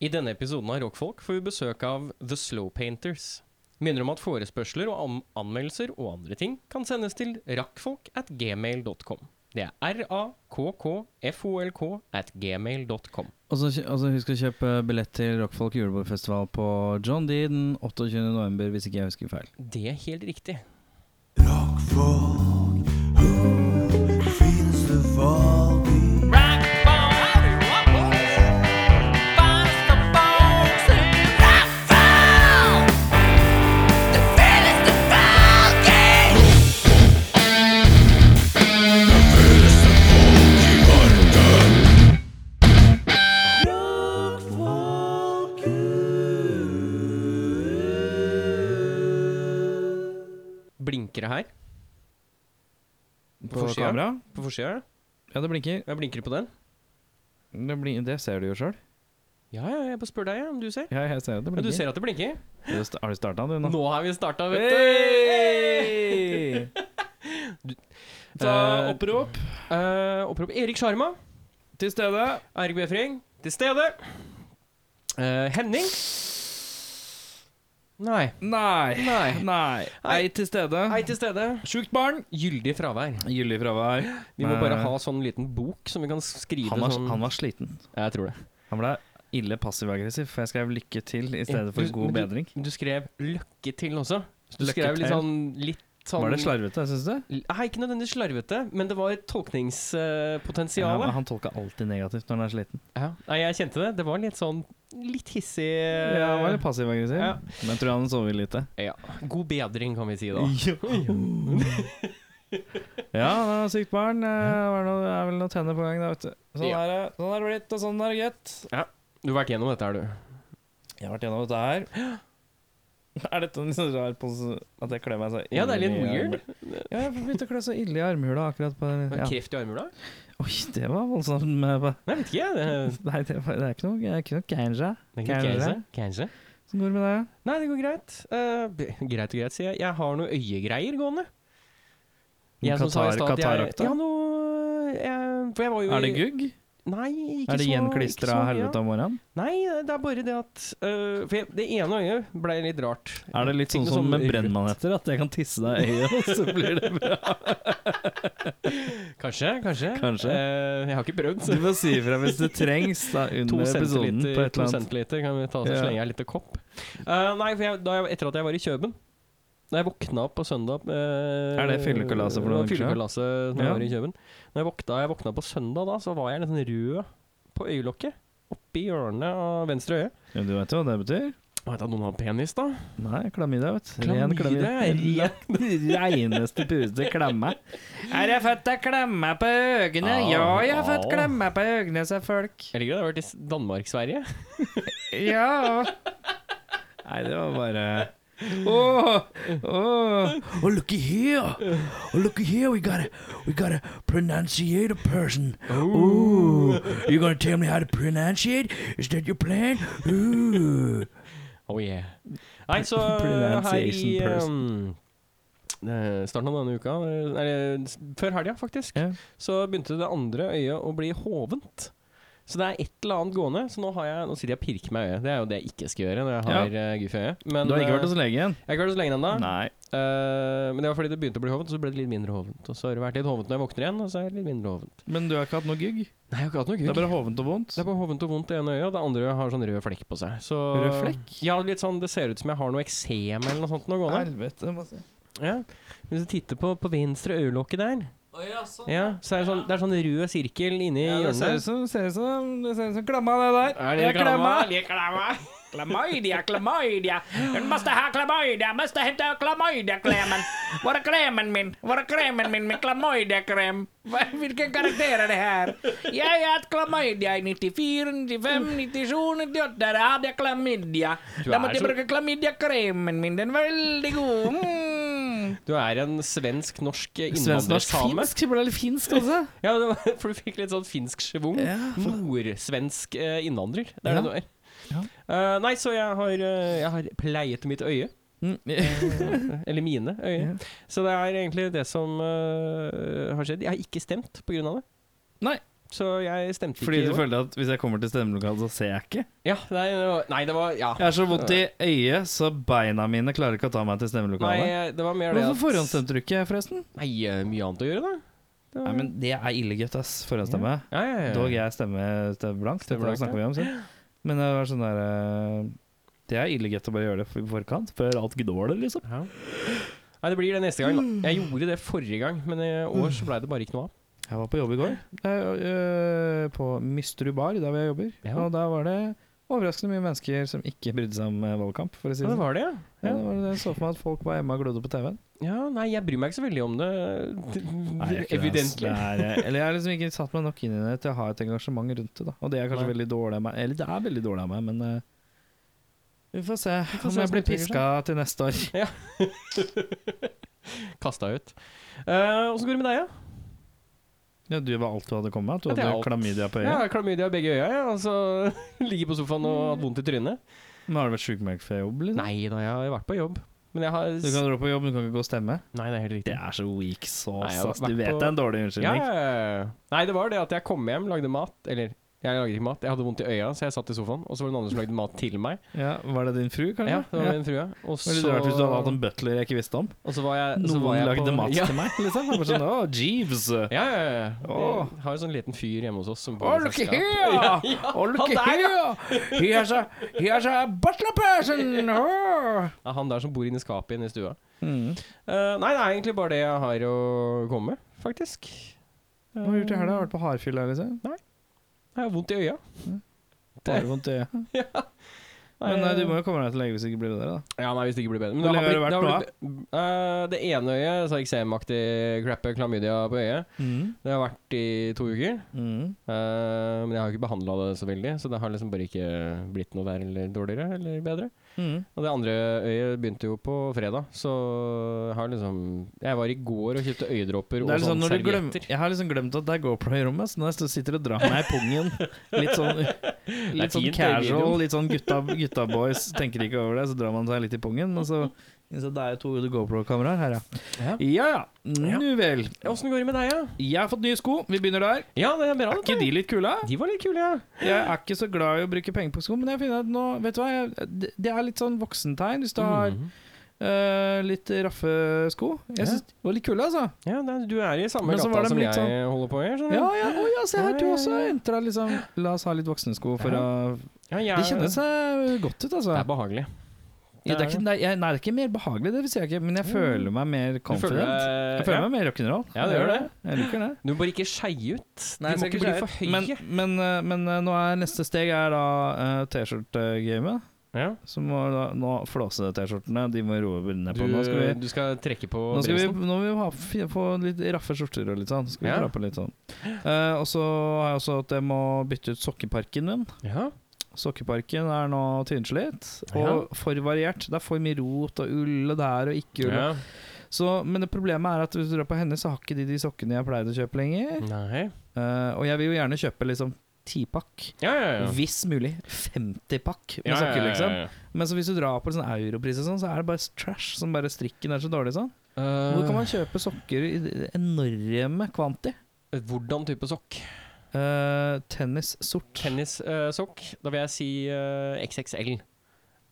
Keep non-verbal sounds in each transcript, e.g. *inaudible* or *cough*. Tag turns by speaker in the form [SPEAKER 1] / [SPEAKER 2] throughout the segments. [SPEAKER 1] I denne episoden av Rockfolk får vi besøk av The Slow Painters. Minner om at forespørsler og an anmeldelser og andre ting kan sendes til rakkfolk at gmail.com. Det er r-a-k-k-f-o-l-k at gmail.com.
[SPEAKER 2] Og så kjø- og så husk å kjøpe billett til Rockfolk julebordfestival på John D den 28. november, hvis ikke jeg husker feil.
[SPEAKER 1] Det er helt riktig. Blinker det her På
[SPEAKER 2] På
[SPEAKER 1] forsida?
[SPEAKER 2] kamera?
[SPEAKER 1] på forsida?
[SPEAKER 2] Ja, det blinker.
[SPEAKER 1] Jeg blinker det på den.
[SPEAKER 2] Det, blin- det ser du jo sjøl.
[SPEAKER 1] Ja, ja, jeg bare spør deg, ja, om du ser.
[SPEAKER 2] Ja, jeg ser jo det
[SPEAKER 1] Ja,
[SPEAKER 2] blinker.
[SPEAKER 1] du ser at det blinker?
[SPEAKER 2] Er du sta- Har du starta den, du, nå?
[SPEAKER 1] Nå har vi starta, vet du.
[SPEAKER 2] Hey! Ta
[SPEAKER 1] Eh,
[SPEAKER 2] opprop.
[SPEAKER 1] Eh, opprop Erik Sjarma.
[SPEAKER 2] Til stede.
[SPEAKER 1] Eirik Befring til stede. Eh, Henning. Nei.
[SPEAKER 2] Nei.
[SPEAKER 1] Nei.
[SPEAKER 2] Nei. Ei til
[SPEAKER 1] Ei
[SPEAKER 2] stede.
[SPEAKER 1] til stede.
[SPEAKER 2] Sjukt barn.
[SPEAKER 1] Gyldig fravær.
[SPEAKER 2] Gyldig fravær.
[SPEAKER 1] Vi må bare
[SPEAKER 2] Nei.
[SPEAKER 1] ha sånn liten bok som vi kan skrive
[SPEAKER 2] Eh, Han var,
[SPEAKER 1] sånn
[SPEAKER 2] han var sliten.
[SPEAKER 1] Jeg tror det.
[SPEAKER 2] Han ble ille passiv-aggressiv, for jeg skrev 'lykke til' i stedet for
[SPEAKER 1] Du-
[SPEAKER 2] 'god
[SPEAKER 1] men
[SPEAKER 2] bedring'.
[SPEAKER 1] Du skrev 'lykke til' også. Så du
[SPEAKER 2] Lykke
[SPEAKER 1] skrev litt
[SPEAKER 2] til.
[SPEAKER 1] sånn litt sånn
[SPEAKER 2] Var det slarvete, syns du?
[SPEAKER 1] Nei, ikke nødvendigvis slarvete, men det var et
[SPEAKER 2] Ja, men
[SPEAKER 1] tolkningspotensial.
[SPEAKER 2] han tolka alltid negativt når han er sliten.
[SPEAKER 1] Ja. Nei, jeg kjente det. Det var litt sånn litt hissig eh,
[SPEAKER 2] Ja, han var litt passiv-aggressiv.
[SPEAKER 1] ja.
[SPEAKER 2] Men jeg tror han sover lite.
[SPEAKER 1] ja. God bedring, kan vi si da.
[SPEAKER 2] *laughs* Ja, han er sykt barn. eh, var noe- Det er vel noe tenner på gang, da, vet du. Sånn
[SPEAKER 1] Ja.
[SPEAKER 2] er det. Sånn er det blitt, og sånn er det gitt.
[SPEAKER 1] Du har vært gjennom dette, er du.
[SPEAKER 2] Jeg har vært gjennom dette her. *gasps* Er dette en sånn rar pose at jeg klør meg så
[SPEAKER 1] Ja, det er litt
[SPEAKER 2] ille i
[SPEAKER 1] weird.
[SPEAKER 2] armhul- Ja, jeg begynte å klø så ille i armhula akkurat på den. Ja.
[SPEAKER 1] Kreft i armhula?
[SPEAKER 2] Oi, det var voldsomt. Med,
[SPEAKER 1] Nei, vet ikke jeg. Det,
[SPEAKER 2] nei, det, var, det er ikke noe, det er ikke noe ganja
[SPEAKER 1] det
[SPEAKER 2] Kanskje.
[SPEAKER 1] kanskje. kanskje.
[SPEAKER 2] som går med deg.
[SPEAKER 1] Nei, det går greit. Eh, b- greit og greit, sier jeg. Jeg har noe øyegreier gående. Jeg som sa i stad at jeg-
[SPEAKER 2] Katarakta?
[SPEAKER 1] Ja, noe jeg, For jeg var jo i-
[SPEAKER 2] Er det gugg?
[SPEAKER 1] Nei, ikke så
[SPEAKER 2] Er det
[SPEAKER 1] ikke
[SPEAKER 2] gjenklistra
[SPEAKER 1] så-
[SPEAKER 2] helvete om morgenen?
[SPEAKER 1] Ja. Nei, det er bare det at eh, For jeg, det ene øyet ble litt rart.
[SPEAKER 2] Er det litt
[SPEAKER 1] Fikk
[SPEAKER 2] sånn
[SPEAKER 1] noe
[SPEAKER 2] som med
[SPEAKER 1] rødt.
[SPEAKER 2] brennmaneter, at jeg kan tisse deg i øyet, og så blir det bra?
[SPEAKER 1] Kanskje, kanskje.
[SPEAKER 2] Kanskje.
[SPEAKER 1] Eh, jeg har ikke prøvd,
[SPEAKER 2] *laughs* Du
[SPEAKER 1] så
[SPEAKER 2] får si ifra hvis det trengs da,
[SPEAKER 1] To
[SPEAKER 2] under episoden på
[SPEAKER 1] centiliter,
[SPEAKER 2] et
[SPEAKER 1] to
[SPEAKER 2] eller annet.
[SPEAKER 1] centiliter kan vi ta oss og
[SPEAKER 2] Ja.
[SPEAKER 1] slenge en liten kopp. Eh, nei, for jeg, da jeg, etter at jeg var i Kjøben Da jeg våkna opp på søndag eh,
[SPEAKER 2] Er det fyllekalaset for
[SPEAKER 1] det var
[SPEAKER 2] noen uker siden?
[SPEAKER 1] Fyllekalaset når jeg
[SPEAKER 2] Ja.
[SPEAKER 1] var i Kjøben. Når jeg våkna, jeg våkna på søndag, da, så var jeg litt sånn rød på øyelokket. Oppi hjørnet av venstre øye.
[SPEAKER 2] Ja, du vet jo hva det betyr?
[SPEAKER 1] Og vet du at noen har penis, da?
[SPEAKER 2] Nei, klamydia, vet du.
[SPEAKER 1] Klamydia, ja.
[SPEAKER 2] *laughs* Reineste, pureste klemme. Er jeg født av klemme på øynene?
[SPEAKER 1] Au,
[SPEAKER 2] Ja, jeg er født
[SPEAKER 1] au.
[SPEAKER 2] klemme på øynene, sa folk.
[SPEAKER 1] Jeg liker det. Det har vært i S- Danmark-Sverige.
[SPEAKER 2] Ja. Nei, det var bare Åh, åh.
[SPEAKER 3] Oh, looky here. Oh, looky here. We got a, we got a pronunciator person. Ooh. You're going to tell me how to pronunciate? Is that your plan? Ooh.
[SPEAKER 1] Oh yeah. Nei,
[SPEAKER 2] *laughs*
[SPEAKER 1] så her i
[SPEAKER 2] Pronunciation
[SPEAKER 1] um, eh, starten av denne uka, eh, eller s- før helga faktisk,
[SPEAKER 2] Ja.
[SPEAKER 1] så begynte det andre øyet å bli hovent. Så det er et eller annet gående. Så nå, har jeg, nå sitter jeg og pirker meg i øyet. Det er jo det jeg ikke skal gjøre når jeg har ja. guff i øyet. Men
[SPEAKER 2] Du har ikke vært
[SPEAKER 1] eh,
[SPEAKER 2] hos legen?
[SPEAKER 1] jeg har ikke vært så lenge ennå.
[SPEAKER 2] Nei.
[SPEAKER 1] Eh, men det var fordi det begynte å bli hovent, og så ble det litt mindre hovent. Og så har det vært litt hovent når jeg våkner igjen, og så er det litt mindre hovent.
[SPEAKER 2] Men du har ikke hatt noe gugg?
[SPEAKER 1] Nei, jeg har ikke hatt noe
[SPEAKER 2] Det
[SPEAKER 1] gugg.
[SPEAKER 2] er bare hovent og vondt?
[SPEAKER 1] Det er bare hovent og vondt i ene øyet, og det andre øyet har sånn rød flekk på seg. Så,
[SPEAKER 2] Rød flekk?
[SPEAKER 1] Ja, litt sånn, det ser ut som jeg har noe eksem eller noe sånt nå gående.
[SPEAKER 2] Helvete, må jeg si.
[SPEAKER 1] Ja. Hvis du titter på, på venstre øyelokket der, ja, så er det sånn, det er sånn rød sirkel inni
[SPEAKER 2] Ja, det ser ut
[SPEAKER 1] hjørnet.
[SPEAKER 2] som, ser ut som, det ser ut som klamma, det der. Jeg
[SPEAKER 3] Klamydia, klamydia. Du måste ha klamydia. Måste hämta klamydia-klämmen. Var är klämmen min? Var är klämmen min med klamydia-kräm? Va- Vilken karaktär är det här? Jag har haft klamydia i 94, 95, 97, 98. Där hade jag klamydia.
[SPEAKER 1] Du
[SPEAKER 3] Där
[SPEAKER 1] är
[SPEAKER 3] måste jag
[SPEAKER 1] så-
[SPEAKER 3] bruka klamydia-krämen min. Den var väldigt god. Mm.
[SPEAKER 1] Du er en svensk-norsk innvandrersame.
[SPEAKER 2] Svensk-norsk-finsk? Ble det finsk også?
[SPEAKER 1] Ja, det var, *laughs* for du fikk litt sånn finsk schwung. Nordsvensk eh, innvandrer. Det er
[SPEAKER 2] Ja.
[SPEAKER 1] det du er.
[SPEAKER 2] Ja.
[SPEAKER 1] Eh, nei, så jeg har, eh, jeg har pleiet mitt øye.
[SPEAKER 2] Mm.
[SPEAKER 1] Eh, Eller mine øyne.
[SPEAKER 2] Ja.
[SPEAKER 1] eh, Så det er egentlig det som øh, har skjedd. Jeg har ikke stemt pga. det.
[SPEAKER 2] Nei.
[SPEAKER 1] så jeg stemte
[SPEAKER 2] Fordi
[SPEAKER 1] ikke.
[SPEAKER 2] du
[SPEAKER 1] i år.
[SPEAKER 2] følte at hvis jeg kommer til stemmelokalet, så ser jeg ikke?
[SPEAKER 1] Ja, nei, det var, nei, det var Ja.
[SPEAKER 2] Jeg har så vondt i øyet, så beina mine klarer ikke å ta meg til stemmelokalet.
[SPEAKER 1] Nei, det var mer det
[SPEAKER 2] Hvorfor
[SPEAKER 1] at-
[SPEAKER 2] forhåndsstemte du ikke, forresten?
[SPEAKER 1] Nei, eh, mye annet å gjøre, da. Det var-
[SPEAKER 2] Nei, men Det er illegutt, ass. Forhåndsstemme.
[SPEAKER 1] ja, ja, ja.
[SPEAKER 2] Dog jeg stemmer stemmer blankt.
[SPEAKER 1] Stemmer
[SPEAKER 2] Dette
[SPEAKER 1] blankt,
[SPEAKER 2] snakker vi om selv. Men det var sånn der eh, Det er illegutt å bare gjøre det i forkant, før alt gnåler, liksom.
[SPEAKER 1] Ja. Nei, det blir det neste gang,
[SPEAKER 2] Mm.
[SPEAKER 1] da. Jeg gjorde det forrige gang, men i år så blei det bare ikke noe av.
[SPEAKER 2] Jeg var på jobb i går, eh, eh, på Mysterud bar, der hvor jeg jobber.
[SPEAKER 1] Ja.
[SPEAKER 2] Og der var det overraskende mye mennesker som ikke brydde seg om eh, valgkamp, for å si
[SPEAKER 1] Ja,
[SPEAKER 2] det
[SPEAKER 1] det
[SPEAKER 2] sånn.
[SPEAKER 1] var det, ja.
[SPEAKER 2] Ja, det var det. Jeg så for meg at folk var hjemme og glodde på TV-en.
[SPEAKER 1] Ja, nei, jeg bryr meg ikke så veldig om det.
[SPEAKER 2] Nei, jeg er ikke det, ass.
[SPEAKER 1] Evidentlig.
[SPEAKER 2] Det er, eh, eller jeg har liksom ikke satt meg nok inn i det til å ha et engasjement rundt det. da Og det er kanskje
[SPEAKER 1] Nei.
[SPEAKER 2] veldig dårlig av meg. Eller det er veldig dårlig av meg, men eh, vi får se
[SPEAKER 1] får
[SPEAKER 2] om
[SPEAKER 1] se
[SPEAKER 2] jeg
[SPEAKER 1] hvordan
[SPEAKER 2] blir
[SPEAKER 1] det utvikler
[SPEAKER 2] piska til neste år.
[SPEAKER 1] Kasta ut. Eh, Åssen går det med deg, da?
[SPEAKER 2] Ja, Du var alt du hadde kommet med? Du
[SPEAKER 1] Ja, det er
[SPEAKER 2] hadde
[SPEAKER 1] alt.
[SPEAKER 2] klamydia på
[SPEAKER 1] Ja?
[SPEAKER 2] øyet?
[SPEAKER 1] Ja, klamydia i begge øya, ja. og så *laughs* ligger på sofaen og hatt vondt i trynet.
[SPEAKER 2] Men har du vært sjukmeldt fra jobb? Liksom?
[SPEAKER 1] Nei da, jeg har vært på jobb. Men jeg har
[SPEAKER 2] Du kan dra på jobb, men du kan ikke gå og stemme?
[SPEAKER 1] Nei, det er helt riktig.
[SPEAKER 2] Det er så weak
[SPEAKER 1] Nei,
[SPEAKER 2] sauce,
[SPEAKER 1] jeg har
[SPEAKER 2] ass. Du
[SPEAKER 1] vært
[SPEAKER 2] vet
[SPEAKER 1] på-
[SPEAKER 2] det er en dårlig
[SPEAKER 1] Ja,
[SPEAKER 2] unnskyldning.
[SPEAKER 1] ja, ja. Nei, det var det at jeg kom hjem, lagde mat. Eller, jeg lagde ikke mat, jeg hadde vondt i øya, så jeg satt i sofaen. Og så var det noen andre som lagde mat til meg.
[SPEAKER 2] Ja, Var det din fru, kanskje?
[SPEAKER 1] Ja, det var min frue. Og
[SPEAKER 2] Hva ville
[SPEAKER 1] så,
[SPEAKER 2] det vært hvis du hadde hatt en butler jeg ikke visste om?
[SPEAKER 1] og så var jeg, så
[SPEAKER 2] Noen
[SPEAKER 1] var jeg
[SPEAKER 2] lagde
[SPEAKER 1] på,
[SPEAKER 2] mat
[SPEAKER 1] ja.
[SPEAKER 2] til meg, liksom? Det var
[SPEAKER 1] *laughs*
[SPEAKER 2] Bare sånn, Å, Jeeves!
[SPEAKER 1] Ja, ja, ja.
[SPEAKER 2] Åh.
[SPEAKER 1] Vi har en sånn liten fyr hjemme hos oss som
[SPEAKER 3] Oh, look
[SPEAKER 1] selskap.
[SPEAKER 2] *laughs*
[SPEAKER 3] here! Oh, look here! He has a, he has a butler person!
[SPEAKER 2] *laughs*
[SPEAKER 3] Oh.
[SPEAKER 1] Ja, han der som bor inni skapet inne i stua.
[SPEAKER 2] Mm.
[SPEAKER 1] Eh, nei, det er egentlig bare det jeg har å komme med, faktisk.
[SPEAKER 2] Hva har du gjort i helga? Har du Vært på hardfylla, liksom?
[SPEAKER 1] Jeg har vondt i øya.
[SPEAKER 2] Bare vondt i øyet.
[SPEAKER 1] Nei,
[SPEAKER 2] Men nei, du må jo komme deg til lege hvis det ikke blir det der, da.
[SPEAKER 1] Ja, nei, hvis det ikke blir bedre. Men
[SPEAKER 2] Hvor
[SPEAKER 1] det
[SPEAKER 2] lenge har det vært
[SPEAKER 1] blitt- det har blitt- eh, det ene øyet, så eksemaktig crappe klamydia på øyet, det har vært i to uker.
[SPEAKER 2] Mm.
[SPEAKER 1] Eh, men jeg har jo ikke behandla det så veldig, så det har liksom bare ikke blitt noe verre eller dårligere eller bedre.
[SPEAKER 2] Mm.
[SPEAKER 1] Og det andre øyet begynte jo på fredag, så jeg har liksom Jeg var i går og kjøpte øyedråper
[SPEAKER 2] Det
[SPEAKER 1] og
[SPEAKER 2] er liksom
[SPEAKER 1] sånn
[SPEAKER 2] når du
[SPEAKER 1] servietter.
[SPEAKER 2] glem, jeg har liksom glemt at det er GoPro i rommet, så når jeg står- sitter og drar meg i pungen Litt sånn, litt sånn
[SPEAKER 1] fint, det
[SPEAKER 2] casual,
[SPEAKER 1] videoen.
[SPEAKER 2] litt sånn gutta, gutta boys, tenker ikke over det, så drar man seg litt i pungen. Men så så det er jo to GoPro-kameraer her, ja.
[SPEAKER 1] Ja.
[SPEAKER 2] Ja ja,
[SPEAKER 1] Ja.
[SPEAKER 2] nu vel.
[SPEAKER 1] Åssen går det med deg, ja?
[SPEAKER 2] Jeg har fått nye sko, vi begynner der.
[SPEAKER 1] Ja, det er bra.
[SPEAKER 2] Er
[SPEAKER 1] dette.
[SPEAKER 2] ikke de litt kule?
[SPEAKER 1] De var litt kule, ja.
[SPEAKER 2] Jeg er ikke så glad i å bruke penger på sko, men jeg finner at nå, vet du hva, jeg, det- det er litt sånn voksentegn hvis du har
[SPEAKER 1] Mhm.
[SPEAKER 2] eh, litt raffe sko. Jeg
[SPEAKER 1] Ja.
[SPEAKER 2] synes de var litt kule, altså.
[SPEAKER 1] ja det, er- du er i samme
[SPEAKER 2] Men så
[SPEAKER 1] gata
[SPEAKER 2] var det
[SPEAKER 1] som
[SPEAKER 2] litt
[SPEAKER 1] jeg holder på i. skjønner du?
[SPEAKER 2] Ja, ja, å ja, se her,
[SPEAKER 1] Ja,
[SPEAKER 2] du
[SPEAKER 1] ja,
[SPEAKER 2] også
[SPEAKER 1] ja.
[SPEAKER 2] entra liksom La oss ha litt voksensko for å
[SPEAKER 1] Ja, jeg
[SPEAKER 2] De
[SPEAKER 1] er-
[SPEAKER 2] kjenner seg godt ut, altså.
[SPEAKER 1] Det er behagelig.
[SPEAKER 2] Ja, det er ikke, nei, jeg- nei, det er ikke mer behagelig, det vil si jeg ikke, men jeg føler meg
[SPEAKER 1] Mm.
[SPEAKER 2] mer
[SPEAKER 1] Du føler
[SPEAKER 2] confident.
[SPEAKER 1] deg-
[SPEAKER 2] Jeg føler
[SPEAKER 1] ja.
[SPEAKER 2] meg mer rock'n'roll.
[SPEAKER 1] Ja, det gjør det.
[SPEAKER 2] Jeg liker det.
[SPEAKER 1] Du må bare ikke skeie ut.
[SPEAKER 2] Nei,
[SPEAKER 1] du
[SPEAKER 2] jeg skal
[SPEAKER 1] må ikke bli
[SPEAKER 2] skjære
[SPEAKER 1] for høy.
[SPEAKER 2] ut. Men, men, eh, men eh, nå er neste steg er da eh, T-skjorte-gamet.
[SPEAKER 1] ja.
[SPEAKER 2] Så må da, nå flåse-T-skjortene, de må roe ned
[SPEAKER 1] du,
[SPEAKER 2] på. Nå skal vi
[SPEAKER 1] du skal trekke på
[SPEAKER 2] Nå skal vi,
[SPEAKER 1] bremsen.
[SPEAKER 2] nå må vi ha, fi- få litt raffe skjorter og litt sånn. Skal vi
[SPEAKER 1] Ja.
[SPEAKER 2] dra på litt sånn. Eh, og så har jeg også at jeg må bytte ut sokkeparken min.
[SPEAKER 1] Ja.
[SPEAKER 2] Sokkeparken er nå tynnslitt og
[SPEAKER 1] Ja.
[SPEAKER 2] for variert. Det er for mye rot og ull og der og ikke ull.
[SPEAKER 1] ja.
[SPEAKER 2] Så, men det problemet er at hvis du drar på henne, så har ikke de de sokkene jeg pleide å kjøpe lenger.
[SPEAKER 1] Nei.
[SPEAKER 2] Eh, og jeg vil jo gjerne kjøpe liksom tipakk.
[SPEAKER 1] Ja, ja, ja.
[SPEAKER 2] Hvis mulig 50-pakk med
[SPEAKER 1] Ja, ja,
[SPEAKER 2] sokker,
[SPEAKER 1] ja,
[SPEAKER 2] liksom.
[SPEAKER 1] ja, ja.
[SPEAKER 2] Men så hvis du drar på sånn europris og sånn, så er det bare trash. Som bare strikken er så dårlig sånn.
[SPEAKER 1] Eh,
[SPEAKER 2] Hvor kan man kjøpe sokker i det enorme kvanti?
[SPEAKER 1] Hvordan type sokk?
[SPEAKER 2] Uh, tennis sort.
[SPEAKER 1] Tennissokk? eh, da vil jeg si eh, XXL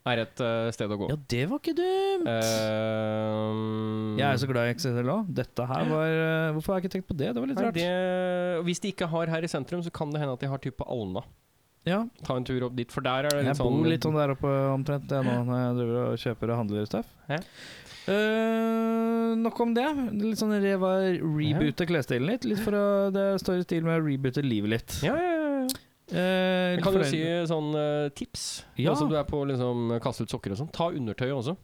[SPEAKER 1] er et eh, sted å gå.
[SPEAKER 2] Ja, det var ikke dumt!
[SPEAKER 1] Eh,
[SPEAKER 2] jeg er så glad i XXL òg. Dette her var eh, Hvorfor har jeg ikke tenkt på det? Det var litt
[SPEAKER 1] nei,
[SPEAKER 2] rart.
[SPEAKER 1] det, og Hvis de ikke har her i sentrum, så kan det hende at de har typ på Alna.
[SPEAKER 2] Ja,
[SPEAKER 1] Ta en tur opp dit, for der er det
[SPEAKER 2] jeg
[SPEAKER 1] litt sånn
[SPEAKER 2] bor litt sånn der oppe omtrent jeg nå når jeg driver og kjøper og handler stuff.
[SPEAKER 1] Ja.
[SPEAKER 2] Eh, nok om det. Litt sånn reva reboote klesstilen litt. Litt for å, Det står i stil med å reboote livet litt.
[SPEAKER 1] Ja, ja, ja. ja.
[SPEAKER 2] Eh,
[SPEAKER 1] Jeg kan jo
[SPEAKER 2] fornøyd-
[SPEAKER 1] si sånn eh, tips.
[SPEAKER 2] Ja.
[SPEAKER 1] Ja. Altså, du er på liksom kaste ut sokker og sånn. Ta undertøyet også.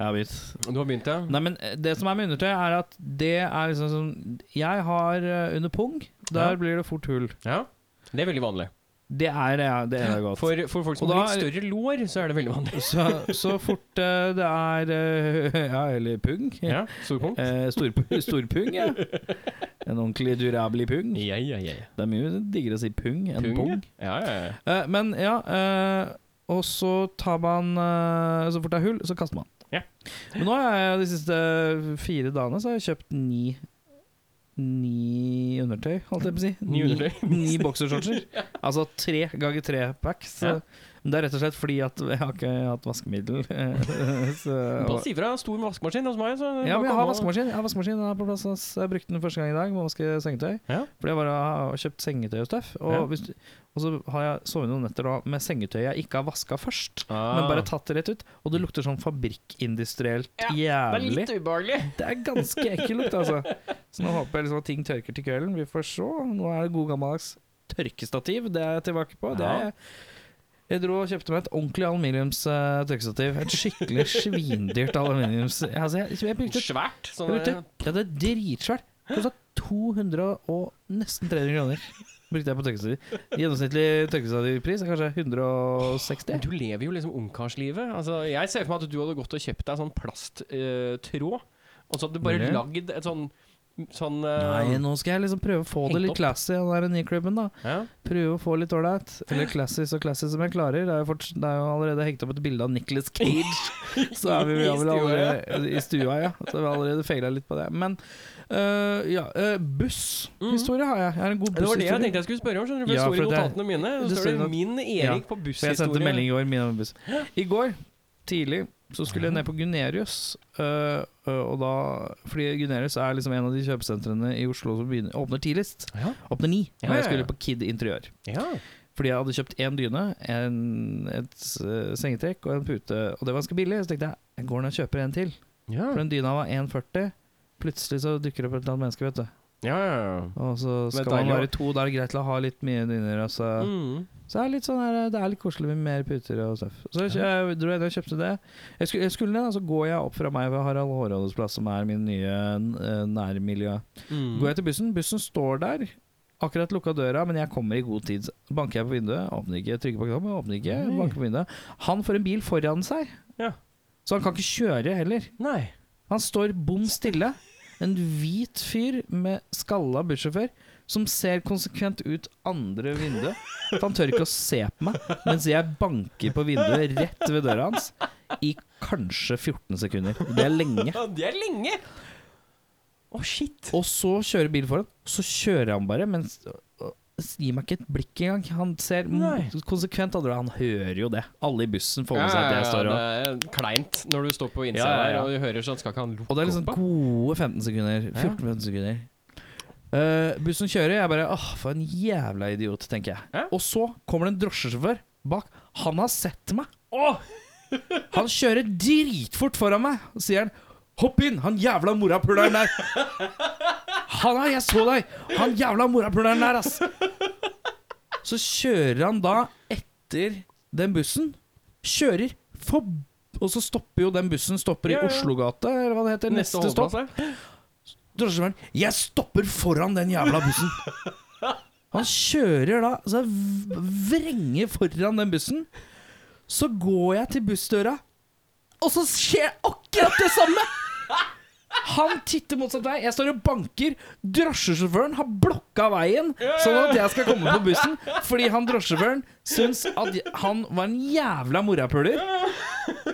[SPEAKER 2] Jeg har begynt.
[SPEAKER 1] Du har begynt, ja?
[SPEAKER 2] Nei, men eh, det som er med undertøy, er at det er liksom som Jeg har eh, under pung, der
[SPEAKER 1] Ja.
[SPEAKER 2] blir det fort hull.
[SPEAKER 1] ja. Det er veldig vanlig.
[SPEAKER 2] Det er det, ja, det ene er godt.
[SPEAKER 1] For, for folk som
[SPEAKER 2] Og
[SPEAKER 1] har
[SPEAKER 2] da
[SPEAKER 1] litt
[SPEAKER 2] er-
[SPEAKER 1] større lår, så er det veldig vanlig.
[SPEAKER 2] så, så fort eh, det er eh, *laughs* Ja, eller pung.
[SPEAKER 1] *laughs* Ja, stor punkt.
[SPEAKER 2] Eh, stor, Storpung, ja. En ordentlig durabelig pung.
[SPEAKER 1] Ja, ja, ja. ja.
[SPEAKER 2] Det er mye diggere å si pung enn
[SPEAKER 1] Pung,
[SPEAKER 2] pung.
[SPEAKER 1] Ja, ja, ja.
[SPEAKER 2] Eh, men ja eh, Og så tar man eh, Så fort det er hull, så kaster man.
[SPEAKER 1] Ja.
[SPEAKER 2] Men nå har jeg de siste fire dagene Så har jeg kjøpt ni ni undertøy, holdt jeg på å si.
[SPEAKER 1] Ni undertøy.
[SPEAKER 2] Ni
[SPEAKER 1] *laughs*
[SPEAKER 2] boksershortser. *laughs* Altså tre ganger tre pack. Så
[SPEAKER 1] Ja.
[SPEAKER 2] det er rett og slett fordi at jeg har ikke hatt vaskemiddel. *laughs* eh, så,
[SPEAKER 1] Bare si fra. Stor vaskemaskin hos meg, så
[SPEAKER 2] ja, men jeg
[SPEAKER 1] kan
[SPEAKER 2] har
[SPEAKER 1] man-
[SPEAKER 2] vaskemaskin. Jeg har vaskemaskin den er på plass. ass. Jeg brukte den første gang i dag. Må vaske sengetøy.
[SPEAKER 1] Ja.
[SPEAKER 2] Fordi jeg bare har kjøpt sengetøy og stuff. Og,
[SPEAKER 1] Ja.
[SPEAKER 2] hvis, og så har jeg sovet noen netter da med sengetøy jeg ikke har vaska først.
[SPEAKER 1] Ah.
[SPEAKER 2] Men bare tatt det rett ut. Og det lukter sånn fabrikkindustrielt
[SPEAKER 1] Det er
[SPEAKER 2] jævlig.
[SPEAKER 1] litt ubehagelig.
[SPEAKER 2] Det er ganske ekkel lukt, altså. Så nå håper jeg liksom at ting tørker til kvelden. Vi får se. Nå er det god gammeldags tørkestativ det er jeg tilbake på. Det er
[SPEAKER 1] Ja.
[SPEAKER 2] jeg. Jeg dro og kjøpte meg et ordentlig aluminiums eh, tørkestativ. Et skikkelig *laughs* svindyrt aluminiums... Altså, jeg, jeg brukte
[SPEAKER 1] Svært. Sånn,
[SPEAKER 2] jeg brukte, ja, det er dritsvært. Kosta 200 og nesten 300 kroner. Brukte jeg på tørkestativ. Gjennomsnittlig tørkestativpris er kanskje 160.
[SPEAKER 1] Du lever jo liksom ungkarslivet. Altså, jeg ser for meg at du hadde gått og kjøpt deg sånn plasttråd, og så hadde du bare
[SPEAKER 2] Mulig.
[SPEAKER 1] lagd et sånn sånn eh,
[SPEAKER 2] Nei, nå skal jeg liksom prøve å få
[SPEAKER 1] Hengt
[SPEAKER 2] det
[SPEAKER 1] opp.
[SPEAKER 2] litt classy, den der nye klubben, da.
[SPEAKER 1] ja.
[SPEAKER 2] Prøve å få litt ålreit. Eller classy så classy som jeg klarer. Det er jo, fort, det er jo allerede hengt opp et bilde av Nicholas *laughs* Cage. Så er vi
[SPEAKER 1] I
[SPEAKER 2] vel
[SPEAKER 1] stua,
[SPEAKER 2] allerede i stua, ja. Så har vi allerede feila litt på det. Men øh, ja, øh, busshistorie har jeg. Jeg har en
[SPEAKER 1] Det var
[SPEAKER 2] god
[SPEAKER 1] det jeg
[SPEAKER 2] busshistorie.
[SPEAKER 1] tenkte jeg skulle spørre om. skjønner du, For det
[SPEAKER 2] Ja,
[SPEAKER 1] står i
[SPEAKER 2] for det-
[SPEAKER 1] notatene mine.
[SPEAKER 2] det
[SPEAKER 1] Så står
[SPEAKER 2] står
[SPEAKER 1] det
[SPEAKER 2] i
[SPEAKER 1] 'Min Erik på
[SPEAKER 2] For jeg sendte
[SPEAKER 1] busshistorie'.
[SPEAKER 2] melding i går. Min om buss. I går tidlig så skulle jeg ned på Gunerius. øh, øh, og da, fordi Gunerius er liksom en av de kjøpesentrene i Oslo som begynner, åpner tidligst.
[SPEAKER 1] Ja.
[SPEAKER 2] Åpner ni.
[SPEAKER 1] Ja,
[SPEAKER 2] Og jeg
[SPEAKER 1] ja, ja.
[SPEAKER 2] skulle på Kid Interiør.
[SPEAKER 1] ja.
[SPEAKER 2] Fordi jeg hadde kjøpt én dyne, en, et eh, sengetrekk og en pute, og det var ganske billig. Så tenkte jeg jeg går ned og kjøper en til.
[SPEAKER 1] Ja.
[SPEAKER 2] For den dyna var 1,40. Plutselig så dukker det opp et eller annet menneske, vet du.
[SPEAKER 1] ja, ja.
[SPEAKER 2] Og så
[SPEAKER 1] Men
[SPEAKER 2] skal man
[SPEAKER 1] deilig,
[SPEAKER 2] være to, da er det greit til å ha litt mye dyner. Altså.
[SPEAKER 1] Mm.
[SPEAKER 2] Så det er litt sånn her, det er litt koselig med mer puter og stuff. Så jeg, jeg dro ned og kjøpte det. Jeg skulle, jeg skulle ned, og så går jeg opp fra meg ved Harald Hårrådes plass, som er min nye eh, nærmiljø.
[SPEAKER 1] Mm.
[SPEAKER 2] Går jeg til bussen, bussen står der. Akkurat lukka døra, men jeg kommer i god tid. Banker jeg på vinduet, åpner ikke. Trykker på knappen, åpner ikke.
[SPEAKER 1] Nei.
[SPEAKER 2] Banker på vinduet. Han får en bil foran seg,
[SPEAKER 1] Ja.
[SPEAKER 2] så han kan ikke kjøre heller.
[SPEAKER 1] Nei.
[SPEAKER 2] Han står bom stille. En hvit fyr med skalla bussjåfør som ser konsekvent ut andre vinduet. For han tør ikke å se på meg mens jeg banker på vinduet rett ved døra hans i kanskje 14 sekunder. Det er lenge.
[SPEAKER 1] Ja, det er lenge! Å, shit.
[SPEAKER 2] Og så kjører bilen foran. Så kjører han bare, men s- og- s- gir meg ikke et blikk engang. Han ser m-
[SPEAKER 1] Nei.
[SPEAKER 2] konsekvent andre Han hører jo det. Alle i bussen får med seg at jeg står og
[SPEAKER 1] det er kleint når du står på innsida
[SPEAKER 2] Ja, ja, ja.
[SPEAKER 1] der og du hører sånn Skal ikke han lukke
[SPEAKER 2] Og det er liksom
[SPEAKER 1] opp? da?
[SPEAKER 2] gode 15 sekunder. 14-15 sekunder. Eh, bussen kjører, jeg bare Åh, for en jævla idiot, tenker jeg.
[SPEAKER 1] Ja.
[SPEAKER 2] Og så kommer det en drosjesjåfør bak. Han har sett meg.
[SPEAKER 1] Åh!
[SPEAKER 2] Han kjører dritfort foran meg, og sier han Hopp inn, han jævla morapuleren der! Han her, jeg så deg! Han jævla morapuleren der, ass! Så kjører han da etter den bussen. Kjører forb... Og så stopper jo den bussen stopper i
[SPEAKER 1] Ja, ja.
[SPEAKER 2] Oslogata, eller hva det heter. Neste,
[SPEAKER 1] Neste
[SPEAKER 2] stopp.
[SPEAKER 1] holdeplass, ja.
[SPEAKER 2] Drosjesjåføren Jeg stopper foran den jævla bussen! Han kjører da Så jeg vrenger foran den bussen. Så går jeg til bussdøra, og så skjer akkurat det samme! Han titter motsatt vei, jeg står og banker. Drosjesjåføren har blokka veien, sånn at jeg skal komme på bussen. Fordi han drosjesjåføren syns at jeg- han var en jævla morapuler.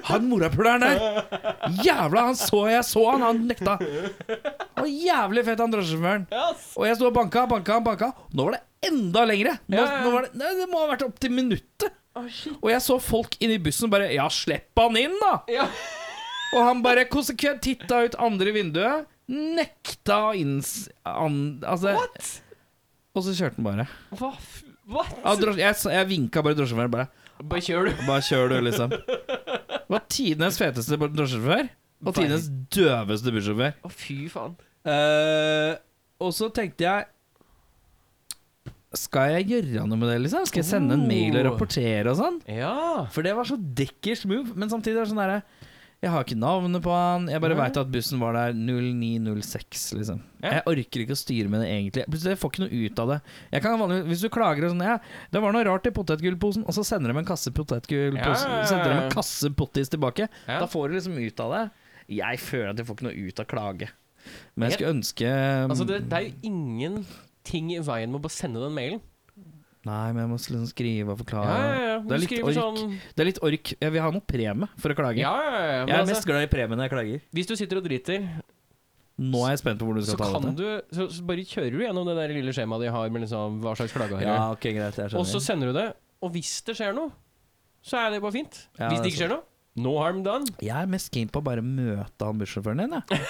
[SPEAKER 2] Han morapuleren der! Jævla, han så jeg så han, han nekta. Han var jævlig fett, han drosjesjåføren.
[SPEAKER 1] Yes.
[SPEAKER 2] Og jeg sto og banka, banka, banka. Nå var det enda lengre! Nå,
[SPEAKER 1] Ja, ja, ja.
[SPEAKER 2] nå var det, nei, det må ha vært opptil minuttet.
[SPEAKER 1] Å, shit.
[SPEAKER 2] Og jeg så folk inne i bussen bare Ja, slipp han inn, da!
[SPEAKER 1] Ja.
[SPEAKER 2] Og han bare konsekvent titta ut andre vinduet. Nekta å innse an, Altså
[SPEAKER 1] What?
[SPEAKER 2] Og så kjørte han bare.
[SPEAKER 1] Hva? f- What?
[SPEAKER 2] Ja, drosje, jeg, s- jeg vinka bare drosjesjåføren. Bare,
[SPEAKER 1] Bare kjør, du.
[SPEAKER 2] bare kjør, du,
[SPEAKER 1] *laughs*
[SPEAKER 2] liksom. Var tidenes feteste drosjesjåfør. Og tidenes døveste bussjåfør.
[SPEAKER 1] Å, fy faen.
[SPEAKER 2] Eh, og så tenkte jeg Skal jeg gjøre noe med det, liksom? Skal jeg sende en mail og
[SPEAKER 1] Oh.
[SPEAKER 2] rapportere og sånn?
[SPEAKER 1] Ja.
[SPEAKER 2] For det var så dekkers move, men samtidig er det sånn derre Jeg har ikke navnet på han, jeg bare
[SPEAKER 1] Nei.
[SPEAKER 2] veit at bussen var der 0906, liksom.
[SPEAKER 1] Ja.
[SPEAKER 2] Jeg orker ikke å styre med det egentlig. Plutselig jeg får ikke noe ut av det. Jeg kan vanligvis, Hvis du klager og sånn ja, 'Det var noe rart i potetgullposen', og så sender de en kasse potetgullposen
[SPEAKER 1] Ja, ja, ja, ja.
[SPEAKER 2] Sender de en kasse pottis tilbake.
[SPEAKER 1] Ja.
[SPEAKER 2] Da får du liksom ut av det. Jeg føler at jeg får ikke noe ut av klage. Men jeg skulle ønske um,
[SPEAKER 1] Altså, det, det er jo ingenting i veien med å bare sende den mailen.
[SPEAKER 2] Nei, men jeg må liksom skrive og
[SPEAKER 1] Ja,
[SPEAKER 2] forklare.
[SPEAKER 1] ja, ja.
[SPEAKER 2] Det
[SPEAKER 1] Du
[SPEAKER 2] er litt
[SPEAKER 1] skriver
[SPEAKER 2] ork.
[SPEAKER 1] sånn
[SPEAKER 2] Det er litt ork. Jeg vil ha noe premie for å klage.
[SPEAKER 1] Ja, ja, ja. Men
[SPEAKER 2] jeg er
[SPEAKER 1] altså,
[SPEAKER 2] mest glad i premie når jeg klager.
[SPEAKER 1] hvis du sitter og driter
[SPEAKER 2] Nå er jeg spent på hvor du
[SPEAKER 1] Så
[SPEAKER 2] skal ta
[SPEAKER 1] kan
[SPEAKER 2] dette.
[SPEAKER 1] du så, så bare kjører du gjennom det der lille skjemaet de har med liksom, hva slags flagg har
[SPEAKER 2] Ja,
[SPEAKER 1] du.
[SPEAKER 2] ok, greit. Jeg skjønner.
[SPEAKER 1] Og så sender du det. Og hvis det skjer noe, så er det bare fint.
[SPEAKER 2] Ja,
[SPEAKER 1] hvis
[SPEAKER 2] det er
[SPEAKER 1] det ikke skjer noe, no harm done.
[SPEAKER 2] Jeg er mest keen på å bare møte han bussjåføren din, jeg.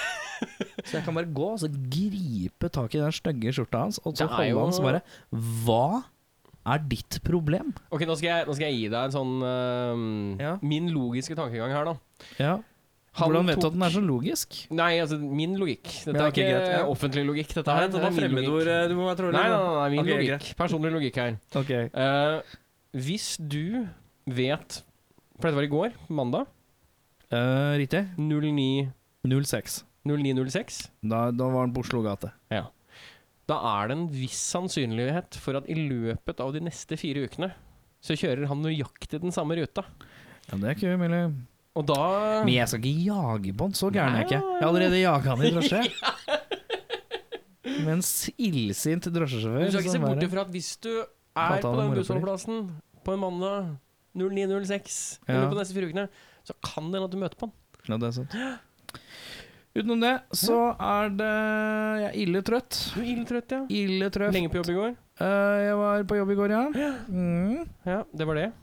[SPEAKER 2] *laughs* Så jeg kan bare gå og så gripe tak i den stygge skjorta hans, og så
[SPEAKER 1] Det er
[SPEAKER 2] holde
[SPEAKER 1] jo-
[SPEAKER 2] han så bare Hva er ditt problem?
[SPEAKER 1] Ok, nå skal, jeg, nå skal jeg gi deg en sånn øhm,
[SPEAKER 2] Ja.
[SPEAKER 1] Min logiske tankegang her, da.
[SPEAKER 2] Ja.
[SPEAKER 1] Han
[SPEAKER 2] Hvordan vet du
[SPEAKER 1] tok-
[SPEAKER 2] at den er så logisk?
[SPEAKER 1] Nei, altså min logikk. Dette
[SPEAKER 2] Ja,
[SPEAKER 1] er
[SPEAKER 2] ok,
[SPEAKER 1] ikke
[SPEAKER 2] greit, ja.
[SPEAKER 1] offentlig logikk. Dette her, dette er min logikk.
[SPEAKER 2] eh, du må
[SPEAKER 1] Nei,
[SPEAKER 2] være trådlig.
[SPEAKER 1] nei, nei, nei, min
[SPEAKER 2] Ok,
[SPEAKER 1] logikk. Personlig logikk her.
[SPEAKER 2] Ok.
[SPEAKER 1] Eh, hvis du vet For dette var i går, mandag.
[SPEAKER 2] Eh, riktig.
[SPEAKER 1] 09
[SPEAKER 2] 06.
[SPEAKER 1] 09.06.
[SPEAKER 2] Da, da var den på Oslo gate.
[SPEAKER 1] Ja. Da er det en viss sannsynlighet for at i løpet av de neste fire ukene så kjører han nøyaktig den samme ruta.
[SPEAKER 2] Ja, det er ikke umulig.
[SPEAKER 1] Og da
[SPEAKER 2] Men jeg skal ikke jage på han, så gæren er jeg ikke.
[SPEAKER 1] Nei.
[SPEAKER 2] Jeg har allerede jaga han
[SPEAKER 1] *laughs*
[SPEAKER 2] i drosje. Med en illsint drosjesjåfør.
[SPEAKER 1] Du skal ikke se
[SPEAKER 2] som
[SPEAKER 1] bort
[SPEAKER 2] bare-
[SPEAKER 1] ifra at hvis du
[SPEAKER 2] Ta
[SPEAKER 1] er
[SPEAKER 2] ta
[SPEAKER 1] på
[SPEAKER 2] det
[SPEAKER 1] den
[SPEAKER 2] moro for
[SPEAKER 1] bussholdeplassen på en mandag 09.06 i
[SPEAKER 2] Ja.
[SPEAKER 1] løpet av de neste fire ukene, så kan det hende at du møter på han.
[SPEAKER 2] Ja, det er sant. Utenom det så er det Jeg er ille trøtt.
[SPEAKER 1] Du er ildtrøtt, ja.
[SPEAKER 2] Ille trøtt.
[SPEAKER 1] Lenge på jobb i går.
[SPEAKER 2] Eh, jeg var på jobb i går, ja. Mm.
[SPEAKER 1] Ja, det var det.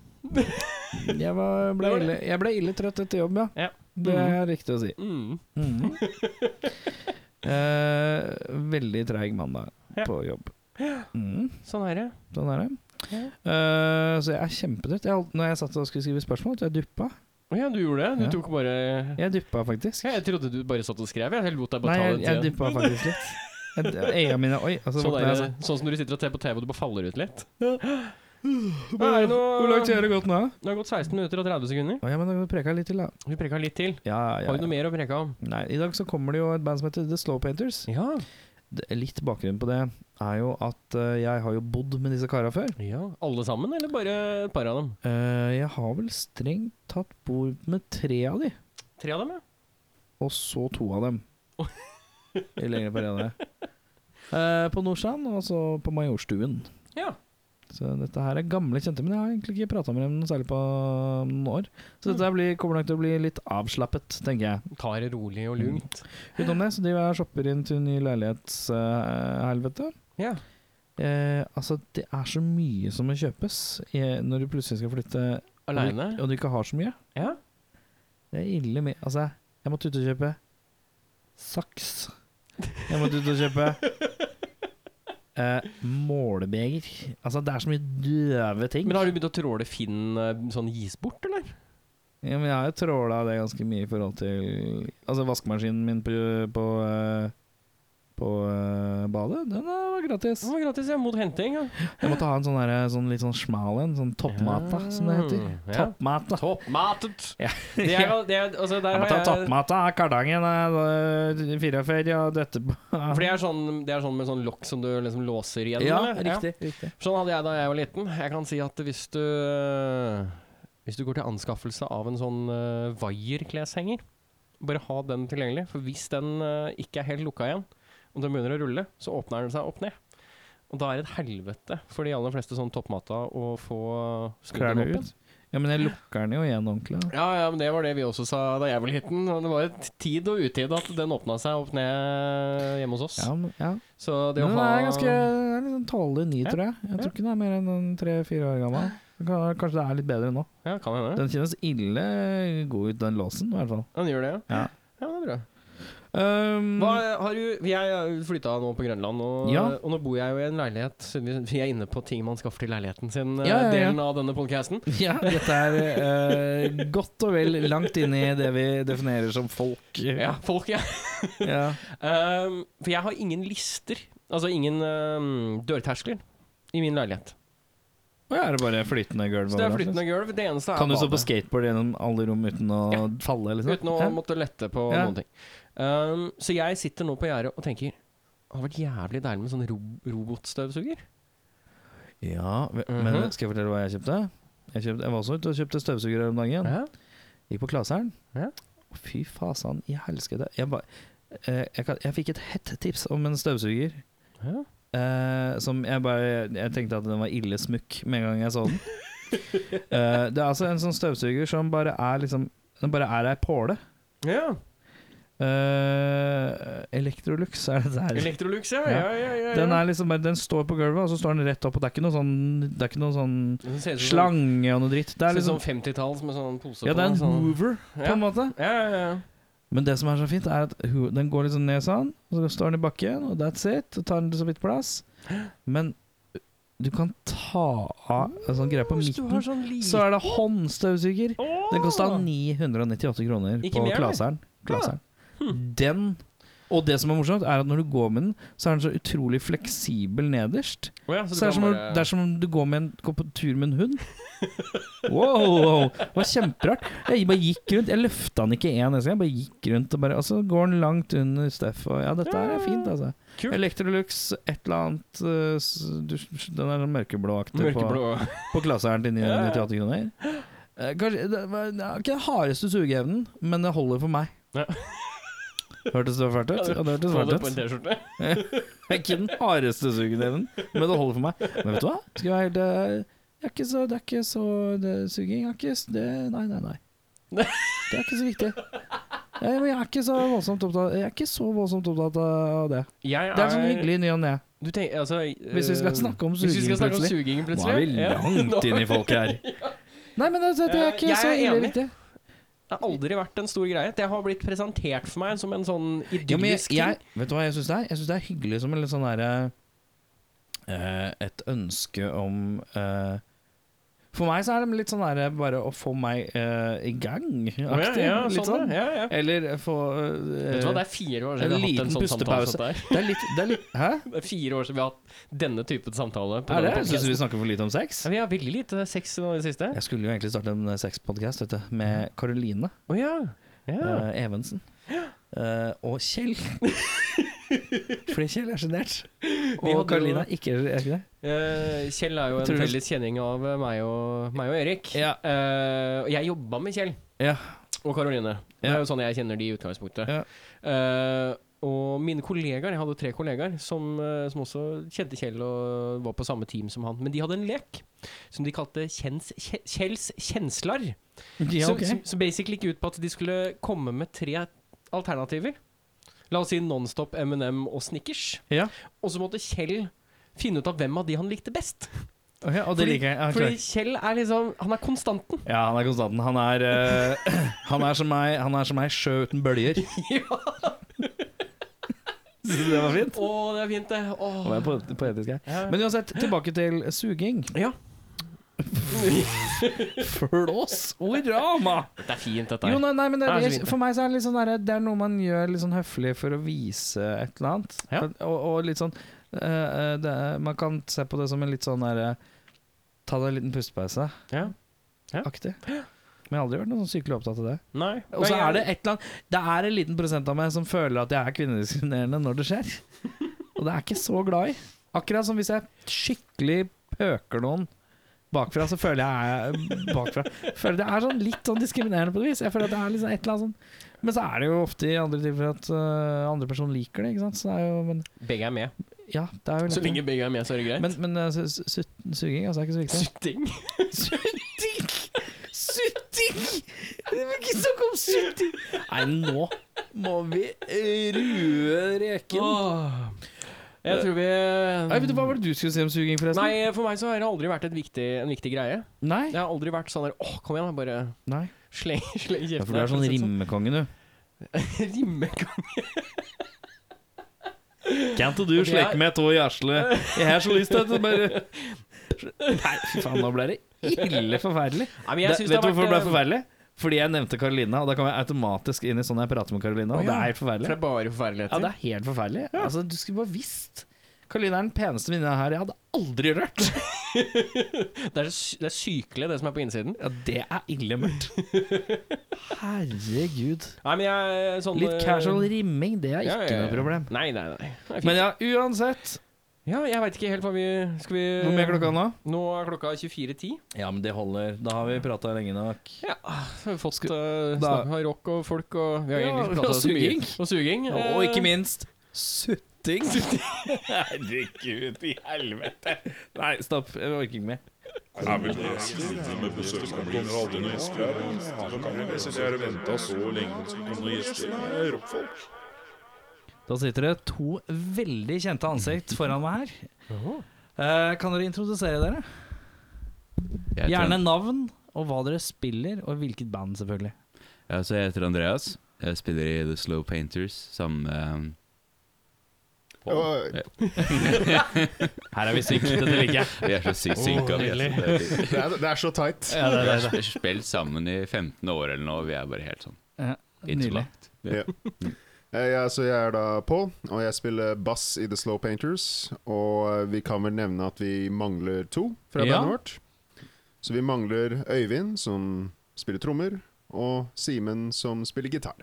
[SPEAKER 2] Jeg, var, ble
[SPEAKER 1] Det var det.
[SPEAKER 2] ille, jeg ble ille trøtt etter jobb, ja.
[SPEAKER 1] Ja.
[SPEAKER 2] Det er riktig å si.
[SPEAKER 1] Mm.
[SPEAKER 2] Mhm. *laughs* Eh, veldig treig mandag
[SPEAKER 1] Ja.
[SPEAKER 2] på jobb. Mm.
[SPEAKER 1] Sånn er det.
[SPEAKER 2] Sånn er det. Eh, så jeg er kjempetrøtt. Jeg, holdt- når jeg satt og skulle skrive spørsmål, så jeg duppa.
[SPEAKER 1] Å ja, du gjorde det. Du
[SPEAKER 2] Ja.
[SPEAKER 1] tok bare
[SPEAKER 2] Jeg duppa faktisk.
[SPEAKER 1] ja, Jeg trodde du bare satt og skrev. Jeg lot deg
[SPEAKER 2] Nei,
[SPEAKER 1] bare
[SPEAKER 2] jeg,
[SPEAKER 1] ta
[SPEAKER 2] jeg
[SPEAKER 1] det til
[SPEAKER 2] duppa faktisk litt. Jeg- Øya mine Oi. Altså,
[SPEAKER 1] Sånn,
[SPEAKER 2] våkna
[SPEAKER 1] der,
[SPEAKER 2] jeg sånn.
[SPEAKER 1] sånn som når du sitter og ser på TV og du bare faller ut litt. Nei, nå,
[SPEAKER 2] Hvor langt har det gått nå?
[SPEAKER 1] Det har gått 16 minutter og 30 sekunder.
[SPEAKER 2] Å, ja, men da preka jeg litt til, da.
[SPEAKER 1] Vi preka litt til.
[SPEAKER 2] Ja, ja,
[SPEAKER 1] Har vi noe
[SPEAKER 2] ja.
[SPEAKER 1] mer å preke om?
[SPEAKER 2] Nei, I dag så kommer det jo et band som heter The Slow Painters.
[SPEAKER 1] Ja.
[SPEAKER 2] D- Litt bakgrunn på det er jo at eh, jeg har jo bodd med disse kara før.
[SPEAKER 1] Alle sammen, eller bare et par av dem?
[SPEAKER 2] Eh, jeg har vel strengt tatt bord med tre av de,
[SPEAKER 1] Tre av dem, ja.
[SPEAKER 2] og så to av dem. I lengre periode. Eh, på Nordstrand, og så på Majorstuen.
[SPEAKER 1] Ja.
[SPEAKER 2] Så dette her er gamle kjente, men jeg har egentlig ikke prata med dem noe særlig på noen år. Så dette her blir, kommer nok til å bli litt avslappet, tenker jeg.
[SPEAKER 1] Tar det rolig og lugnt.
[SPEAKER 2] Utenom det, så driver jeg og shopper inn til ny leilighetshelvete.
[SPEAKER 1] Mm. Ja.
[SPEAKER 2] Eh, altså, det er så mye som må kjøpes eh, når du plutselig skal flytte,
[SPEAKER 1] Aleine.
[SPEAKER 2] og du ikke har så mye.
[SPEAKER 1] Ja.
[SPEAKER 2] Det er ille mye. Altså, jeg måtte ut og kjøpe saks. Jeg måtte ut og kjøpe eh, målebeger. Altså, det er så mye døve ting.
[SPEAKER 1] Men har du begynt å tråle Finn eh, sånn gis bort, eller?
[SPEAKER 2] Ja, men jeg har jo tråla det ganske mye i forhold til Altså, vaskemaskinen min på, på, eh, på eh, badet, den eh, var gratis.
[SPEAKER 1] Det var gratis, ja. Mot henting. Ja.
[SPEAKER 2] Jeg måtte ha en sånn, der, sånn litt sånn smal en, sånn toppmata, som det heter.
[SPEAKER 1] Mm, Ja.
[SPEAKER 2] Toppmata.
[SPEAKER 1] Toppmatet!
[SPEAKER 2] Ja.
[SPEAKER 1] Det *laughs* er, jo- det er, altså, der
[SPEAKER 2] Jeg måtte ha
[SPEAKER 1] har jeg
[SPEAKER 2] toppmata av Kardangen, eh, 44 og dette på
[SPEAKER 1] For det er sånn, det er sånn med sånn lokk som du liksom låser igjen?
[SPEAKER 2] Ja,
[SPEAKER 1] eller?
[SPEAKER 2] *laughs* riktig. riktig.
[SPEAKER 1] Sånn hadde jeg da jeg var liten. Jeg kan si at hvis du øh, Hvis du går til anskaffelse av en sånn øh, vaierkleshenger, bare ha den tilgjengelig. For hvis den øh, ikke er helt lukka igjen, og den begynner å rulle, så åpner den seg opp ned. Og da er det et helvete for de aller fleste sånn toppmata å få skrudd
[SPEAKER 2] Klærne
[SPEAKER 1] den opp igjen.
[SPEAKER 2] ut. Ja, men jeg lukker den jo igjen ordentlig. da.
[SPEAKER 1] Ja, ja, men det var det vi også sa da jeg var liten. og Det var et tid og utid at den åpna seg opp ned eh, hjemme hos oss.
[SPEAKER 2] Ja, men, ja.
[SPEAKER 1] Så det
[SPEAKER 2] Men
[SPEAKER 1] å
[SPEAKER 2] den
[SPEAKER 1] ha
[SPEAKER 2] er ganske den er litt sånn tålelig ny,
[SPEAKER 1] Ja,
[SPEAKER 2] tror jeg. Jeg tror ikke den er mer enn tre-fire år gammel. Kan- Kanskje det er litt bedre nå.
[SPEAKER 1] Ja, kan hende.
[SPEAKER 2] Den kjennes ille god ut, den låsen, i hvert fall.
[SPEAKER 1] Den gjør det, ja.
[SPEAKER 2] Ja.
[SPEAKER 1] Ja, men det er bra.
[SPEAKER 2] Um,
[SPEAKER 1] Hva har du, jeg flytta nå på Grønland, og, eh,
[SPEAKER 2] Ja.
[SPEAKER 1] og nå bor jeg jo i en leilighet. så Vi vi er inne på ting man skaffer til leiligheten sin, eh,
[SPEAKER 2] Ja, ja, ja.
[SPEAKER 1] delen av denne podcasten.
[SPEAKER 2] *laughs* Ja, dette er eh, godt og vel langt inn i det vi definerer som folk.
[SPEAKER 1] Ja, folk, ja.
[SPEAKER 2] Ja.
[SPEAKER 1] Um, for jeg har ingen lister, altså ingen um, dørterskler, i min leilighet.
[SPEAKER 2] Og er det bare flytende gulv?
[SPEAKER 1] Så det er
[SPEAKER 2] overalt,
[SPEAKER 1] flyttende gulv. Det eneste
[SPEAKER 2] liksom?
[SPEAKER 1] er
[SPEAKER 2] Kan du stå på
[SPEAKER 1] badet.
[SPEAKER 2] skateboard gjennom alle rom uten å
[SPEAKER 1] Ja.
[SPEAKER 2] falle? Liksom?
[SPEAKER 1] Uten å
[SPEAKER 2] Hæ?
[SPEAKER 1] måtte lette på
[SPEAKER 2] Ja.
[SPEAKER 1] noen ting. Um, så jeg sitter nå på gjerdet og tenker det hadde vært jævlig deilig med sånn ro robotstøvsuger.
[SPEAKER 2] Ja, ve-
[SPEAKER 1] Mhm.
[SPEAKER 2] men skal jeg fortelle hva jeg kjøpte? Jeg, kjøpte, jeg var også ute og kjøpte støvsuger her om dagen.
[SPEAKER 1] Ja.
[SPEAKER 2] Gikk på Klaseren.
[SPEAKER 1] Ja.
[SPEAKER 2] Å, Fy fasan i helskete. Jeg, ba- eh, jeg, kan- jeg fikk et hett tips om en støvsuger.
[SPEAKER 1] Ja.
[SPEAKER 2] Eh, som jeg bare Jeg tenkte at den var ille smukk med en gang
[SPEAKER 1] *laughs*
[SPEAKER 2] jeg så den. Eh, det er altså en sånn støvsuger som bare er liksom Den bare er ei påle.
[SPEAKER 1] ja.
[SPEAKER 2] eh, Electrolux, er det der?
[SPEAKER 1] Electrolux, ja. ja, ja, ja, ja.
[SPEAKER 2] Den, er liksom, bare- den står på gulvet, og så står den rett opp, og det er ikke noe sånn, det er ikke noe sånn
[SPEAKER 1] Den ser ut som sånn-
[SPEAKER 2] slange og noe dritt. Det
[SPEAKER 1] ser
[SPEAKER 2] er
[SPEAKER 1] ut som
[SPEAKER 2] liksom
[SPEAKER 1] sånn 50-talls med sånn pose
[SPEAKER 2] Ja, det
[SPEAKER 1] på.
[SPEAKER 2] er en
[SPEAKER 1] den, sånn.
[SPEAKER 2] hoover, på en måte.
[SPEAKER 1] Ja, ja, ja.
[SPEAKER 2] Men det som er så fint, er at ho- den går liksom ned sånn, og så står den i bakken, og that's it. Og tar den så vidt plass. Men du kan ta av en sånn greie på
[SPEAKER 1] Hvis du har
[SPEAKER 2] midten,
[SPEAKER 1] sånn liten
[SPEAKER 2] så er det håndstøvsuger.
[SPEAKER 1] Åh!
[SPEAKER 2] Den kosta 998 kroner
[SPEAKER 1] Ikke
[SPEAKER 2] på
[SPEAKER 1] mer, eller? Hm.
[SPEAKER 2] Klaseren. Klaseren. Den Og det som er morsomt, er at når du går med den, så er den så utrolig fleksibel nederst.
[SPEAKER 1] Å ja, så Altså, du
[SPEAKER 2] Så det
[SPEAKER 1] kan
[SPEAKER 2] er, som,
[SPEAKER 1] bare-
[SPEAKER 2] det er som om du går, med en, går på tur med en hund. Wow, wow. Det var kjemperart. Jeg bare gikk rundt. Jeg løfta den ikke én eneste gang. Jeg bare gikk rundt og bare Og så går den langt under Steff. Og ja, dette her er fint, altså.
[SPEAKER 1] Kult.
[SPEAKER 2] Electrolux, et eller annet eh, s- du, Den er sånn mørkeblåaktig på,
[SPEAKER 1] Mørkeblå
[SPEAKER 2] på klaseren til 998 kroner. Eh, Kanskje, det var det er ikke den hardeste sugeevnen, men det holder for meg.
[SPEAKER 1] Ja.
[SPEAKER 2] Hørtes det fælt ut? Ja, det hørtes
[SPEAKER 1] Ta det
[SPEAKER 2] fælt
[SPEAKER 1] på
[SPEAKER 2] ut.
[SPEAKER 1] en T-skjorte.
[SPEAKER 2] Det er ikke den hardeste sugeneven, men det holder for meg. Men vet du hva? Skal jeg være helt eh, Det er ikke så, det er ikke så det, Suging er ikke s- det, Nei, nei, nei.
[SPEAKER 1] Nei.
[SPEAKER 2] Det er ikke så viktig. Jeg, jeg, er ikke så voldsomt opptatt, jeg er ikke så voldsomt opptatt av det.
[SPEAKER 1] Jeg
[SPEAKER 2] Det er sånn hyggelig i ny og ne.
[SPEAKER 1] Du tenker, altså,
[SPEAKER 2] Hvis vi skal snakke om
[SPEAKER 1] Eh, Hvis vi skal
[SPEAKER 2] suging
[SPEAKER 1] snakke om
[SPEAKER 2] plutselig.
[SPEAKER 1] suging
[SPEAKER 2] Nå
[SPEAKER 1] plutselig
[SPEAKER 2] er vi
[SPEAKER 1] *laughs* ja.
[SPEAKER 2] langt inn i folket
[SPEAKER 1] *laughs*
[SPEAKER 2] her. Nei, men det, det er ikke
[SPEAKER 1] Jeg er
[SPEAKER 2] så ille
[SPEAKER 1] enig.
[SPEAKER 2] viktig.
[SPEAKER 1] Det har aldri vært en stor greie. Det har blitt presentert for meg som en sånn
[SPEAKER 2] Ja, men jeg,
[SPEAKER 1] idyllisk
[SPEAKER 2] jeg, vet du hva jeg syns det er? Jeg syns det er hyggelig som en litt sånn derre eh, Et ønske om eh, For meg så er det litt sånn derre bare å få meg eh, i gang-aktig.
[SPEAKER 1] ting. Ja, ja,
[SPEAKER 2] litt
[SPEAKER 1] sånn,
[SPEAKER 2] sånn.
[SPEAKER 1] ja, ja.
[SPEAKER 2] Eller få eh,
[SPEAKER 1] Vet du hva, det er fire år
[SPEAKER 2] en
[SPEAKER 1] siden vi har hatt
[SPEAKER 2] liten
[SPEAKER 1] en sånn samtale.
[SPEAKER 2] pustepause.
[SPEAKER 1] som dette her.
[SPEAKER 2] det er litt, det er litt Hæ?
[SPEAKER 1] *laughs* Det er fire år siden vi har hatt denne typen samtale. På
[SPEAKER 2] Er det?
[SPEAKER 1] denne podcasten.
[SPEAKER 2] Syns du vi snakker for lite om sex?
[SPEAKER 1] ja, vi har veldig lite sex nå i det siste. Å
[SPEAKER 2] Jeg skulle jo egentlig starte en eh, sexpodkast med Karoline
[SPEAKER 1] ja. ja.
[SPEAKER 2] eh, Evensen. Eh, og Kjell.
[SPEAKER 1] *laughs*
[SPEAKER 2] Fordi Kjell er sjenert. Og
[SPEAKER 1] hadde jo-
[SPEAKER 2] Karoline er ikke, er ikke det.
[SPEAKER 1] Eh, Kjell er jo en
[SPEAKER 2] tror du-
[SPEAKER 1] felles kjenning av eh, meg og, meg og Erik.
[SPEAKER 2] Ja.
[SPEAKER 1] Eh, og jeg jobba med Kjell
[SPEAKER 2] Ja.
[SPEAKER 1] og Karoline. Det
[SPEAKER 2] Ja.
[SPEAKER 1] er jo sånn jeg kjenner de i utgangspunktet.
[SPEAKER 2] Ja.
[SPEAKER 1] Eh, og mine kollegaer, jeg hadde jo tre kollegaer som, eh, som også kjente Kjell og var på samme team som han. Men de hadde en lek som de kalte Kjens, Kje- Kjells kjenslar.
[SPEAKER 2] Ja,
[SPEAKER 1] som,
[SPEAKER 2] ok.
[SPEAKER 1] som, som basically gikk ut på at de skulle komme med tre alternativer. La oss si Nonstop, M&M og Snickers.
[SPEAKER 2] Ja.
[SPEAKER 1] Og så måtte Kjell finne ut av hvem av de han likte best.
[SPEAKER 2] Ok, og det
[SPEAKER 1] Fordi-
[SPEAKER 2] liker jeg. Ja,
[SPEAKER 1] Fordi
[SPEAKER 2] klart.
[SPEAKER 1] Kjell er liksom Han er konstanten.
[SPEAKER 2] ja, han er konstanten. Han er, eh, *clears throat* han er som meg, han er som meg sjø uten bølger.
[SPEAKER 1] ja.
[SPEAKER 2] Synes du det var fint?
[SPEAKER 1] Å, det er fint, det.
[SPEAKER 2] Nå var jeg
[SPEAKER 1] Åh.
[SPEAKER 2] poet- poetisk her.
[SPEAKER 1] Ja.
[SPEAKER 2] Men uansett, tilbake til suging.
[SPEAKER 1] ja.
[SPEAKER 2] Flås og rama!
[SPEAKER 1] Det er fint, dette
[SPEAKER 2] Jo,
[SPEAKER 1] her.
[SPEAKER 2] nei, nei, men det,
[SPEAKER 1] Det er så
[SPEAKER 2] jeg,
[SPEAKER 1] fint.
[SPEAKER 2] for meg så er det litt sånn derre- Det er noe man gjør litt sånn høflig for å vise et eller annet.
[SPEAKER 1] Ja.
[SPEAKER 2] Og, og litt sånn eh, eh, det, er- Man kan se på det som en litt sånn derre Ta deg en liten pustepause-aktig.
[SPEAKER 1] Ja.
[SPEAKER 2] Men jeg har aldri vært noe sånn sykelig opptatt av det.
[SPEAKER 1] Nei.
[SPEAKER 2] Og så er det et eller annet Det er en liten prosent av meg som føler at jeg er kvinnediskriminerende når det
[SPEAKER 1] *laughs*
[SPEAKER 2] skjer. Og det er jeg ikke så glad i. Akkurat som hvis jeg skikkelig pøker noen bakfra, så føler jeg jeg er bakfra. Føler det er sånn litt sånn diskriminerende på et vis. Jeg føler at det er liksom et eller annet sånn Men så er det jo ofte i andre tilfeller at øh, andre personer liker det, ikke sant. Så det er jo Men
[SPEAKER 1] Begge er med.
[SPEAKER 2] ja, det er jo
[SPEAKER 1] Så lenge begge er med, så er det greit.
[SPEAKER 2] Men, men øh, su- su- su- suging altså, er ikke så viktig.
[SPEAKER 1] Sutting.
[SPEAKER 2] Sutting! Sutting! Ikke snakk om sutting! Nei, nå må vi rue reken.
[SPEAKER 1] Åh. Jeg tror vi
[SPEAKER 2] Nei, vet du, hva var det du skulle si om suging, forresten?
[SPEAKER 1] Nei, for meg så har det aldri vært et viktig, en viktig greie.
[SPEAKER 2] Nei.
[SPEAKER 1] Det har aldri vært sånn der Åh, kom igjen, da, bare
[SPEAKER 2] Nei.
[SPEAKER 1] sleng, *laughs* sleng kjeften.
[SPEAKER 2] Ja, for du
[SPEAKER 1] her»,
[SPEAKER 2] er
[SPEAKER 1] for
[SPEAKER 2] sånn
[SPEAKER 1] å *laughs* si det
[SPEAKER 2] rimekonge, du.
[SPEAKER 1] sånn. Rimmekonge.
[SPEAKER 2] Can't du
[SPEAKER 1] Ok, jeg-
[SPEAKER 2] meg tå i gjerslet? Jeg har så lyst til at du bare Nei, fy faen, nå ble det ille
[SPEAKER 1] Nei,
[SPEAKER 2] forferdelig.
[SPEAKER 1] men jeg
[SPEAKER 2] Det- eh,
[SPEAKER 1] synes
[SPEAKER 2] vet du
[SPEAKER 1] det har
[SPEAKER 2] hvorfor det
[SPEAKER 1] vært,
[SPEAKER 2] ble forferdelig? Fordi jeg nevnte Karolina, og da kom jeg automatisk inn i sånn jeg prater med Karolina,
[SPEAKER 1] Å,
[SPEAKER 2] og det
[SPEAKER 1] ja.
[SPEAKER 2] er helt forferdelig.
[SPEAKER 1] For det er eh, bare
[SPEAKER 2] Ja, det
[SPEAKER 1] forferdeligheter.
[SPEAKER 2] er helt forferdelig. Altså, du skulle bare visst. Karoline er den peneste venninna her jeg hadde aldri rørt.
[SPEAKER 1] det, er sy- det er sykelig, det som er på innsiden.
[SPEAKER 2] Ja, det er ille mørkt. *laughs* Herregud.
[SPEAKER 1] Nei, men jeg sånn,
[SPEAKER 2] Litt
[SPEAKER 1] eh,
[SPEAKER 2] casual rimming, det er
[SPEAKER 1] ja,
[SPEAKER 2] ikke
[SPEAKER 1] ja, ja.
[SPEAKER 2] noe problem.
[SPEAKER 1] Nei, nei, nei. Det er fint.
[SPEAKER 2] Men ja, uansett.
[SPEAKER 1] ja, jeg veit ikke helt hva vi Skal vi
[SPEAKER 2] Hvor mye er klokka nå?
[SPEAKER 1] Nå er klokka 24.10.
[SPEAKER 2] Ja, men det holder. Da har vi prata lenge nok.
[SPEAKER 1] Ja, så har vi fått
[SPEAKER 2] Skal-
[SPEAKER 1] uh,
[SPEAKER 2] da-
[SPEAKER 1] snakk om rock og folk *laughs* og Vi har
[SPEAKER 2] Ja,
[SPEAKER 1] egentlig
[SPEAKER 2] og
[SPEAKER 1] prata så mye.
[SPEAKER 2] suging.
[SPEAKER 1] Og suging.
[SPEAKER 2] Og
[SPEAKER 1] eh,
[SPEAKER 2] ikke minst *laughs* sutting. Herregud i helvete. Nei, stopp. Jeg orker ikke mer.
[SPEAKER 4] er vel det siste med besøkende blir aldri noen gjester her. Hva kan jeg synes jeg har ventet så lenge på noen gjester? Det er rockfolk.
[SPEAKER 2] Da sitter det to veldig kjente ansikt foran meg her. Eh, kan dere introdusere dere?
[SPEAKER 5] Jeg heter,
[SPEAKER 2] Gjerne navn og hva dere spiller, og hvilket band, selvfølgelig.
[SPEAKER 5] ja, så altså, jeg heter Andreas. Jeg spiller i The Slow Painters sammen med um,
[SPEAKER 6] Og,
[SPEAKER 2] Her er vi sykt, dette liker jeg.
[SPEAKER 5] Vi er så sykt synka. vi, altså. Det er-
[SPEAKER 6] det, er, det er så tight.
[SPEAKER 5] Vi har spilt sammen i 15 år eller noe, og vi er bare helt sånn Mm.
[SPEAKER 2] Ja, *laughs* Nydelig.
[SPEAKER 5] innsolagt.
[SPEAKER 6] Eh, Ja, så jeg er da Pål, og jeg spiller bass i The Slow Painters. Og eh, vi kan vel nevne at vi mangler to fra
[SPEAKER 2] Ja.
[SPEAKER 6] bandet vårt. Så vi mangler Øyvind, som spiller trommer, og Simen, som spiller gitar.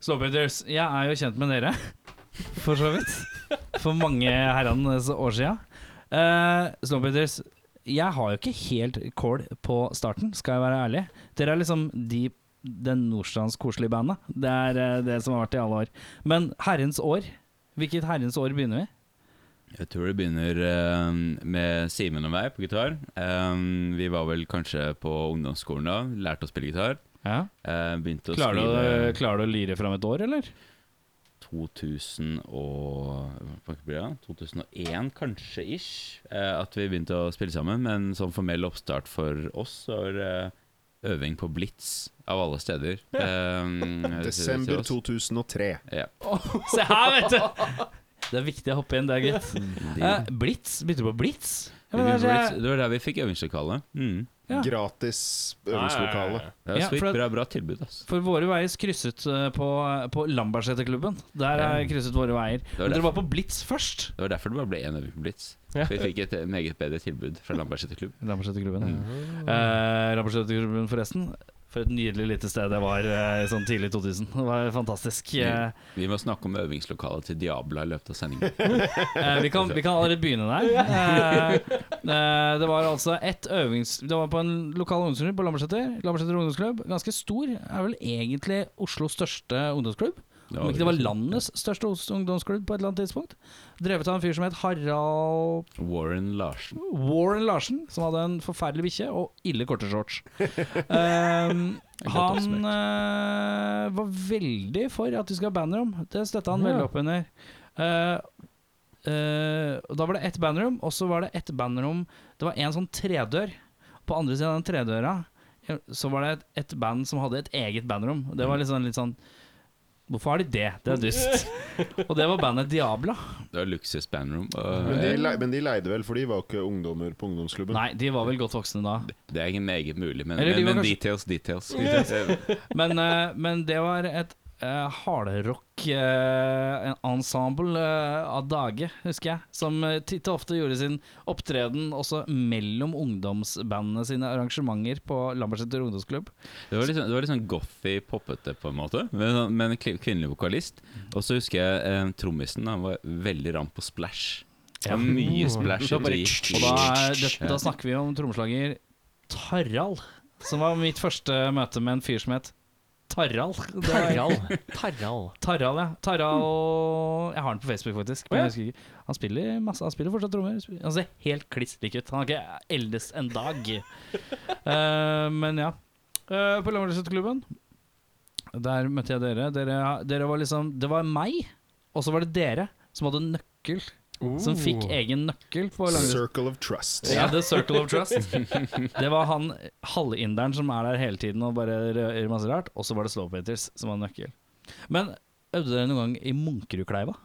[SPEAKER 2] Slowbenders, jeg er jo kjent med dere, for så vidt. For mange herrenes år sia. Uh, Slowbenders, jeg har jo ikke helt kål på starten, skal jeg være ærlig. Dere er liksom de den nordstrands koselige bandet. Det er eh, det som har vært i alle år. Men herrens år, hvilket herrens år begynner vi?
[SPEAKER 5] Jeg tror det begynner eh, med Simen og meg på gitar. Eh, vi var vel kanskje på ungdomsskolen da, lærte å spille gitar.
[SPEAKER 2] Ja.
[SPEAKER 5] Eh, begynte å
[SPEAKER 2] Klarer,
[SPEAKER 5] spille
[SPEAKER 2] du, klarer du å lyre fram et år, eller?
[SPEAKER 5] 2000 og hva blir det? 2001 kanskje ish eh, at vi begynte å spille sammen. Men sånn formell oppstart for oss var eh, øving på Blitz av alle steder. Eh,
[SPEAKER 6] Desember
[SPEAKER 5] til oss.
[SPEAKER 6] 2003.
[SPEAKER 5] Ja.
[SPEAKER 2] Se her, vet du! Det er viktig å hoppe inn der, gutt. Eh, Blitz? Begynte du på Blitz? Ja, men altså, det er-
[SPEAKER 5] Det var der vi fikk øvingslokale. Mm.
[SPEAKER 2] Ja.
[SPEAKER 6] Gratis øvingslokale.
[SPEAKER 5] Det var
[SPEAKER 2] Ja,
[SPEAKER 5] så
[SPEAKER 2] for
[SPEAKER 5] vidt
[SPEAKER 2] at-
[SPEAKER 5] bra, bra tilbud. Altså.
[SPEAKER 2] For våre veier krysset eh, på, på Lambertseterklubben. Der er
[SPEAKER 5] Ja.
[SPEAKER 2] krysset våre veier.
[SPEAKER 5] var
[SPEAKER 2] Men dere
[SPEAKER 5] derfor.
[SPEAKER 2] var på Blitz først.
[SPEAKER 5] Det var derfor det bare ble én øving på Blitz.
[SPEAKER 1] Ja.
[SPEAKER 5] Vi fikk et eh, meget bedre tilbud fra Lambertseterklubb.
[SPEAKER 2] Lambertseterklubben,
[SPEAKER 5] Mhm.
[SPEAKER 2] ja. Eh, Lambertseterklubben, forresten. For et nydelig lite sted det var eh, sånn tidlig 2000. Det var fantastisk. Eh,
[SPEAKER 5] Vi må snakke om øvingslokalet til Diabla i løpet av
[SPEAKER 2] *laughs*
[SPEAKER 5] sendingen.
[SPEAKER 2] Eh, vi, kan, vi kan allerede begynne der. Eh, eh, det var altså et øvings... Det var på en lokal ungdomsklubb på Lambertseter. Lambertseter ungdomsklubb. Ganske stor. Er vel egentlig Oslos største ungdomsklubb. Om ikke det var landets største ungdomsklubb på et eller annet tidspunkt. Drevet av en fyr som het Harald
[SPEAKER 5] Warren Larsen.
[SPEAKER 2] Warren Larsen, som hadde en forferdelig bikkje og ille korte
[SPEAKER 5] *laughs*
[SPEAKER 2] shorts. Ehm,
[SPEAKER 5] Godt
[SPEAKER 2] han
[SPEAKER 5] oppsummert.
[SPEAKER 2] eh, var veldig for at vi skal ha bannerrom. Det støtta han
[SPEAKER 1] Ja.
[SPEAKER 2] veldig opp under. Eh, eh, og da var det ett bannerrom, og så var det ett bannerrom Det var en sånn tredør. På andre siden av den tredøra eh, så var det et, et band som hadde et eget bannerrom. Det var litt sånn, litt sånn Hvorfor har de det?
[SPEAKER 5] *laughs*
[SPEAKER 2] Det er dust. og det var bandet Diabla.
[SPEAKER 5] Det var luksus bandroom.
[SPEAKER 6] Men
[SPEAKER 5] Og
[SPEAKER 6] de, lei- men de leide vel, for de var ikke ungdommer på ungdomsklubben.
[SPEAKER 2] Nei, de var vel godt voksne da.
[SPEAKER 5] det er ikke meget mulig, men,
[SPEAKER 2] Eller de
[SPEAKER 5] men,
[SPEAKER 2] var
[SPEAKER 5] men
[SPEAKER 2] kanskje-
[SPEAKER 5] details, details. details.
[SPEAKER 2] Men, eh, men det var et uh, hardrock eh, en ensemble eh, av dage, husker jeg. Som eh, titt og ofte gjorde sin opptreden også mellom ungdomsbandene sine arrangementer på Lambertseter ungdomsklubb.
[SPEAKER 5] Det var litt sånn- det var litt sånn gothy, poppete på en måte, men, sånn, men kli- kvinnelig vokalist. Og så husker jeg eh, trommisen, han var veldig ram på splash. Det var Mye splash.
[SPEAKER 2] Og
[SPEAKER 5] i tid.
[SPEAKER 2] da, er det, da snakker vi om trommeslager Tarald, som var mitt første møte med en fyr som het Tarald. Det var-
[SPEAKER 1] Tarral.
[SPEAKER 2] *laughs*
[SPEAKER 1] Tarral.
[SPEAKER 2] Tarald, ja. Tarald Jeg har han på Facebook, faktisk. Men
[SPEAKER 1] Å, ja.
[SPEAKER 2] jeg husker ikke. Han spiller masse Han spiller fortsatt trommer. Spiller- Han ser helt kliss lik ut. Han har ikke eldes en dag.
[SPEAKER 1] *laughs*
[SPEAKER 2] Eh, men ja. Eh, på Lambertseterklubben, der møtte jeg dere. dere. Dere var liksom Det var meg, og så var det dere som hadde nøkkel. Som
[SPEAKER 1] Oh.
[SPEAKER 2] fikk egen nøkkel på Lambertseter.
[SPEAKER 6] Circle of Trust.
[SPEAKER 2] Ja, The Circle of Trust. Det var han halvinderen som er der hele tiden og bare rø- gjør masse rart. Og så var det Slowpaters som var nøkkel. Men øvde dere noen gang i Munkerudkleiva?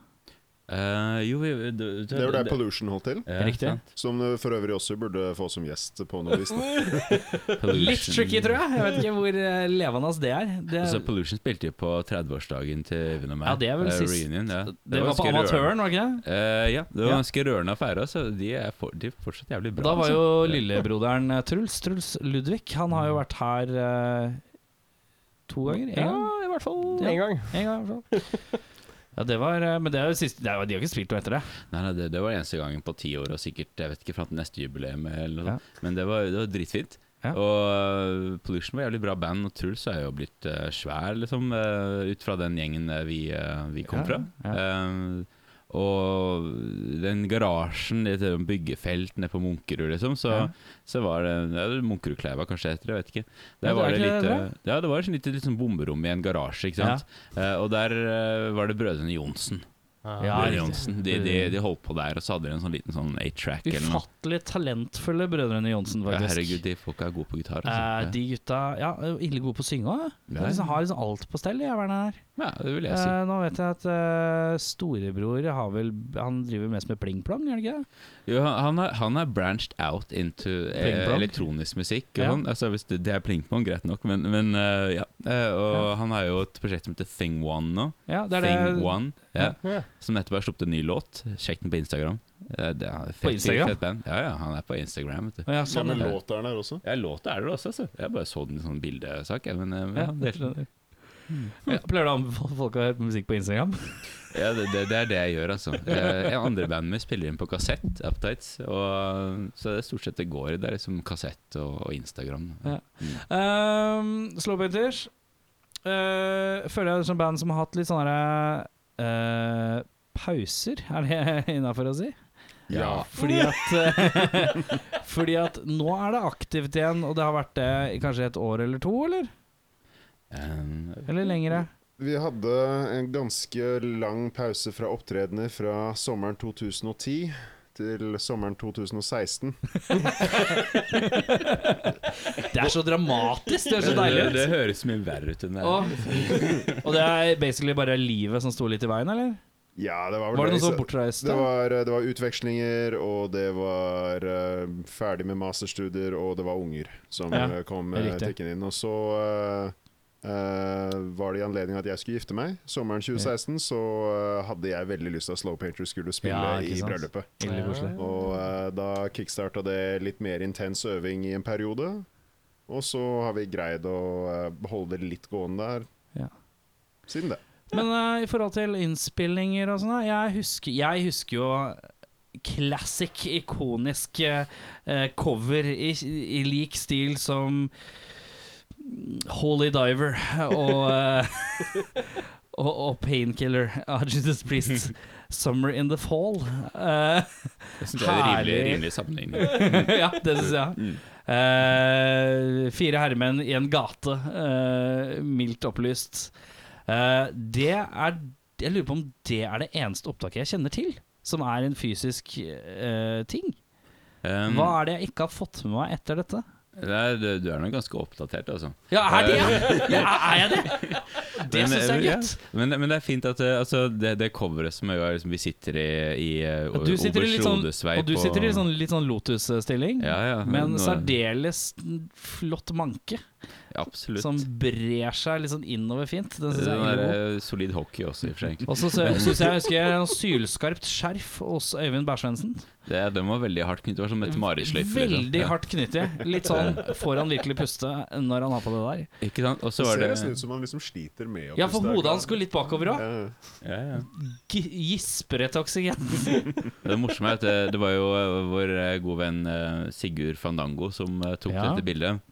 [SPEAKER 5] Eh, jo, vi, det,
[SPEAKER 6] Det var der Pollution holdt til.
[SPEAKER 5] Ja,
[SPEAKER 2] Riktig.
[SPEAKER 5] sant.
[SPEAKER 6] Som du for øvrig også burde få som gjest på *laughs* noe vis. da.
[SPEAKER 2] Litt tricky, tror jeg. Jeg vet ikke hvor eh, levende det er. Det,
[SPEAKER 5] Så Pollution spilte jo på 30-årsdagen til Øyvind og meg.
[SPEAKER 2] Ja, det er vel
[SPEAKER 5] Eh,
[SPEAKER 2] sist.
[SPEAKER 5] Reunion, ja.
[SPEAKER 2] det, var på
[SPEAKER 5] ganske rørende.
[SPEAKER 2] Amatøren, var det ikke det?
[SPEAKER 5] Eh, ja, det var
[SPEAKER 2] Ja.
[SPEAKER 5] ganske rørende å feire, så de er, for, de er fortsatt jævlig bra.
[SPEAKER 2] Da var
[SPEAKER 5] altså.
[SPEAKER 2] jo lillebroderen eh, Truls, Truls Ludvig, han har jo vært her eh, to ganger. En
[SPEAKER 1] Ja,
[SPEAKER 2] gang.
[SPEAKER 1] i hvert fall
[SPEAKER 2] Ja.
[SPEAKER 1] én gang.
[SPEAKER 2] En gang i hvert
[SPEAKER 1] *laughs*
[SPEAKER 2] fall. Ja, det var, eh, men det er jo siste, det er, jo- de har ikke spilt noe etter det.
[SPEAKER 5] Nei, nei, det, det var eneste gangen på ti år, og sikkert jeg vet ikke fram til neste jubileum. Eller noe.
[SPEAKER 2] Ja.
[SPEAKER 5] sånt. Men det var, det var dritfint.
[SPEAKER 2] Ja.
[SPEAKER 5] Og øh, Pollution var jævlig bra band, og Truls er jo blitt eh, øh, svær, liksom, øh, ut fra den gjengen øh, eh, vi, øh, vi kom
[SPEAKER 2] Ja,
[SPEAKER 5] fra.
[SPEAKER 2] ja.
[SPEAKER 5] Eh, Og den garasjen i et byggefelt nede på Munkerud, liksom, så,
[SPEAKER 2] Ja.
[SPEAKER 5] så var det ja, det er Munkerudkleiva kanskje heter det, jeg vet ikke. Der
[SPEAKER 2] Ja, det
[SPEAKER 5] var
[SPEAKER 2] er
[SPEAKER 5] det
[SPEAKER 2] ikke
[SPEAKER 5] litt,
[SPEAKER 2] det,
[SPEAKER 5] eh, ja, det var et lite liksom, bomberom i en garasje, ikke sant. Eh, og der eh, var det brødrene Johnsen.
[SPEAKER 1] Ja,
[SPEAKER 5] Brødrene
[SPEAKER 2] riktig.
[SPEAKER 5] Johnsen. De, de, de holdt på der, og så hadde de en sånn liten sånn 8-track eller noe.
[SPEAKER 2] Ufattelig talentfulle brødrene Johnsen,
[SPEAKER 5] Ja,
[SPEAKER 2] faktisk.
[SPEAKER 5] herregud, de folka er gode på gitar.
[SPEAKER 2] Eh,
[SPEAKER 5] Altså.
[SPEAKER 2] de gutta ja, er ille gode på å synge òg.
[SPEAKER 5] Ja.
[SPEAKER 2] Liksom, har liksom alt på stell. Jeg, her.
[SPEAKER 5] ja, det vil jeg si.
[SPEAKER 2] Eh, nå vet jeg at eh, storebror har vel Han driver mest med pling-plong, gjør han ikke det?
[SPEAKER 5] Jo, han, han er- han er branched out into eh,
[SPEAKER 2] Pling-plong.
[SPEAKER 5] elektronisk musikk. Og
[SPEAKER 2] Ja.
[SPEAKER 5] sånn. altså, hvis det, det er plingpong, greit nok, men, men eh, ja. Eh, og han har jo et prosjekt som heter Thing One nå.
[SPEAKER 2] Ja, det er
[SPEAKER 5] Thing
[SPEAKER 2] det.
[SPEAKER 5] One, ja,
[SPEAKER 1] Ja.
[SPEAKER 5] Som nettopp har sluppet en ny låt. Sjekk den på Instagram. Eh, det er fett-
[SPEAKER 2] Instagram?
[SPEAKER 5] Fett band. Ja, ja, han er på Instagram. Vet
[SPEAKER 2] Å,
[SPEAKER 5] du.
[SPEAKER 2] ja,
[SPEAKER 6] Ja,
[SPEAKER 2] sånn,
[SPEAKER 6] men
[SPEAKER 5] ja.
[SPEAKER 6] låta er der også.
[SPEAKER 5] Ja, låta er det også, altså. Jeg bare så den i sånn bildesak. jeg, Men, eh, men,
[SPEAKER 2] ja.
[SPEAKER 5] ja,
[SPEAKER 2] det skjønner jeg.
[SPEAKER 5] Hmm.
[SPEAKER 2] Ja, pleier du å anbefale folk å høre på musikk på Instagram?
[SPEAKER 5] Ja, det, det, det er det jeg gjør, altså. Eh, Jeg andre bandet mitt spiller inn på kassett, Uptights. Og, så det er stort sett det går i. Det er liksom kassett og, og Instagram.
[SPEAKER 2] Ja. Um, Slowbenters uh, føler jeg er som band som har hatt litt sånne eh, pauser, er det *laughs* innafor å si?
[SPEAKER 5] Ja.
[SPEAKER 2] Fordi at, *laughs* eh, fordi at nå er det aktivt igjen, og det har vært det i kanskje et år eller to, eller?
[SPEAKER 5] Um,
[SPEAKER 2] Eller lengre.
[SPEAKER 6] Vi hadde en ganske lang pause fra opptredener fra sommeren 2010 til sommeren 2016.
[SPEAKER 2] Det er så dramatisk, det er så deilig.
[SPEAKER 5] Eh, det, det høres mye verre ut enn det er.
[SPEAKER 2] Og, og det er basically bare livet som sto litt i veien, eller?
[SPEAKER 6] Ja, det var vel
[SPEAKER 2] Var det noe
[SPEAKER 6] så-
[SPEAKER 2] så bortreist?
[SPEAKER 6] Det var, eh, det var utvekslinger, og det var eh, ferdig med masterstudier, og det var unger som
[SPEAKER 2] Ja,
[SPEAKER 6] eh, kom uh,
[SPEAKER 2] riktig.
[SPEAKER 6] tikkende inn. Og så eh, eh, var det i anledning at jeg skulle gifte meg. Sommeren 2016 så eh, hadde jeg veldig lyst til at Slow Painter skulle spille
[SPEAKER 2] Ja, ikke
[SPEAKER 6] i
[SPEAKER 2] sant.
[SPEAKER 6] bryllupet.
[SPEAKER 2] Ille koselig.
[SPEAKER 6] Og eh, da kickstarta det litt mer intens øving i en periode. Og så har vi greid å eh, holde det litt gående der
[SPEAKER 2] Ja.
[SPEAKER 6] siden det.
[SPEAKER 2] Men eh, i forhold til innspillinger og sånn, da, jeg, husker- jeg husker jo classic, ikonisk eh, cover i, i lik stil som Holy Diver og, eh, *laughs* og, og Painkiller av Judas Priest. Summer in the Fall. Eh,
[SPEAKER 5] Jeg synes det er en rimelig,
[SPEAKER 2] herlig.
[SPEAKER 5] rimelig sammenligning.
[SPEAKER 2] *laughs* ja, det syns jeg.
[SPEAKER 5] Mm.
[SPEAKER 2] Eh, fire herremenn i en gate, eh, mildt opplyst. Eh, det er Jeg lurer på om det er det eneste opptaket jeg kjenner til som er en fysisk eh, ting.
[SPEAKER 5] Um,
[SPEAKER 2] Hva er det jeg ikke har fått med meg etter dette?
[SPEAKER 5] Nei, du, du er nok ganske oppdatert, altså.
[SPEAKER 2] Ja, er det ja, er jeg det? Det
[SPEAKER 5] Eh, Men, eh,
[SPEAKER 2] syns jeg er
[SPEAKER 5] ja.
[SPEAKER 2] godt.
[SPEAKER 5] Men, men det er fint at eh, altså, det, det coveret som er, liksom, vi sitter i, i eh,
[SPEAKER 2] Og du sitter i litt sånn,
[SPEAKER 5] Obers Rodesvei
[SPEAKER 2] og du
[SPEAKER 5] på-
[SPEAKER 2] sitter i litt sånn, litt sånn Lotus-stilling,
[SPEAKER 5] ja, ja,
[SPEAKER 2] men
[SPEAKER 5] nå-
[SPEAKER 2] særdeles flott manke
[SPEAKER 5] Absolutt.
[SPEAKER 2] som brer seg litt sånn innover fint. Den
[SPEAKER 5] det
[SPEAKER 2] synes jeg er
[SPEAKER 5] er
[SPEAKER 2] ille god.
[SPEAKER 5] eh, solid hockey også, i og for seg.
[SPEAKER 2] Og så syns jeg jeg husker noe sylskarpt skjerf hos Øyvind Bærsvensen.
[SPEAKER 5] Det, den var veldig hardt knyttet. Det var som et maresløyfe. liksom.
[SPEAKER 2] Veldig hardt knyttig. Litt sånn får han virkelig puste når han har på det der.
[SPEAKER 5] Ja, ikke sant? Og så
[SPEAKER 6] Det
[SPEAKER 5] var
[SPEAKER 6] ser
[SPEAKER 5] det
[SPEAKER 6] nesten ut som han liksom sliter med å
[SPEAKER 2] Ja, for
[SPEAKER 6] puste.
[SPEAKER 2] hodet hans skulle litt bakover òg.
[SPEAKER 6] Ja.
[SPEAKER 5] ja, ja.
[SPEAKER 2] Gisprete oksygen.
[SPEAKER 5] Det morsomme er at det, det var jo eh, vår eh, gode venn eh, Sigurd Fandango som eh, tok
[SPEAKER 2] Ja.
[SPEAKER 5] dette bildet.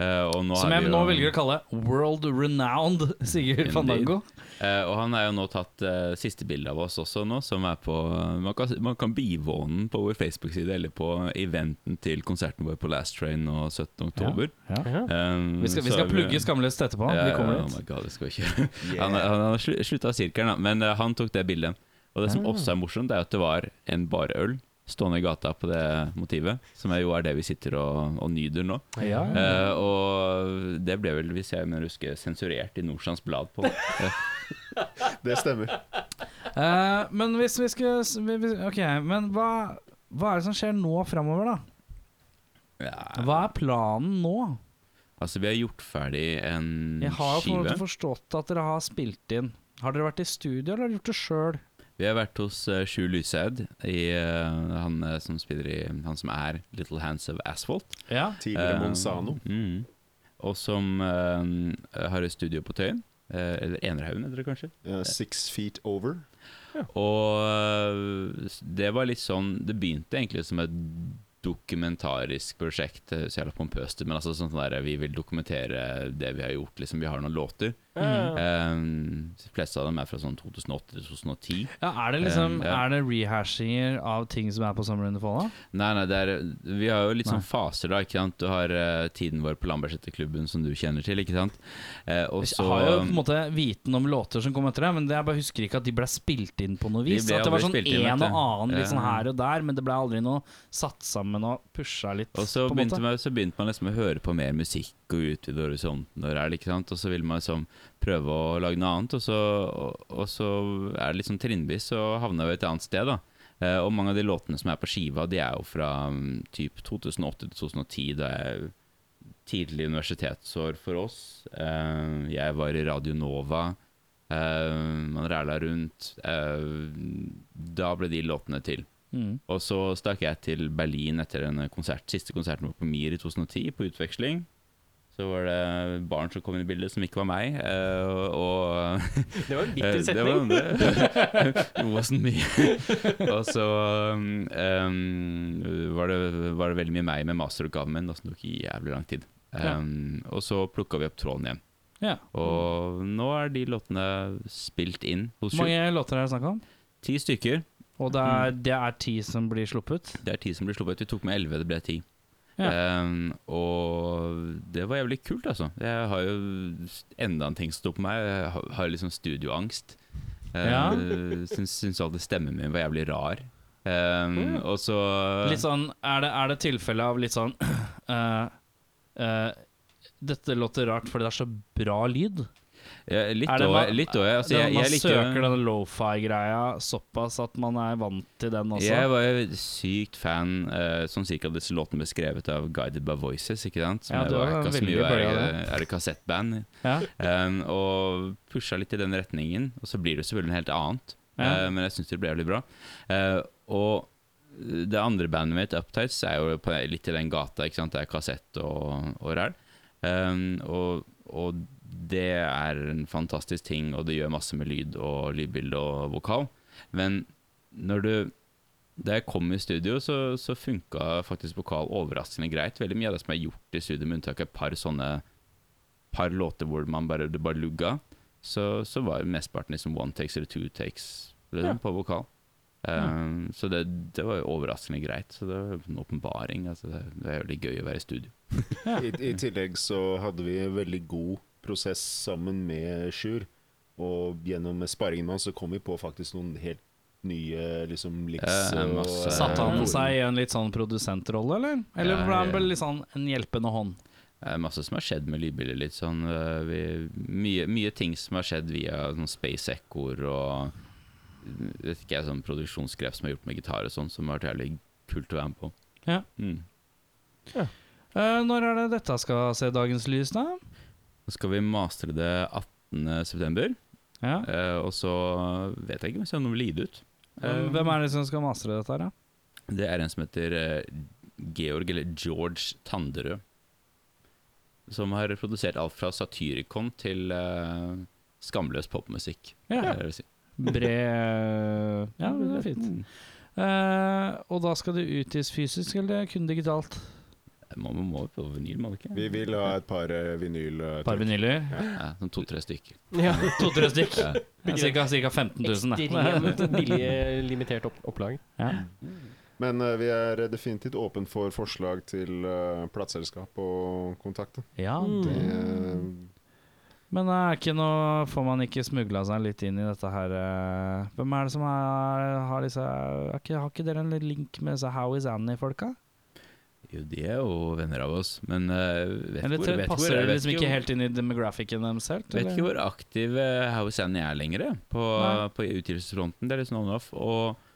[SPEAKER 5] Eh, og nå
[SPEAKER 2] Som
[SPEAKER 5] har vi
[SPEAKER 2] jeg
[SPEAKER 5] jo,
[SPEAKER 2] nå velger å kalle world renowned Sigurd Fandango.
[SPEAKER 5] Eh, og han er jo nå tatt eh, siste bilde av oss også nå, som er på eh, Man kan, man kan bivåne den på vår Facebook-side eller på eventen til konserten vår på Last Train nå 17. oktober. Um,
[SPEAKER 2] Vi skal, vi
[SPEAKER 5] så
[SPEAKER 2] skal
[SPEAKER 5] er
[SPEAKER 2] plugge Skamløst etterpå.
[SPEAKER 5] Ja,
[SPEAKER 2] Vi kommer
[SPEAKER 5] ja, oh
[SPEAKER 2] dit.
[SPEAKER 5] my God, det skal vi ikke. Han, er- han har slu- slutta sirkelen, da, men eh, han tok det bildet. Og det som
[SPEAKER 2] Ah.
[SPEAKER 5] også er morsomt, det er at det var en bare øl stående i gata på det motivet, som er jo er det vi sitter og, og nyter nå.
[SPEAKER 2] Ja.
[SPEAKER 5] Eh, og det ble vel, hvis jeg mener å huske, sensurert i Nordstrands Blad
[SPEAKER 2] *laughs*
[SPEAKER 5] på. Eh,
[SPEAKER 6] Det stemmer.
[SPEAKER 2] Eh, men hvis vi skulle s- vi- vi- Ok, men hva, hva er det som skjer nå framover, da?
[SPEAKER 5] ja.
[SPEAKER 2] Hva er planen nå?
[SPEAKER 5] Altså, vi har gjort ferdig en
[SPEAKER 2] Jeg har jo på en
[SPEAKER 5] skive.
[SPEAKER 2] måte forstått at dere har spilt inn. Har dere vært i studio, eller har dere gjort det sjøl?
[SPEAKER 5] Vi har vært hos uh, Sjur Lyshaug, i, eh, han, eh, som spiller i, han som er Little Hands of Asphalt.
[SPEAKER 2] Ja.
[SPEAKER 6] Tidligere
[SPEAKER 5] Eh,
[SPEAKER 6] Monzano.
[SPEAKER 5] Mm. Og som eh, har et studio på Tøyen. eh, eller Enerhaugen, heter det kanskje.
[SPEAKER 6] Eh, six Feet Over.
[SPEAKER 5] Og eh, det var litt sånn Det begynte egentlig som et dokumentarisk prosjekt, eh, så jævla pompøst, ut, men altså sånn der vi vil dokumentere det vi har gjort, liksom. Vi har noen låter.
[SPEAKER 1] Mm.
[SPEAKER 5] Um, de fleste av dem er fra sånn 2008 til 2010.
[SPEAKER 2] Ja, er det liksom
[SPEAKER 5] Um, ja.
[SPEAKER 2] Er det rehashinger av ting som er på Summer in the Fall? da?
[SPEAKER 5] Nei, nei, det er, vi har jo litt
[SPEAKER 2] Nei.
[SPEAKER 5] sånn faser, da. ikke sant? Du har eh, tiden vår på Lambertseterklubben, som du kjenner til, ikke sant? Eh, og så
[SPEAKER 2] Jeg har jo på en måte viten om låter som kom etter det, men det- jeg bare husker ikke at de ble spilt inn på noe vis.
[SPEAKER 5] ble
[SPEAKER 2] At det var
[SPEAKER 5] aldri
[SPEAKER 2] sånn
[SPEAKER 5] spilt inn,
[SPEAKER 2] en og
[SPEAKER 5] vet du.
[SPEAKER 2] annen litt
[SPEAKER 5] Ja.
[SPEAKER 2] sånn her og der, men det ble aldri noe satt sammen og pusha litt.
[SPEAKER 5] Og så
[SPEAKER 2] på en
[SPEAKER 5] begynte,
[SPEAKER 2] måte.
[SPEAKER 5] man, så begynte man liksom å høre på mer musikk og utvide horisonten. Og, ræl, ikke sant? og så ville man liksom prøve å lage noe annet, og så, og, og så er det litt sånn trinnvis og havna vi et annet sted. da Eh, Og mange av de låtene som er på skiva, de er jo fra mm, typ 2008 til 2010. Det er tidlig universitetsår for oss. Eh, Jeg var i Radio Nova. Eh, Man ræla rundt. Eh, Da ble de låtene til.
[SPEAKER 2] mm.
[SPEAKER 5] Og så stakk jeg til Berlin etter en konsert, siste konserten vår på Mir i 2010, på utveksling. Så var det barn som kom inn i bildet, som ikke var meg. eh, og
[SPEAKER 1] *laughs* Det var en
[SPEAKER 5] *laughs* eh,
[SPEAKER 1] bitter
[SPEAKER 5] det var
[SPEAKER 1] setning.
[SPEAKER 5] It wasn't me. *laughs* og så um, um, var, det, var det veldig mye meg med masteroppgaven min, og som tok jævlig lang tid.
[SPEAKER 2] Ja.
[SPEAKER 5] Um, Og så plukka vi opp tråden igjen.
[SPEAKER 2] ja.
[SPEAKER 5] Og nå er de låtene spilt inn hos
[SPEAKER 2] Hvor
[SPEAKER 5] Sju.
[SPEAKER 2] mange låter er det snakk om?
[SPEAKER 5] Ti stykker.
[SPEAKER 2] Og
[SPEAKER 5] Mm.
[SPEAKER 2] det er, det er ti som blir sluppet?
[SPEAKER 5] Det er ti som ble sluppet. Vi tok med elleve, det ble ti. Ehm, og det var jævlig kult, altså. Jeg har jo enda en ting som står på meg. Jeg har- har liksom studioangst.
[SPEAKER 2] Ja.
[SPEAKER 5] Uh, *laughs* syns, syns alltid stemmen min var jævlig rar. Ehm, Og så
[SPEAKER 2] Mm. Litt sånn, er det, er det tilfelle av litt sånn *clears throat* eh, eh, Dette låter rart fordi det er så bra lyd?
[SPEAKER 5] ja, Litt
[SPEAKER 2] er det
[SPEAKER 5] òg.
[SPEAKER 2] man-
[SPEAKER 5] Litt òg, ja. altså,
[SPEAKER 2] Det-
[SPEAKER 5] jeg,
[SPEAKER 2] man
[SPEAKER 5] jeg likte
[SPEAKER 2] søker
[SPEAKER 5] jo-
[SPEAKER 2] denne lofi-greia såpass at man er vant til den også?
[SPEAKER 5] Jeg var jo sykt fan, eh, sånn cirka disse låtene ble skrevet av Guided by Voices, ikke sant? Som
[SPEAKER 2] Ja,
[SPEAKER 5] jeg
[SPEAKER 2] du
[SPEAKER 5] var
[SPEAKER 2] var
[SPEAKER 5] ekka, som
[SPEAKER 2] veldig
[SPEAKER 5] jo er,
[SPEAKER 2] bøya det.
[SPEAKER 5] er et kassettband.
[SPEAKER 2] Ja.
[SPEAKER 5] Um, og pusha litt i den retningen, og så blir det jo selvfølgelig noe helt annet.
[SPEAKER 2] Ja.
[SPEAKER 5] Uh, men jeg syns det ble jævlig bra. Uh, og eh, det andre bandet mitt, Uptights, er jo på, litt i den gata. ikke sant? Det er kassett og, og ræl. Um, og, og det er en fantastisk ting, og det gjør masse med lyd og lydbilde og vokal. Men når du da jeg kom i studio, så, så funka faktisk vokal overraskende greit. Veldig mye av det som er gjort i studio, med unntak av et par sånne par låter hvor man bare, det bare lugga, så, så var mesteparten liksom one takes eller two takes liksom, på vokal. Um, Så det, det var jo overraskende greit. Så det var en åpenbaring. Altså, det, det er veldig gøy å være i studio.
[SPEAKER 6] I, I tillegg så hadde vi en veldig god prosess sammen med Sjur. Og gjennom sparingen med han så kom vi på faktisk noen helt nye liksom licks.
[SPEAKER 5] Ja,
[SPEAKER 6] og-
[SPEAKER 5] masse-
[SPEAKER 2] Satte han seg i en litt sånn produsentrolle, eller? Eller
[SPEAKER 5] Ja,
[SPEAKER 2] ble han
[SPEAKER 5] ja.
[SPEAKER 2] bare litt sånn en hjelpende hånd?
[SPEAKER 5] Det er masse som har skjedd med lydbildet. Litt sånn, øh, vi, mye, mye ting som har skjedd via sånn Space Echoer og vet ikke jeg, sånn produksjonsgrep som er gjort med gitar og sånn, som har vært jævlig kult å være med på.
[SPEAKER 2] Ja.
[SPEAKER 5] Mm.
[SPEAKER 2] Eh, når er det dette skal se dagens lys, da?
[SPEAKER 5] Så skal vi mastre det 18. september.
[SPEAKER 2] Ja.
[SPEAKER 5] Eh, og så vet jeg ikke om jeg ser noe lide ut.
[SPEAKER 2] Hvem
[SPEAKER 5] Eh,
[SPEAKER 2] hvem er det som skal mastre dette her, da?
[SPEAKER 5] Det er en som heter eh, Georg, eller George Tanderød. Som har produsert alt fra Satyricon til eh, skamløs popmusikk.
[SPEAKER 2] Ja.
[SPEAKER 5] er det jeg vil si. *laughs*
[SPEAKER 2] Bred Ja, det er fint.
[SPEAKER 5] Mm.
[SPEAKER 2] Eh, og da skal det utgis fysisk, eller kun digitalt?
[SPEAKER 5] Man må, må jo på vinyl, må man ikke?
[SPEAKER 6] Vi vil ha et par eh, vinyl... eh,
[SPEAKER 2] Par vinyler?
[SPEAKER 5] Ja, sånn to-tre stykker.
[SPEAKER 1] Ja. *laughs*
[SPEAKER 2] To-tre stykk.
[SPEAKER 5] Ja.
[SPEAKER 2] Cirka, cirka 15 000. det.
[SPEAKER 1] Ekstremt billig, eh, limitert opp opplag.
[SPEAKER 2] *laughs* Ja.
[SPEAKER 6] Men eh, vi er definitivt åpen for forslag til uh, plateselskap og Eh, kontakte.
[SPEAKER 2] ja,
[SPEAKER 5] Mm.
[SPEAKER 6] Det,
[SPEAKER 2] det Men er ikke noe, får man ikke smugla seg litt inn i dette her eh, Hvem er det som er, har disse har ikke, har ikke dere en litt link med disse Howie's Annie-folka?
[SPEAKER 5] Jo, de er jo venner av oss, men eh, vet,
[SPEAKER 2] Eller
[SPEAKER 5] hvor, vet, hvor,
[SPEAKER 2] passer det
[SPEAKER 5] vet
[SPEAKER 2] liksom
[SPEAKER 5] ikke
[SPEAKER 2] ikke
[SPEAKER 5] hvor-
[SPEAKER 2] helt inn i demographicen deres helt?
[SPEAKER 5] Vet
[SPEAKER 2] eller?
[SPEAKER 5] ikke hvor aktiv eh, Howie Sandy er lenger eh, på,
[SPEAKER 2] Nei.
[SPEAKER 5] på utgivelsesfronten. Det er litt sånn on-off. Og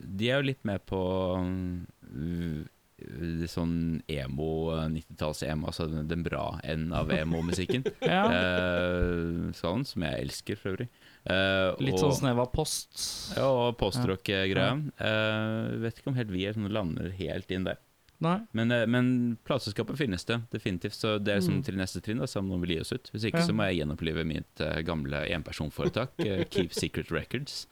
[SPEAKER 5] de er jo litt med på mm, v- v- sånn emo, eh, 90-talls-emo, altså den, den bra enden av emo-musikken.
[SPEAKER 2] *laughs* Ja,
[SPEAKER 5] eh, skalaen, som jeg elsker for øvrig. Eh,
[SPEAKER 2] litt
[SPEAKER 5] og-
[SPEAKER 2] sånn snev av post.
[SPEAKER 5] ja, og postrock-greia. Eh, vet ikke om helt vi er sånn, lander helt inn der.
[SPEAKER 2] Nei.
[SPEAKER 5] Men, eh, men plateselskapet finnes det, definitivt. Så det er som
[SPEAKER 1] Mm.
[SPEAKER 5] til neste trinn, da, så må vi gi oss ut. Hvis ikke
[SPEAKER 2] Ja.
[SPEAKER 5] så må jeg gjenopplive mitt eh, gamle enpersonforetak, eh, Keep Secret Records.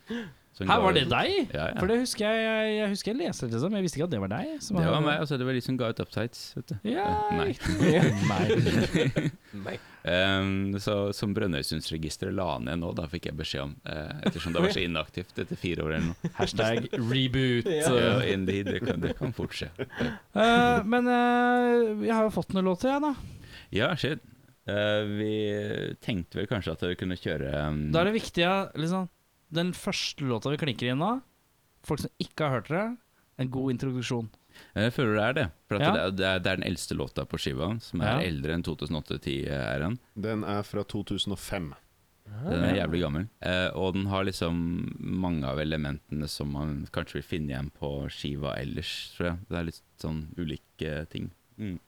[SPEAKER 5] Så hun
[SPEAKER 3] Her
[SPEAKER 5] ga
[SPEAKER 3] var det
[SPEAKER 5] ut-
[SPEAKER 3] deg?
[SPEAKER 5] Ja, ja.
[SPEAKER 3] For det husker jeg, jeg, jeg husker jeg leste det, liksom. Jeg visste ikke at det var deg. som
[SPEAKER 5] Det var
[SPEAKER 3] hadde-
[SPEAKER 5] meg, altså. og så det var de som ga ut upsides. Vet du.
[SPEAKER 3] Ja,
[SPEAKER 2] *laughs*
[SPEAKER 5] Eh, Nei.
[SPEAKER 3] Nei.
[SPEAKER 5] Ehm, så som Brønnøysundsregisteret la ned nå, da fikk jeg beskjed om, eh, ettersom det var så inaktivt etter fire år eller
[SPEAKER 3] *laughs*
[SPEAKER 5] noe.
[SPEAKER 3] Hashtag reboot.
[SPEAKER 5] Ja, indeed, det kan, det kan fort skje.
[SPEAKER 3] Eh, men eh, jeg har jo fått noen låter, jeg, da.
[SPEAKER 5] Ja, shit. Eh, vi tenkte vel kanskje at vi kunne kjøre um,
[SPEAKER 3] Da er det viktig at liksom, den første låta vi klinker inn av, folk som ikke har hørt det, en god introduksjon.
[SPEAKER 5] Jeg Eh, føler det er det. For at
[SPEAKER 3] Ja.
[SPEAKER 5] det, er, det, er, det er den eldste låta på skiva, som er
[SPEAKER 3] Ja.
[SPEAKER 5] eldre enn 2008-10-æren.
[SPEAKER 6] Den er fra 2005.
[SPEAKER 3] Ah,
[SPEAKER 5] Den er jævlig gammel. Eh, og den har liksom mange av elementene som man kanskje vil finne igjen på skiva ellers, tror jeg. Det er litt sånn ulike ting. Mm.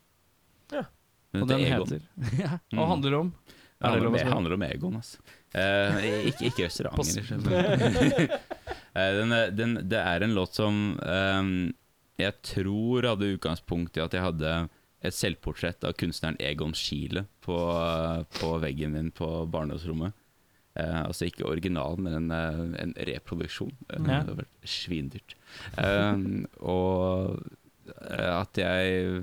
[SPEAKER 1] Ja.
[SPEAKER 5] Men
[SPEAKER 3] Og den
[SPEAKER 5] det er Egon.
[SPEAKER 3] heter ja,
[SPEAKER 5] Mm.
[SPEAKER 3] Og handler om Er
[SPEAKER 5] Det
[SPEAKER 3] det
[SPEAKER 5] handler,
[SPEAKER 3] lov å
[SPEAKER 5] om,
[SPEAKER 3] si?
[SPEAKER 5] det handler om Egon, altså. Eh, ikke, ikke
[SPEAKER 3] Pass.
[SPEAKER 5] restauranter. *laughs* Eh, den, er- den, det er en låt som ehm, jeg tror hadde utgangspunkt i at jeg hadde et selvportrett av kunstneren Egon Schiele på, eh, på veggen min på barndomsrommet. Eh, altså ikke originalen, men en, eh, en reproduksjon. Eh, Det
[SPEAKER 3] Ja.
[SPEAKER 5] hadde vært svindyrt. Ehm, og eh, at jeg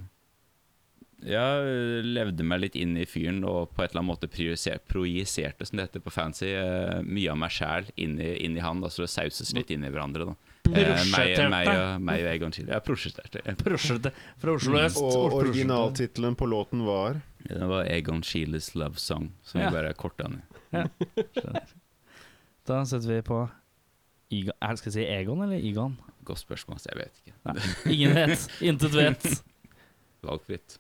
[SPEAKER 5] ja, levde meg litt inn i fyren og på et eller annet måte priorise- projiserte, som det heter på fancy, eh, mye av meg sjæl inn, i- inn i han, da, så det sauses litt inn i hverandre. da. Eh, meg,
[SPEAKER 3] Prosjekterte.
[SPEAKER 5] meg, og, meg og Egon Chile. Ja, prosjekterte.
[SPEAKER 3] Prosjektet fra Oslo øst.
[SPEAKER 6] Og
[SPEAKER 3] Prosjektet.
[SPEAKER 6] originaltittelen på låten var
[SPEAKER 5] Det var Egon Chiles love song, som
[SPEAKER 3] Ja.
[SPEAKER 5] vi bare korta ned.
[SPEAKER 3] Da setter vi på Igon. Er- Skal jeg si Egon eller Igon?
[SPEAKER 5] Godt spørsmål, så jeg vet ikke.
[SPEAKER 3] Ingen vet. Intet vet.
[SPEAKER 5] Valgfritt.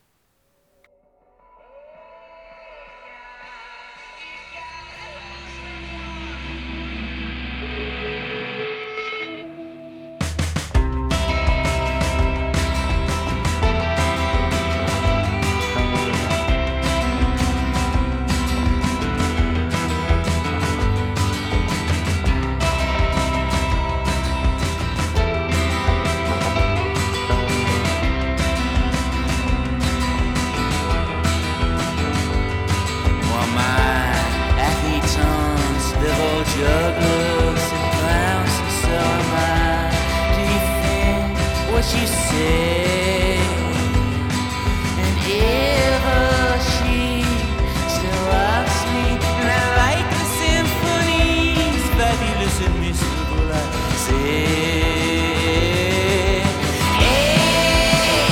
[SPEAKER 7] While my achetons, devil jugglers and clowns, and so am I. Do you think what you say? And ever she still loves me, and I like the symphonies, fabulous and miserable, I say. Hey,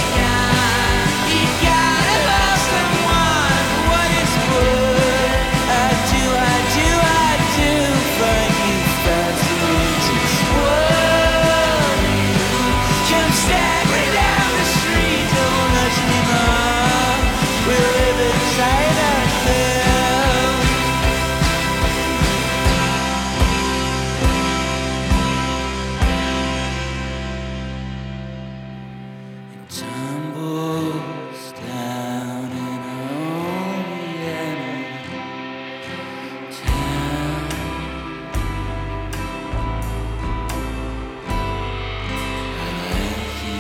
[SPEAKER 7] you gotta love someone for what it's worth. I do, I do, I do for you, fascinating world. Come staggering down the street, don't rush me, mom. We live inside ourselves. tumbles down an old Vienna town.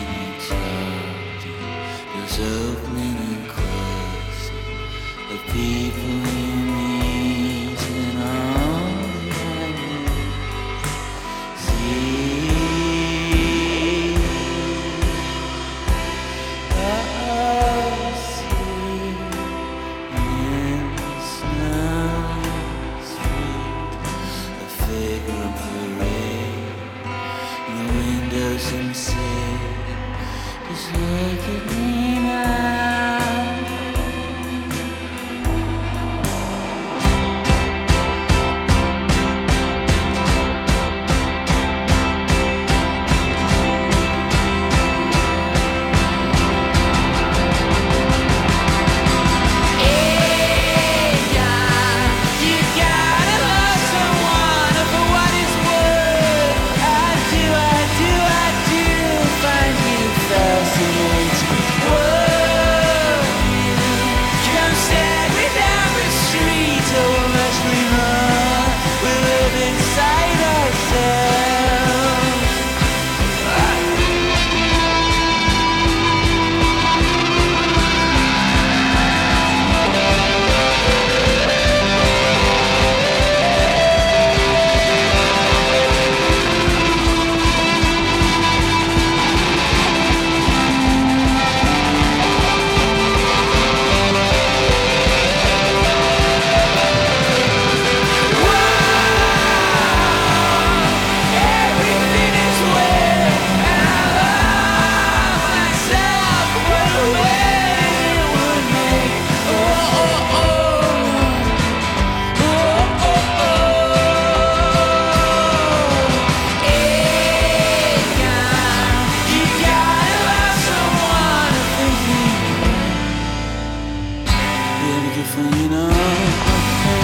[SPEAKER 7] I like it, it's There's opening and closing of people you meet in all Vienna. See. Just look at me now.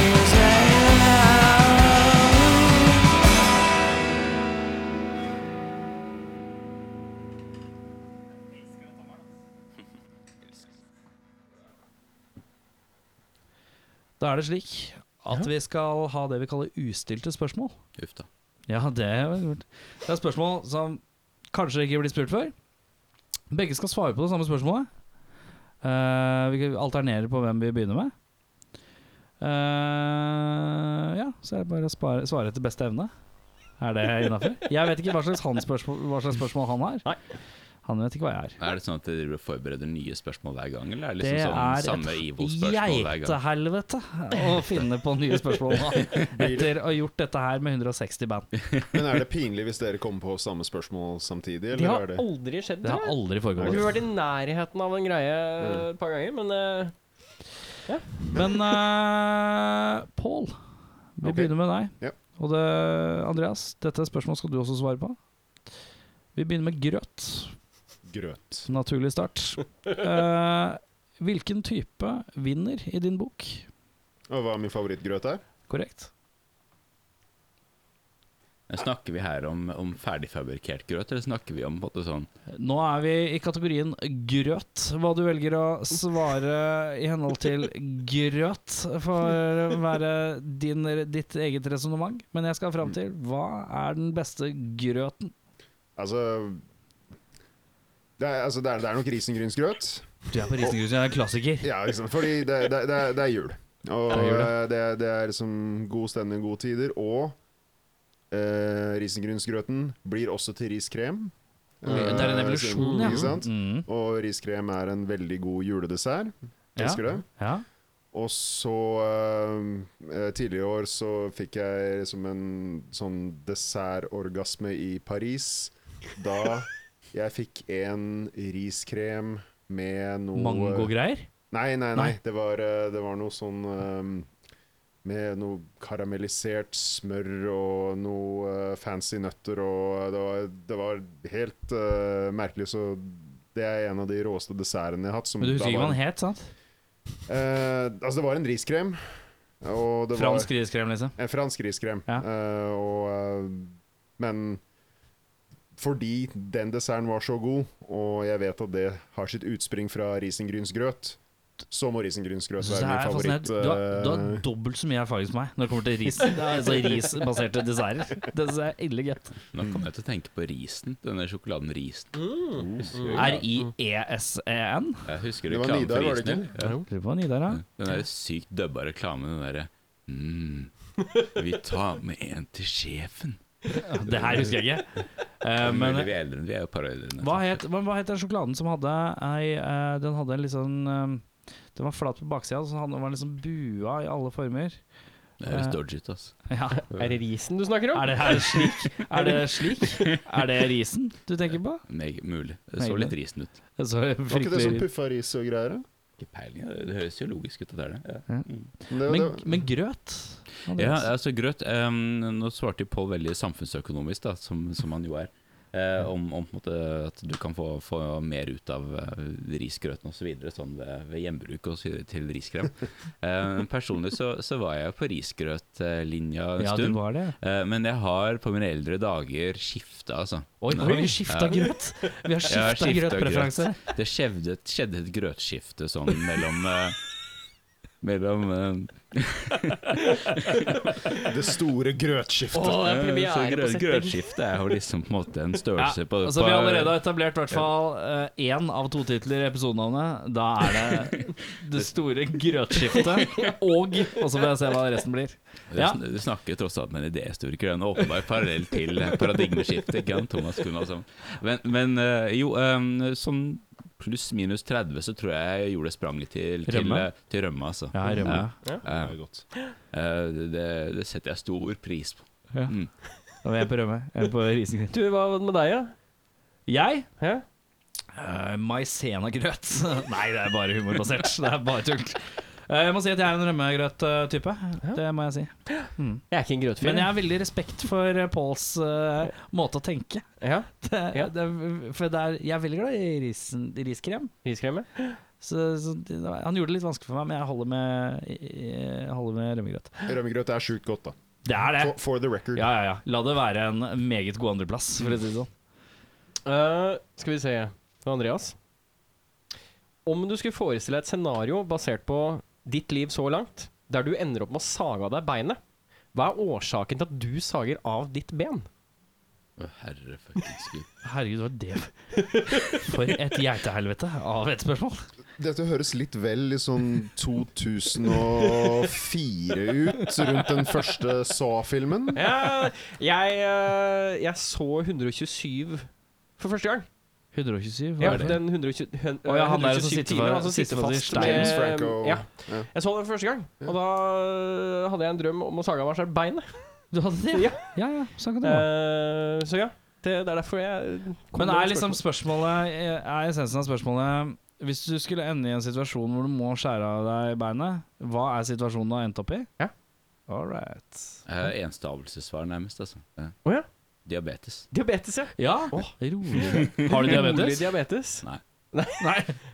[SPEAKER 7] things I love.
[SPEAKER 2] Da er det slik at vi skal ha det vi kaller ustilte spørsmål.
[SPEAKER 5] Uff da.
[SPEAKER 2] Ja, det er kult. Det er spørsmål som kanskje ikke blir spurt før. Begge skal svare på det samme spørsmålet. Eh, vi kan alternere på hvem vi begynner med. Eh, ja, så er det bare å spare, svare etter beste evne. Er det innafor? Jeg vet ikke hva slags, han spørsmål, hva slags spørsmål han har.
[SPEAKER 1] Nei.
[SPEAKER 2] Han vet ikke hva jeg er.
[SPEAKER 5] Er det sånn at dere driver og forbereder nye spørsmål hver gang, eller er det
[SPEAKER 2] Det
[SPEAKER 5] liksom sånn samme
[SPEAKER 2] er
[SPEAKER 5] Ivo-spørsmål
[SPEAKER 2] et
[SPEAKER 5] hver gang?
[SPEAKER 2] geitehelvete å finne på nye spørsmål
[SPEAKER 5] *laughs*
[SPEAKER 2] nå, etter å ha gjort dette her med 160 band.
[SPEAKER 6] Men er det pinlig hvis dere kommer på samme spørsmål samtidig,
[SPEAKER 1] Det
[SPEAKER 6] eller
[SPEAKER 1] har
[SPEAKER 6] er det
[SPEAKER 1] aldri skjedd.
[SPEAKER 2] Det har
[SPEAKER 1] tror jeg.
[SPEAKER 2] aldri
[SPEAKER 1] Jeg tror
[SPEAKER 2] foregått.
[SPEAKER 1] vi har vært i nærheten av en greie eh, et par ganger, men eh,
[SPEAKER 2] Men uh, Pål, vi
[SPEAKER 6] Ok.
[SPEAKER 2] begynner med deg.
[SPEAKER 6] Ja.
[SPEAKER 2] Og det, Andreas, dette spørsmålet skal du også svare på. Vi begynner med grøt.
[SPEAKER 6] grøt?
[SPEAKER 2] Naturlig start.
[SPEAKER 6] *laughs*
[SPEAKER 2] Eh, hvilken type vinner i din bok?
[SPEAKER 6] Og hva min favorittgrøt er?
[SPEAKER 2] Korrekt.
[SPEAKER 5] Snakker vi her om, om ferdigfabrikkert grøt, eller snakker vi om på en måte sånn
[SPEAKER 2] Nå er vi i kategorien grøt. Hva du velger å svare i henhold til grøt, får være din, ditt eget resonnement. Men jeg skal fram til hva er den beste grøten?
[SPEAKER 6] Altså det er, altså, det er, det er nok risengrynsgrøt.
[SPEAKER 2] Du er på risengrynsgrøt, jeg er en klassiker.
[SPEAKER 6] Ja, ikke sant? Fordi det, det, det, er- det er jul. Og
[SPEAKER 2] Det er jul,
[SPEAKER 6] eh, det, er- det er liksom god stemning, gode tider. Og eh, risengrynsgrøten blir også til riskrem.
[SPEAKER 2] Det er en evolusjon,
[SPEAKER 6] Eh,
[SPEAKER 2] ja.
[SPEAKER 6] Ikke sant?
[SPEAKER 2] Mm.
[SPEAKER 6] Og riskrem er en veldig god juledessert.
[SPEAKER 2] Ja.
[SPEAKER 6] Husker du det?
[SPEAKER 2] Ja.
[SPEAKER 6] Og så eh, eh, Tidligere i år så fikk jeg liksom en sånn dessertorgasme i Paris.
[SPEAKER 2] *laughs*
[SPEAKER 6] Da jeg fikk en riskrem med noe
[SPEAKER 2] Mangogreier?
[SPEAKER 6] Nei, nei, nei.
[SPEAKER 2] Nei.
[SPEAKER 6] Det, var, eh, det var noe sånn eh, med noe karamellisert smør og noe eh, fancy nøtter og eh, Det var, det var helt eh, merkelig, så det er en av de råeste dessertene jeg har hatt. som
[SPEAKER 2] Men du
[SPEAKER 6] da
[SPEAKER 2] husker ikke
[SPEAKER 6] var-
[SPEAKER 2] hva den het, sant?
[SPEAKER 6] Eh, altså, det var en riskrem. Og det
[SPEAKER 2] Fransk riskrem, liksom.
[SPEAKER 6] var en fransk riskrem.
[SPEAKER 2] Ja.
[SPEAKER 6] Eh, og, eh, men fordi den desserten var så god, og jeg vet at det har sitt utspring fra risengrynsgrøt, så må
[SPEAKER 2] Jeg
[SPEAKER 6] risengrynsgrøt
[SPEAKER 2] synes
[SPEAKER 6] være
[SPEAKER 2] det
[SPEAKER 6] min
[SPEAKER 2] er
[SPEAKER 6] favoritt.
[SPEAKER 2] fascinerende. Du har, du har
[SPEAKER 6] eh,
[SPEAKER 2] dobbelt så mye erfaring som meg når det kommer til ris. Det er Altså risbaserte desserter. *laughs* Det synes jeg er elegant.
[SPEAKER 5] Nå kom jeg til å tenke på risen, denne sjokoladen risen.
[SPEAKER 2] Mm. E R-i-e-s-e-n.
[SPEAKER 5] Jeg husker
[SPEAKER 6] Det var
[SPEAKER 5] reklamen for
[SPEAKER 6] Nidar, var det
[SPEAKER 5] risen.
[SPEAKER 6] ikke?
[SPEAKER 5] Ja.
[SPEAKER 2] Lurer på hva Nidar er.
[SPEAKER 5] Den der sykt dubba reklamen, den derre mm, Vi tar med en til sjefen.
[SPEAKER 2] *laughs* Det her husker jeg ikke. Eh,
[SPEAKER 5] Men,
[SPEAKER 2] Men
[SPEAKER 5] vi er eldre, vi er jo et par år eldre. enn
[SPEAKER 2] hva
[SPEAKER 5] dette.
[SPEAKER 2] het, hva hva het den sjokoladen som hadde ei eh, Den hadde en litt sånn eh, Den var flat på baksida, så den var liksom bua i alle former.
[SPEAKER 5] Det høres dodgy ut, ass.
[SPEAKER 2] Ja,
[SPEAKER 1] er det risen du snakker om?
[SPEAKER 2] *laughs* Er det, er det slik? Er det slik? Er det risen du tenker på?
[SPEAKER 5] Meg, mulig. Det så
[SPEAKER 2] Meg-
[SPEAKER 5] litt risen ut.
[SPEAKER 2] Det *laughs* så
[SPEAKER 6] var ikke det sånn
[SPEAKER 2] fryktelig
[SPEAKER 6] puffa ris og greier? da?
[SPEAKER 5] Ikke peiling, det, det høres jo logisk ut. at Det er det. Ja.
[SPEAKER 6] Det,
[SPEAKER 2] men,
[SPEAKER 6] det,
[SPEAKER 2] men grøt?
[SPEAKER 5] Ja,
[SPEAKER 2] Andreas?
[SPEAKER 5] altså grøt ehm, Nå svarte jo Pål veldig samfunnsøkonomisk, da, som, som han jo er. eh, om, om på en måte at du kan få, få mer ut av eh, risgrøten osv. Så videre, sånn ved, ved gjenbruk og så videre til riskrem.
[SPEAKER 2] *laughs*
[SPEAKER 5] Eh, personlig så, så var jeg jo på risgrøtlinja en
[SPEAKER 2] ja, du
[SPEAKER 5] stund.
[SPEAKER 2] var det.
[SPEAKER 5] Eh, men jeg har på mine eldre dager skifta, altså.
[SPEAKER 2] Oi, nå har vi skifta
[SPEAKER 5] Ja.
[SPEAKER 2] grøt! Vi har
[SPEAKER 5] Ja,
[SPEAKER 2] skifta
[SPEAKER 5] skiftet
[SPEAKER 2] grøtpreferanse.
[SPEAKER 5] Det skjedde, skjedde et grøtskifte sånn mellom eh, Mellom eh,
[SPEAKER 6] det store grøtskiftet.
[SPEAKER 1] Åh, det er
[SPEAKER 5] eh, så
[SPEAKER 1] premiere på
[SPEAKER 5] grø-
[SPEAKER 1] setting.
[SPEAKER 5] Grøtskifte er jo liksom på en måte
[SPEAKER 2] *laughs*
[SPEAKER 5] en størrelse på,
[SPEAKER 2] altså,
[SPEAKER 5] på
[SPEAKER 2] vi har allerede etablert i hvert fall eh, én av to titler i episodenavnet. Da er det det store grøtskiftet og Og så får jeg se hva resten blir.
[SPEAKER 5] Du
[SPEAKER 2] Ja.
[SPEAKER 5] sn- Du snakker jo tross alt med en idéhistoriker. En åpenbar parallell til paradigmeskiftet. Ikke sant, Thomas Kuhn og sånn. Men, men eh, jo, eh, sånn pluss-minus 30 så tror jeg jeg gjorde spranget til, til
[SPEAKER 2] Rømme?
[SPEAKER 5] eh, Til rømme altså.
[SPEAKER 2] Ja, rømme.
[SPEAKER 5] Ja,
[SPEAKER 6] Det er godt.
[SPEAKER 5] eh, det, det setter jeg stor pris på.
[SPEAKER 2] Ja.
[SPEAKER 5] Mm.
[SPEAKER 2] Da var jeg på rømme. Jeg på risengryt.
[SPEAKER 1] Du, hva med deg, ja?
[SPEAKER 2] Jeg?
[SPEAKER 1] Hæ?
[SPEAKER 2] Uh, Maisenagrøt. *laughs* Nei, det er bare humorbasert. Det er bare tull. Eh, jeg må si at jeg er en rømmegrøt-type. Det må jeg si.
[SPEAKER 1] Jeg er ikke en grøtfyr.
[SPEAKER 2] Men jeg har veldig respekt for eh, Pauls eh, måte å tenke.
[SPEAKER 1] Ja,
[SPEAKER 2] Det,
[SPEAKER 1] Ja.
[SPEAKER 2] det, for det er, jeg er veldig glad i risen, riskrem.
[SPEAKER 1] Riskrem, ja.
[SPEAKER 2] Så, så det var- han gjorde det litt vanskelig for meg, men jeg holder med, jeg holder med rømmegrøt.
[SPEAKER 6] Rømmegrøt er sjukt godt, da.
[SPEAKER 2] Det er det.
[SPEAKER 6] For, for the record.
[SPEAKER 2] Ja, ja, ja. La det være en meget god andreplass, for å si det sånn.
[SPEAKER 1] Eh, skal vi se. Det var Andreas. Om du skulle forestille deg et scenario basert på ditt liv så langt, der du ender opp med å sage av deg beinet, hva er årsaken til at du sager av ditt ben?
[SPEAKER 5] Å, herre fuckings gud.
[SPEAKER 2] Herregud, hva er det for et geitehelvete av et spørsmål?
[SPEAKER 6] Dette høres litt vel litt sånn 2004 ut, rundt den første Saw-filmen.
[SPEAKER 1] Jeg, jeg, eh, jeg så 127 for første gang.
[SPEAKER 2] 127? Hva
[SPEAKER 1] Ja,
[SPEAKER 2] er det?
[SPEAKER 1] den 120, hun,
[SPEAKER 2] Å ja, han der som
[SPEAKER 1] 127
[SPEAKER 2] sitter
[SPEAKER 1] timer,
[SPEAKER 2] for-
[SPEAKER 1] han som sitter
[SPEAKER 2] sitter for
[SPEAKER 1] fast
[SPEAKER 2] de
[SPEAKER 6] James
[SPEAKER 1] med-
[SPEAKER 6] Franco.
[SPEAKER 1] Ja,
[SPEAKER 6] Ja.
[SPEAKER 1] jeg så den første gang, og da eh, hadde jeg en drøm om å sage av meg selv beinet.
[SPEAKER 2] Du hadde det? Ja, ja. ja sånn kan det være.
[SPEAKER 1] Eh, så ja, det, det er derfor jeg kom
[SPEAKER 2] Men
[SPEAKER 1] med
[SPEAKER 2] er
[SPEAKER 1] det
[SPEAKER 2] liksom spørsmålet Er essensen av spørsmålet Hvis du skulle ende i en situasjon hvor du må skjære av deg beinet, hva er situasjonen du har endt opp i?
[SPEAKER 1] Ja.
[SPEAKER 2] All right.
[SPEAKER 5] Jeg har enstavelsessvar, Eh, nærmest. altså ja.
[SPEAKER 1] Å ja.
[SPEAKER 5] Diabetes.
[SPEAKER 1] Diabetes, ja.
[SPEAKER 2] Ja, rolig. Har du
[SPEAKER 1] Rolig
[SPEAKER 2] diabetes?
[SPEAKER 1] diabetes.
[SPEAKER 2] Nei,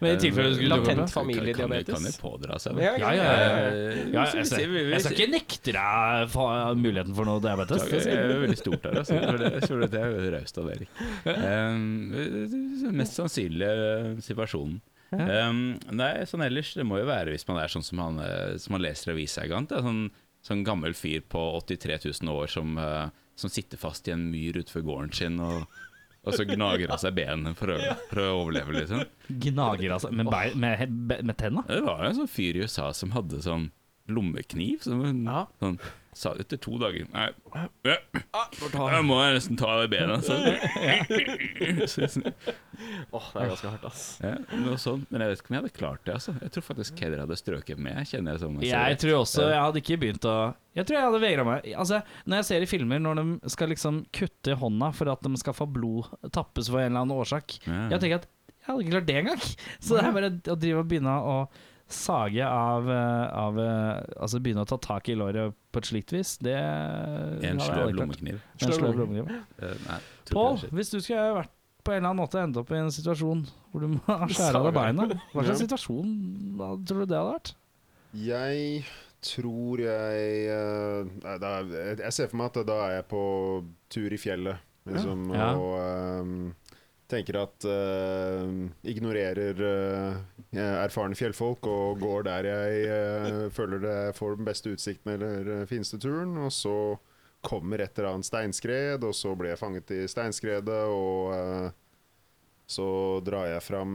[SPEAKER 2] men i tilfelle du skulle dukke opp
[SPEAKER 1] Latent
[SPEAKER 2] med.
[SPEAKER 1] familiediabetes.
[SPEAKER 5] Kan, kan, kan jo pådra seg
[SPEAKER 1] Ja,
[SPEAKER 5] det.
[SPEAKER 1] ja,
[SPEAKER 2] Ja, ja, ja, ja.
[SPEAKER 5] Eh,
[SPEAKER 2] Ja,
[SPEAKER 5] så vi
[SPEAKER 2] jeg,
[SPEAKER 5] ser-
[SPEAKER 2] skal,
[SPEAKER 5] vi- vi
[SPEAKER 2] jeg skal
[SPEAKER 5] ser-
[SPEAKER 2] ikke nekte deg fa- muligheten for noe diabetes.
[SPEAKER 5] Det er jo veldig stort her, altså. For det- Jeg tror det er jo raust av Erik. Um, det mest sannsynlige uh, situasjonen. Um, nei, sånn ellers, det må jo være hvis man er sånn som han, uh, som han leser i avisa i gang. da. Sånn, sånn gammel fyr på 83 000 år som, uh, som sitter fast i en myr utenfor gården sin og, og så gnager av seg benene for, å- for å overleve, liksom.
[SPEAKER 2] Gnager altså med, bei, med, he- med tenna.
[SPEAKER 5] Det var jo en sånn fyr i USA som hadde sånn lommekniv. Som sånn, sa etter to dager Nei, ja,
[SPEAKER 2] Ah,
[SPEAKER 5] jeg må jeg nesten ta det i altså. bena. Så. Så-
[SPEAKER 1] Åh, det er ganske hardt, ass.
[SPEAKER 5] *laughs* Ja, noe sånt. Men jeg vet ikke om jeg hadde klart det. Altså. Jeg tror faktisk Kedder hadde strøket med. Kjenner jeg sånn
[SPEAKER 2] Jeg tror også jeg hadde ikke begynt å Jeg tror jeg hadde vegra meg. Altså, når jeg ser i filmer når de skal liksom kutte i hånda for at de skal få blod tappes for en eller annen årsak
[SPEAKER 5] Ja.
[SPEAKER 2] Jeg tenker at jeg hadde ikke klart det engang. *laughs* Så det er bare å drive og begynne å sage av, eh, av eh, Altså begynne å ta tak i låret på et slikt vis, det
[SPEAKER 5] En
[SPEAKER 2] hadde jeg
[SPEAKER 5] sløv
[SPEAKER 2] aldri klart.
[SPEAKER 5] lommekniv.
[SPEAKER 2] En sløv lommekniv.
[SPEAKER 5] Eh, Nei, tror
[SPEAKER 2] Pål,
[SPEAKER 5] ikke det
[SPEAKER 2] hvis du skulle vært på en eller annen måte endt opp i en situasjon hvor du må *laughs* skjære av deg beina, hva slags situasjon hva tror du det hadde vært?
[SPEAKER 6] Jeg tror jeg eh, nei, da, jeg- Jeg ser for meg at da er jeg på tur i fjellet, liksom,
[SPEAKER 2] Ja.
[SPEAKER 6] og ehm, tenker at eh, Ignorerer eh, erfarne fjellfolk og går der jeg eh, føler det får den beste utsikten eller eh, fineste turen, og så kommer et eller annet steinskred, og så blir jeg fanget i steinskredet, og eh, så drar jeg fram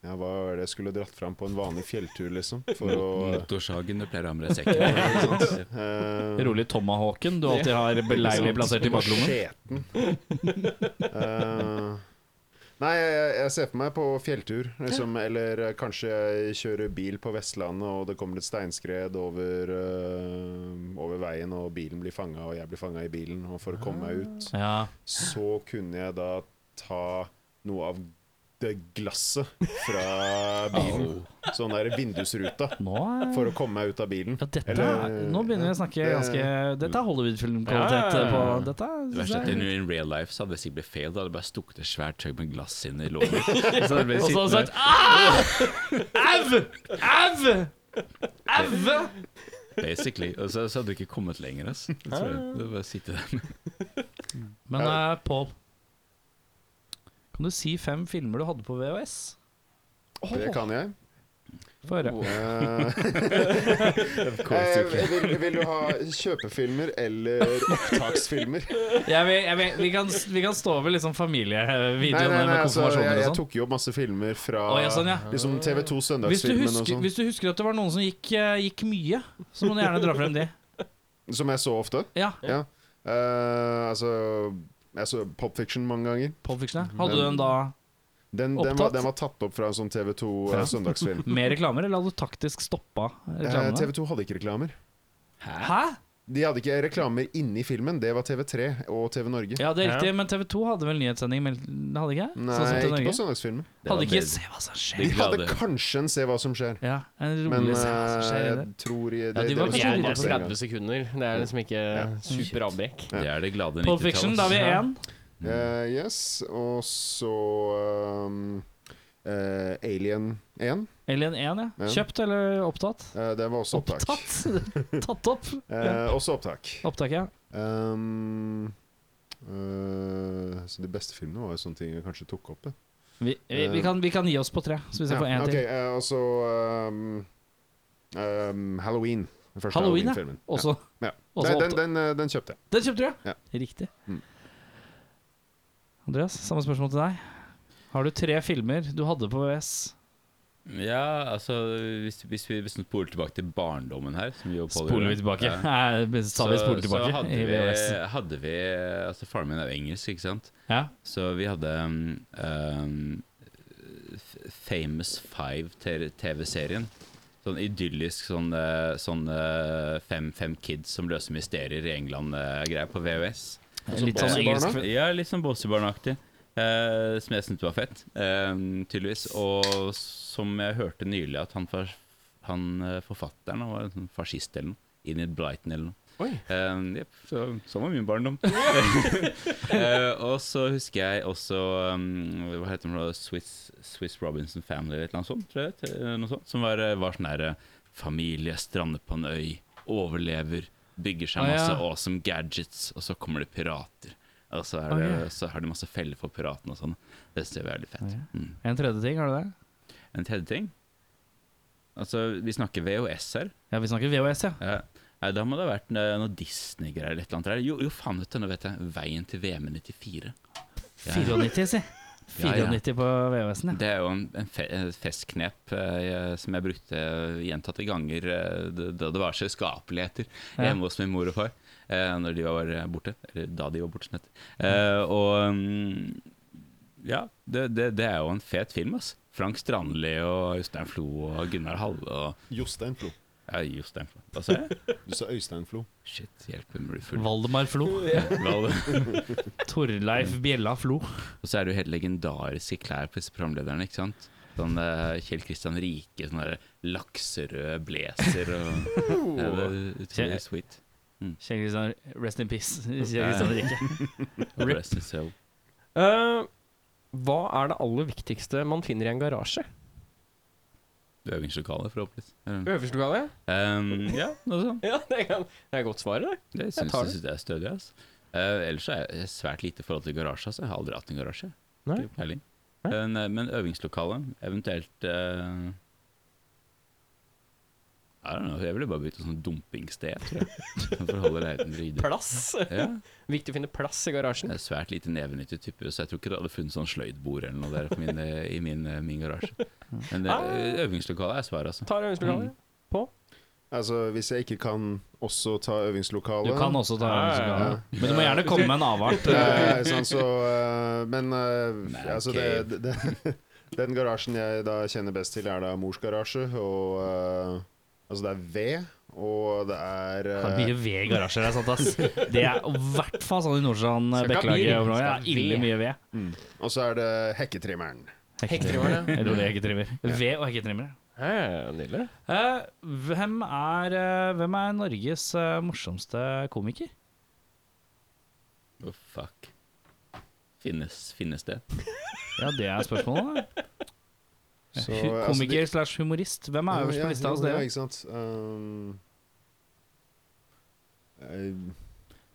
[SPEAKER 6] ja, Hva er det jeg skulle dratt fram på en vanlig fjelltur, liksom? For å
[SPEAKER 5] skjer. Motorsagen du pleier
[SPEAKER 2] *laughs*
[SPEAKER 5] å ha med deg i sekken.
[SPEAKER 6] eh,
[SPEAKER 2] Mm. Rolig tomahawken du alltid har beleilig plassert
[SPEAKER 6] Liksom,
[SPEAKER 2] i baklommen.
[SPEAKER 6] Macheten. Eh, nei, jeg, jeg ser for meg på fjelltur. Liksom, eller eh, kanskje jeg kjører bil på Vestlandet, og det kommer et steinskred over, eh, over veien, og bilen blir fanga, og jeg blir fanga i bilen. Og for å komme meg ut,
[SPEAKER 2] Ja.
[SPEAKER 6] så kunne jeg da ta noe av det glasset fra bilen. Sånn der vindusruta.
[SPEAKER 2] Nå er
[SPEAKER 6] For å komme meg ut av bilen.
[SPEAKER 2] ja, dette, er-
[SPEAKER 6] Eller-
[SPEAKER 2] nå begynner vi å snakke
[SPEAKER 6] Det-
[SPEAKER 2] ganske Dette er Hollywood-filmkvalitet
[SPEAKER 1] Ja, ja,
[SPEAKER 2] på
[SPEAKER 1] ja.
[SPEAKER 2] dette.
[SPEAKER 5] Det verste er at in, in real life så hadde det sikkert blitt feil. Da hadde det bare stukket et svært tøy med glass inn
[SPEAKER 2] *laughs*
[SPEAKER 5] i låret. Og så hadde det blitt
[SPEAKER 2] Og så har han
[SPEAKER 5] sittende-
[SPEAKER 2] sagt "Ah! Au! Au! Aue!
[SPEAKER 5] Basically. Og så, så hadde du ikke kommet lenger. ass. Det tror jeg. Det bare sitte der.
[SPEAKER 2] Men uh, Pål, kan du si fem filmer du hadde på VHS?
[SPEAKER 6] Det kan jeg.
[SPEAKER 2] Få høre.
[SPEAKER 6] Eh, vil, vil du ha kjøpefilmer
[SPEAKER 2] *laughs*
[SPEAKER 6] eller opptaksfilmer?
[SPEAKER 2] Jeg vil, jeg vil, vi, kan, vi kan stå over liksom
[SPEAKER 6] Nei,
[SPEAKER 2] familievideoene
[SPEAKER 6] nei, nei,
[SPEAKER 2] med
[SPEAKER 6] altså, jeg,
[SPEAKER 2] konfirmasjoner
[SPEAKER 6] jeg
[SPEAKER 2] og sånn.
[SPEAKER 6] tok jo opp masse filmer fra
[SPEAKER 2] Å, ja, sånn, ja.
[SPEAKER 6] liksom TV2
[SPEAKER 2] Hvis du,
[SPEAKER 6] Søndagsfilmen og
[SPEAKER 2] husker,
[SPEAKER 6] sånn.
[SPEAKER 2] hvis du husker at det var noen som gikk, eh, gikk mye, så må du gjerne dra frem de.
[SPEAKER 6] Som jeg så ofte.
[SPEAKER 2] Ja,
[SPEAKER 6] Ja. Eh, altså jeg så Pop Fiction mange ganger.
[SPEAKER 2] Pulp Fiction. ja. Hadde du den da
[SPEAKER 6] Den, den, var,
[SPEAKER 2] Opptatt?
[SPEAKER 6] den var tatt opp fra en sånn TV2 eh, søndagsfilm.
[SPEAKER 2] med reklamer, eller hadde du taktisk stoppa
[SPEAKER 6] Eh,
[SPEAKER 2] reklamene?
[SPEAKER 6] TV2 hadde ikke reklamer.
[SPEAKER 2] Hæ?
[SPEAKER 6] De hadde ikke reklamer inni filmen. Det var TV3 og TV Norge.
[SPEAKER 2] Ja, det er riktig, men TV2 hadde vel nyhetssending, men hadde ikke?
[SPEAKER 6] Nei,
[SPEAKER 2] sånn som til
[SPEAKER 6] ikke på
[SPEAKER 2] Norge?
[SPEAKER 6] søndagsfilmen.
[SPEAKER 5] Det var
[SPEAKER 2] Hadde ikke
[SPEAKER 5] bedre.
[SPEAKER 2] Se hva som
[SPEAKER 6] De
[SPEAKER 2] skjer.
[SPEAKER 5] Det-
[SPEAKER 6] hadde
[SPEAKER 5] glade.
[SPEAKER 6] kanskje en Se hva som skjer,
[SPEAKER 2] Ja, en
[SPEAKER 6] men
[SPEAKER 2] rolig Se hva som
[SPEAKER 6] eh,
[SPEAKER 2] skjer. i
[SPEAKER 6] jeg
[SPEAKER 2] det.
[SPEAKER 6] tror i-
[SPEAKER 2] Ja, de var
[SPEAKER 6] det- det
[SPEAKER 1] Det
[SPEAKER 2] kanskje
[SPEAKER 1] er
[SPEAKER 6] sånn
[SPEAKER 2] litt
[SPEAKER 1] bare
[SPEAKER 6] masse en gang.
[SPEAKER 1] 30 sekunder. Det er liksom ikke superavbrekk.
[SPEAKER 5] Det er det glade 90-tallet.
[SPEAKER 2] Pulp Fiction, da er vi
[SPEAKER 5] ass.
[SPEAKER 2] én.
[SPEAKER 6] Eh, yes, og så um, eh, Alien 1.
[SPEAKER 2] Alien 1,
[SPEAKER 6] Ja.
[SPEAKER 2] ja. Kjøpt eller opptatt?
[SPEAKER 6] Eh, det var også opptak.
[SPEAKER 2] Opptatt? *laughs* Tatt opp?
[SPEAKER 6] Eh, også opptak.
[SPEAKER 2] Opptak, ja.
[SPEAKER 6] Um, eh, så de beste filmene var jo sånne ting jeg kanskje tok opp. ja.
[SPEAKER 2] Vi, vi, vi, kan, vi kan gi oss på tre, så vi ser på
[SPEAKER 6] Eh.
[SPEAKER 2] én
[SPEAKER 6] Ja, ok,
[SPEAKER 2] til.
[SPEAKER 6] eh, og så um, um, Halloween. Den første
[SPEAKER 2] Halloween, ja.
[SPEAKER 6] Halloween-filmen.
[SPEAKER 2] Også.
[SPEAKER 6] Ja.
[SPEAKER 2] også
[SPEAKER 6] Nei, den,
[SPEAKER 2] opptak.
[SPEAKER 6] den, eh, den kjøpte jeg.
[SPEAKER 2] Den kjøpte du,
[SPEAKER 6] Ja.
[SPEAKER 2] ja? Riktig.
[SPEAKER 6] Mm.
[SPEAKER 2] Andreas, samme spørsmål til deg. Har du tre filmer du hadde på VS?
[SPEAKER 5] Ja, altså Hvis, hvis vi hvis vi spoler tilbake til barndommen her som vi jo pådører-
[SPEAKER 2] Spoler vi tilbake?
[SPEAKER 5] Ja.
[SPEAKER 2] Nei, men *laughs* sa vi spoler
[SPEAKER 5] så
[SPEAKER 2] tilbake
[SPEAKER 5] hadde
[SPEAKER 2] i VHS.
[SPEAKER 5] vi, hadde vi Altså Faren min er jo engelsk, ikke sant?
[SPEAKER 2] Ja.
[SPEAKER 5] Så vi hadde um, um, F- Famous Five te- TV-serien. Sånn idyllisk sånn, eh, sånn eh, fem, fem kids som løser mysterier i England-greier på VHS.
[SPEAKER 2] Litt sånn
[SPEAKER 5] Båsebarna?
[SPEAKER 2] engelsk
[SPEAKER 5] Ja, litt sånn Båsebarn-aktig. eh, som jeg syntes var fett, eh, tydeligvis. Og som jeg hørte nylig, at han, for, han eh, forfatteren han var en sånn fascist eller noe. Enid Blyton eller noe.
[SPEAKER 1] Oi.
[SPEAKER 5] Eh, jep, så, sånn var min barndom. Eh, og så husker jeg også um, Hva heter det? for noe? Swiss, Swiss Robinson Family eller et eller annet sånt, tror jeg. det het, eller Noe sånt som var, eh, var sånn her eh, Familie strander på en øy, overlever, bygger seg
[SPEAKER 2] Å, ja.
[SPEAKER 5] masse awesome gadgets, og så kommer det pirater. Og så, er det,
[SPEAKER 2] Å, ja.
[SPEAKER 5] så har de masse feller for piratene og sånn. Det synes jeg er veldig fett.
[SPEAKER 2] Å, ja.
[SPEAKER 5] Mm.
[SPEAKER 2] En tredje ting, har du det?
[SPEAKER 5] En tredje ting Altså, vi snakker VHS her.
[SPEAKER 2] Ja, vi snakker VHS, ja.
[SPEAKER 5] Ja. Nei, Da må det ha vært eh, noe Disney-greier eller et eller annet. der. Jo, jo faen, vet du, nå vet jeg. Veien til VM-94.
[SPEAKER 2] 94, si.
[SPEAKER 5] Ja, ja.
[SPEAKER 2] 94 på VHS-en, ja.
[SPEAKER 5] Det er jo en, en, fe, en festknep eh, jeg- som jeg brukte gjentatte ganger eh, da da det var selskapeligheter
[SPEAKER 2] Ja.
[SPEAKER 5] hjemme hos min mor og far. eh, Når de var borte. Eller da de var borte, som det heter. Eh, Og mm, ja, det, det, det er jo en fet film, ass. Frank Strandli og Jostein Flo og Gunnar Halle og
[SPEAKER 6] Jostein Flo.
[SPEAKER 5] ja, Jostein Flo. Hva sa jeg?
[SPEAKER 6] Du sa Øystein Flo.
[SPEAKER 5] *laughs* Shit, hjelp meg, blir full.
[SPEAKER 2] Valdemar Flo.
[SPEAKER 5] Val-
[SPEAKER 2] Torleif Bjella Flo.
[SPEAKER 5] Og så er det jo helt legendariske klær på disse programlederne, ikke sant? Sånn eh, Kjell Kristian Rike, sånn der lakserød blazer og ja, det er Utrolig sweet.
[SPEAKER 2] Kjell Kristian Rest in peace. Kjell Kristian Rikke.
[SPEAKER 5] Og forresten så
[SPEAKER 1] Eh, hva er det aller viktigste man finner i en garasje?
[SPEAKER 5] øvingslokalet, forhåpentligvis. Um,
[SPEAKER 1] Øverste lokale?
[SPEAKER 5] ja, noe
[SPEAKER 1] *laughs*
[SPEAKER 5] sånt.
[SPEAKER 1] Ja, det kan- det er godt svar, det.
[SPEAKER 5] Det syns
[SPEAKER 1] tar
[SPEAKER 5] jeg
[SPEAKER 1] det.
[SPEAKER 5] synes det er stødig. Altså. Eh, ellers så er jeg svært lite i forhold til garasje. Altså. Jeg har aldri hatt en garasje.
[SPEAKER 1] Nei.
[SPEAKER 5] Ikke peiling.
[SPEAKER 1] Nei.
[SPEAKER 5] Men, eh, men øvingslokale, eventuelt eh, I don't know, Jeg ville bare bytte sånn dumpingsted, tror jeg.
[SPEAKER 1] *laughs*
[SPEAKER 5] For å holde leiligheten ryddig.
[SPEAKER 1] Plass.
[SPEAKER 5] Ja.
[SPEAKER 1] Viktig å finne plass i
[SPEAKER 5] Jeg
[SPEAKER 1] garasjen.
[SPEAKER 5] er svært lite nevenyttig type, så jeg tror ikke det hadde funnet sånn sløydbord eller noe der på min, eh, i min, min garasje. Men
[SPEAKER 2] Ah.
[SPEAKER 5] det, øvingslokalet er svaret, altså.
[SPEAKER 1] Tar øvingslokalet.
[SPEAKER 6] Altså, hvis jeg ikke kan også ta øvingslokalet
[SPEAKER 2] Du kan også ta
[SPEAKER 1] Ja, ja, ja.
[SPEAKER 2] øvingslokalet. Men du må gjerne komme med en
[SPEAKER 1] *laughs*
[SPEAKER 2] avart.
[SPEAKER 6] Eh, sånn, så, eh, men eh,
[SPEAKER 5] Man
[SPEAKER 6] altså det, det, det, *laughs* den garasjen jeg da kjenner best til, er da mors garasje. Og eh, altså det er ved, og det er
[SPEAKER 2] Det
[SPEAKER 6] eh,
[SPEAKER 2] er mye ved i garasjer, det er sant, ass. Det er i hvert fall sånn i Nordstrand,
[SPEAKER 1] Skal ikke ha
[SPEAKER 2] Bekkelaget
[SPEAKER 1] bil,
[SPEAKER 2] og Blå. Ja,
[SPEAKER 1] skal ha
[SPEAKER 2] ille
[SPEAKER 1] ved.
[SPEAKER 2] mye ved.
[SPEAKER 6] mm, Og så er det hekketrimmeren.
[SPEAKER 1] Hekketrimmeren, ja.
[SPEAKER 2] Eller det hekketrimmer. Ved og hekketrimmer.
[SPEAKER 1] Ja, Nydelig.
[SPEAKER 2] Eh, hvem, er, eh, hvem er Norges eh, morsomste komiker?
[SPEAKER 5] Å, Oh, fuck. Finnes, finnes det?
[SPEAKER 2] Ja, det er spørsmålet. da.
[SPEAKER 6] Så,
[SPEAKER 2] Hu-
[SPEAKER 6] altså,
[SPEAKER 2] Komiker slash humorist. Hvem er øverst
[SPEAKER 6] Ja,
[SPEAKER 2] på lista hos
[SPEAKER 6] jo, Ja,
[SPEAKER 2] dere?
[SPEAKER 6] ikke sant. Um, jeg,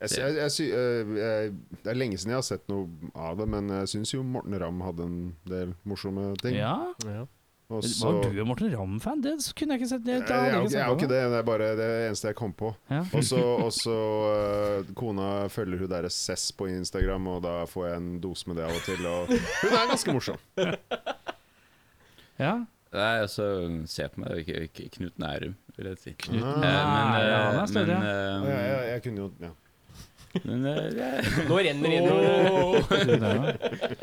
[SPEAKER 6] jeg, sy- jeg, jeg, sy- eh, jeg, det er lenge siden jeg har sett noe av det, men jeg syns jo Morten Ramm hadde en del morsomme ting.
[SPEAKER 2] Ja,
[SPEAKER 6] Og så-
[SPEAKER 2] Var du en Morten Ramm-fan? Det kunne jeg ikke sett. Det,
[SPEAKER 6] Jeg
[SPEAKER 2] da hadde
[SPEAKER 6] er jo
[SPEAKER 2] jeg
[SPEAKER 6] ikke-
[SPEAKER 2] snakket
[SPEAKER 6] jeg er jo ikke
[SPEAKER 2] om det.
[SPEAKER 6] det, det er bare det eneste jeg kom på.
[SPEAKER 2] Ja.
[SPEAKER 6] Og så og så, eh, Kona følger hun derre Cess på Instagram, og da får jeg en dose med det av og til. Og hun er ganske *laughs* morsom.
[SPEAKER 2] Ja.
[SPEAKER 5] Nei, altså, se på meg. K- K- Knut Nærum, vil jeg si.
[SPEAKER 6] Knut
[SPEAKER 5] Eh,
[SPEAKER 2] Nærum, ja, han er
[SPEAKER 5] men,
[SPEAKER 2] stødig, ja.
[SPEAKER 5] eh,
[SPEAKER 6] Jeg, jeg, jeg kunne jo ja.
[SPEAKER 5] men, eh, ja.
[SPEAKER 1] Nå renner det inn.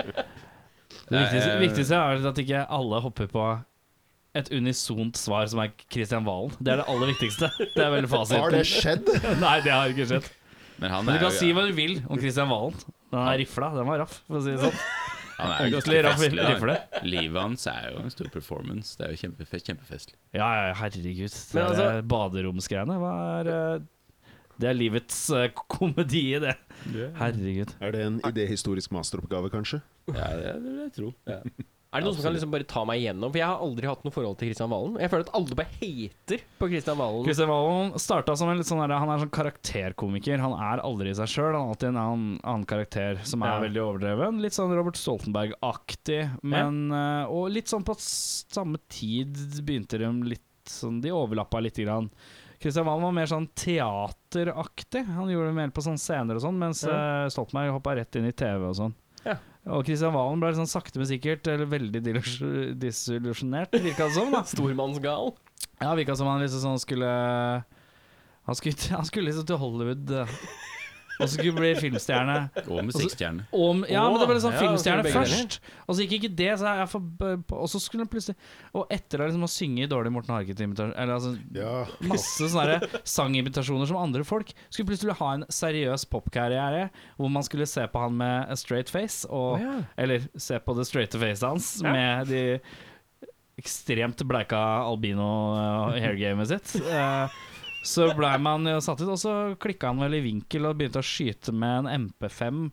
[SPEAKER 2] Det viktigste,
[SPEAKER 5] Nei, eh,
[SPEAKER 2] viktigste er at ikke alle hopper på et unisont svar som er Kristian Valen. Det er det aller viktigste. Det er veldig
[SPEAKER 6] Har det
[SPEAKER 2] fasit.
[SPEAKER 6] skjedd?
[SPEAKER 2] Nei, det har ikke skjedd.
[SPEAKER 5] men han
[SPEAKER 2] Men
[SPEAKER 5] er
[SPEAKER 2] du kan si
[SPEAKER 5] jo
[SPEAKER 2] hva du vil om Kristian Valen. Den er rifla. Den var raff, for å si det sånn.
[SPEAKER 5] han er jo ganske
[SPEAKER 2] Ordentlig raff
[SPEAKER 5] festlig. da.
[SPEAKER 2] rifle.
[SPEAKER 5] Livet hans er jo en stor performance. Det er jo kjempefe kjempefestlig.
[SPEAKER 2] Ja, ja, herregud. Det
[SPEAKER 1] Men
[SPEAKER 2] er
[SPEAKER 1] altså-
[SPEAKER 2] eh, baderomsgreiene. Hva er eh, Det er livets eh, komedie, det. Herregud.
[SPEAKER 6] Er det en idéhistorisk masteroppgave, kanskje?
[SPEAKER 5] Ja, det det vil jeg tro. Ja.
[SPEAKER 1] Er det noen som kan liksom bare ta meg igjennom? For jeg har aldri hatt noe forhold til Kristian Valen. Jeg føler at alle bare hater på Kristian Valen.
[SPEAKER 2] Christian Valen starta som en litt sånn der, Han er sånn karakterkomiker. Han er aldri seg sjøl. Han er alltid en annen, annen karakter som er
[SPEAKER 1] Ja.
[SPEAKER 2] veldig overdreven. Litt sånn Robert Stoltenberg-aktig. Men eh, Og litt sånn på s- samme tid begynte de litt sånn De overlappa lite grann. Kristian Valen var mer sånn teateraktig. Han gjorde det mer på sånn scener og sånn, mens eh, Stoltenberg hoppa rett inn i TV og sånn.
[SPEAKER 1] Ja.
[SPEAKER 2] Og Kristian Valen ble sånn sakte, men sikkert eller veldig dilus- disillusjonert, virka det som. da
[SPEAKER 1] Stormannsgal.
[SPEAKER 2] ja, virka som han liksom sånn skulle Han skulle, han skulle liksom til Hollywood eh, og så skulle bli filmstjerne.
[SPEAKER 5] Og
[SPEAKER 2] Altså,
[SPEAKER 5] musikkstjerne.
[SPEAKER 2] Om, ja,
[SPEAKER 1] Åh,
[SPEAKER 2] men det ble liksom
[SPEAKER 1] ja,
[SPEAKER 2] filmstjerne
[SPEAKER 1] skulle begge
[SPEAKER 2] først. Og så gikk ikke det, så jeg forb- og så skulle han plutselig Og etter å liksom å synge i dårlig Morten Harket-imitasjon Eller altså
[SPEAKER 6] Ja.
[SPEAKER 2] masse sånne der sangimitasjoner som andre folk, skulle plutselig ha en seriøs popkarriere hvor man skulle se på han med a straight face, og, eller se på det straighte facet hans med de ekstremt bleika albino-hairgamet sitt. Eh, så ble man jo satt ut, og så klikka han vel i vinkel og begynte å skyte med en MP5.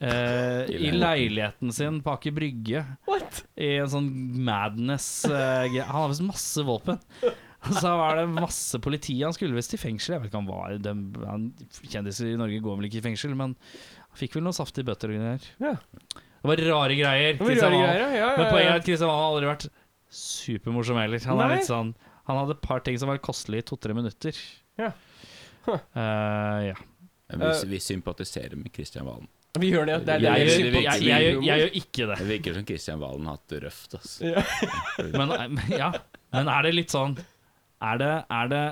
[SPEAKER 2] eh, I leiligheten sin på Aker Brygge. I en sånn madness. eh, gre- han har visst masse våpen. Og *laughs* så var det masse politi. Han skulle visst i fengsel. Jeg vet ikke om han var døm- han, Kjendiser i Norge går vel ikke i fengsel, men han fikk vel noen saftige bøtter og greier.
[SPEAKER 1] Ja.
[SPEAKER 2] Det var rare greier.
[SPEAKER 1] Det var
[SPEAKER 2] Kristian
[SPEAKER 1] rare
[SPEAKER 2] Valen.
[SPEAKER 1] greier, ja, ja,
[SPEAKER 2] Men
[SPEAKER 1] ja.
[SPEAKER 2] poenget er at Kristian Valen har aldri vært supermorsom heller. Han er
[SPEAKER 1] Nei.
[SPEAKER 2] litt sånn Han hadde et par ting som var kostelige i to-tre minutter.
[SPEAKER 1] Ja.
[SPEAKER 2] Eh, ja.
[SPEAKER 5] Vi, vi sympatiserer med Kristian Valen.
[SPEAKER 1] Vi gjør det. Det er det
[SPEAKER 2] Jeg,
[SPEAKER 1] vi
[SPEAKER 2] gjør-
[SPEAKER 5] det
[SPEAKER 1] sympatiserer
[SPEAKER 2] jeg,
[SPEAKER 5] virkelig-
[SPEAKER 2] jeg, gjør-
[SPEAKER 1] med.
[SPEAKER 2] jeg gjør ikke det.
[SPEAKER 5] Det virker som Kristian Valen har hatt det røft. altså. ass.
[SPEAKER 2] Men, eh, men- ja. men er det litt sånn Er det, er det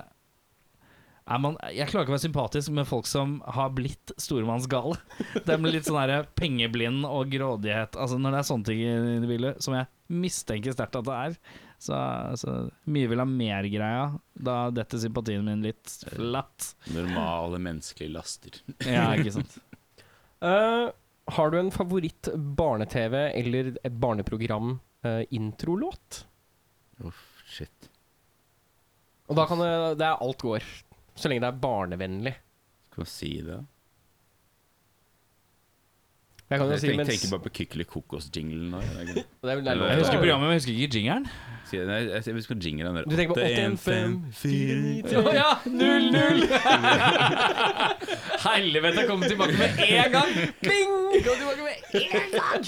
[SPEAKER 2] er man, jeg klarer ikke å være sympatisk med folk som har blitt stormannsgale. De blir litt sånn der pengeblind og grådighet. Altså Når det er sånne ting i det bildet, som jeg mistenker sterkt at det er, så, så mye vil ha mer-greia. Da detter sympatien min litt flatt.
[SPEAKER 5] Normale menneskelige laster.
[SPEAKER 2] Ja, ikke sant.
[SPEAKER 1] Eh, har du en favoritt barne-TV eller et barneprogram eh, introlåt?
[SPEAKER 5] Uff, shit.
[SPEAKER 1] Og da kan det, det er alt går. Så lenge det er barnevennlig.
[SPEAKER 5] Skal man si det?
[SPEAKER 1] Jeg kan jo
[SPEAKER 5] Jeg
[SPEAKER 1] si
[SPEAKER 5] tenker,
[SPEAKER 1] mens
[SPEAKER 5] tenker bare på Kykkeli Kokos-jinglen nå. Jeg,
[SPEAKER 1] Det
[SPEAKER 5] jeg,
[SPEAKER 1] er vel- det er lov.
[SPEAKER 2] Jeg husker
[SPEAKER 5] Ja.
[SPEAKER 1] *laughs*
[SPEAKER 2] programmet, men jeg husker ikke jingeren.
[SPEAKER 5] Si det. Nei, jeg, jeg husker jinglen der.
[SPEAKER 1] Du tenker på
[SPEAKER 5] 81,
[SPEAKER 1] 85,
[SPEAKER 5] 4,
[SPEAKER 2] Å ja! 0-0! Helvete, jeg kom tilbake med én gang! Bing! Kom tilbake med én gang!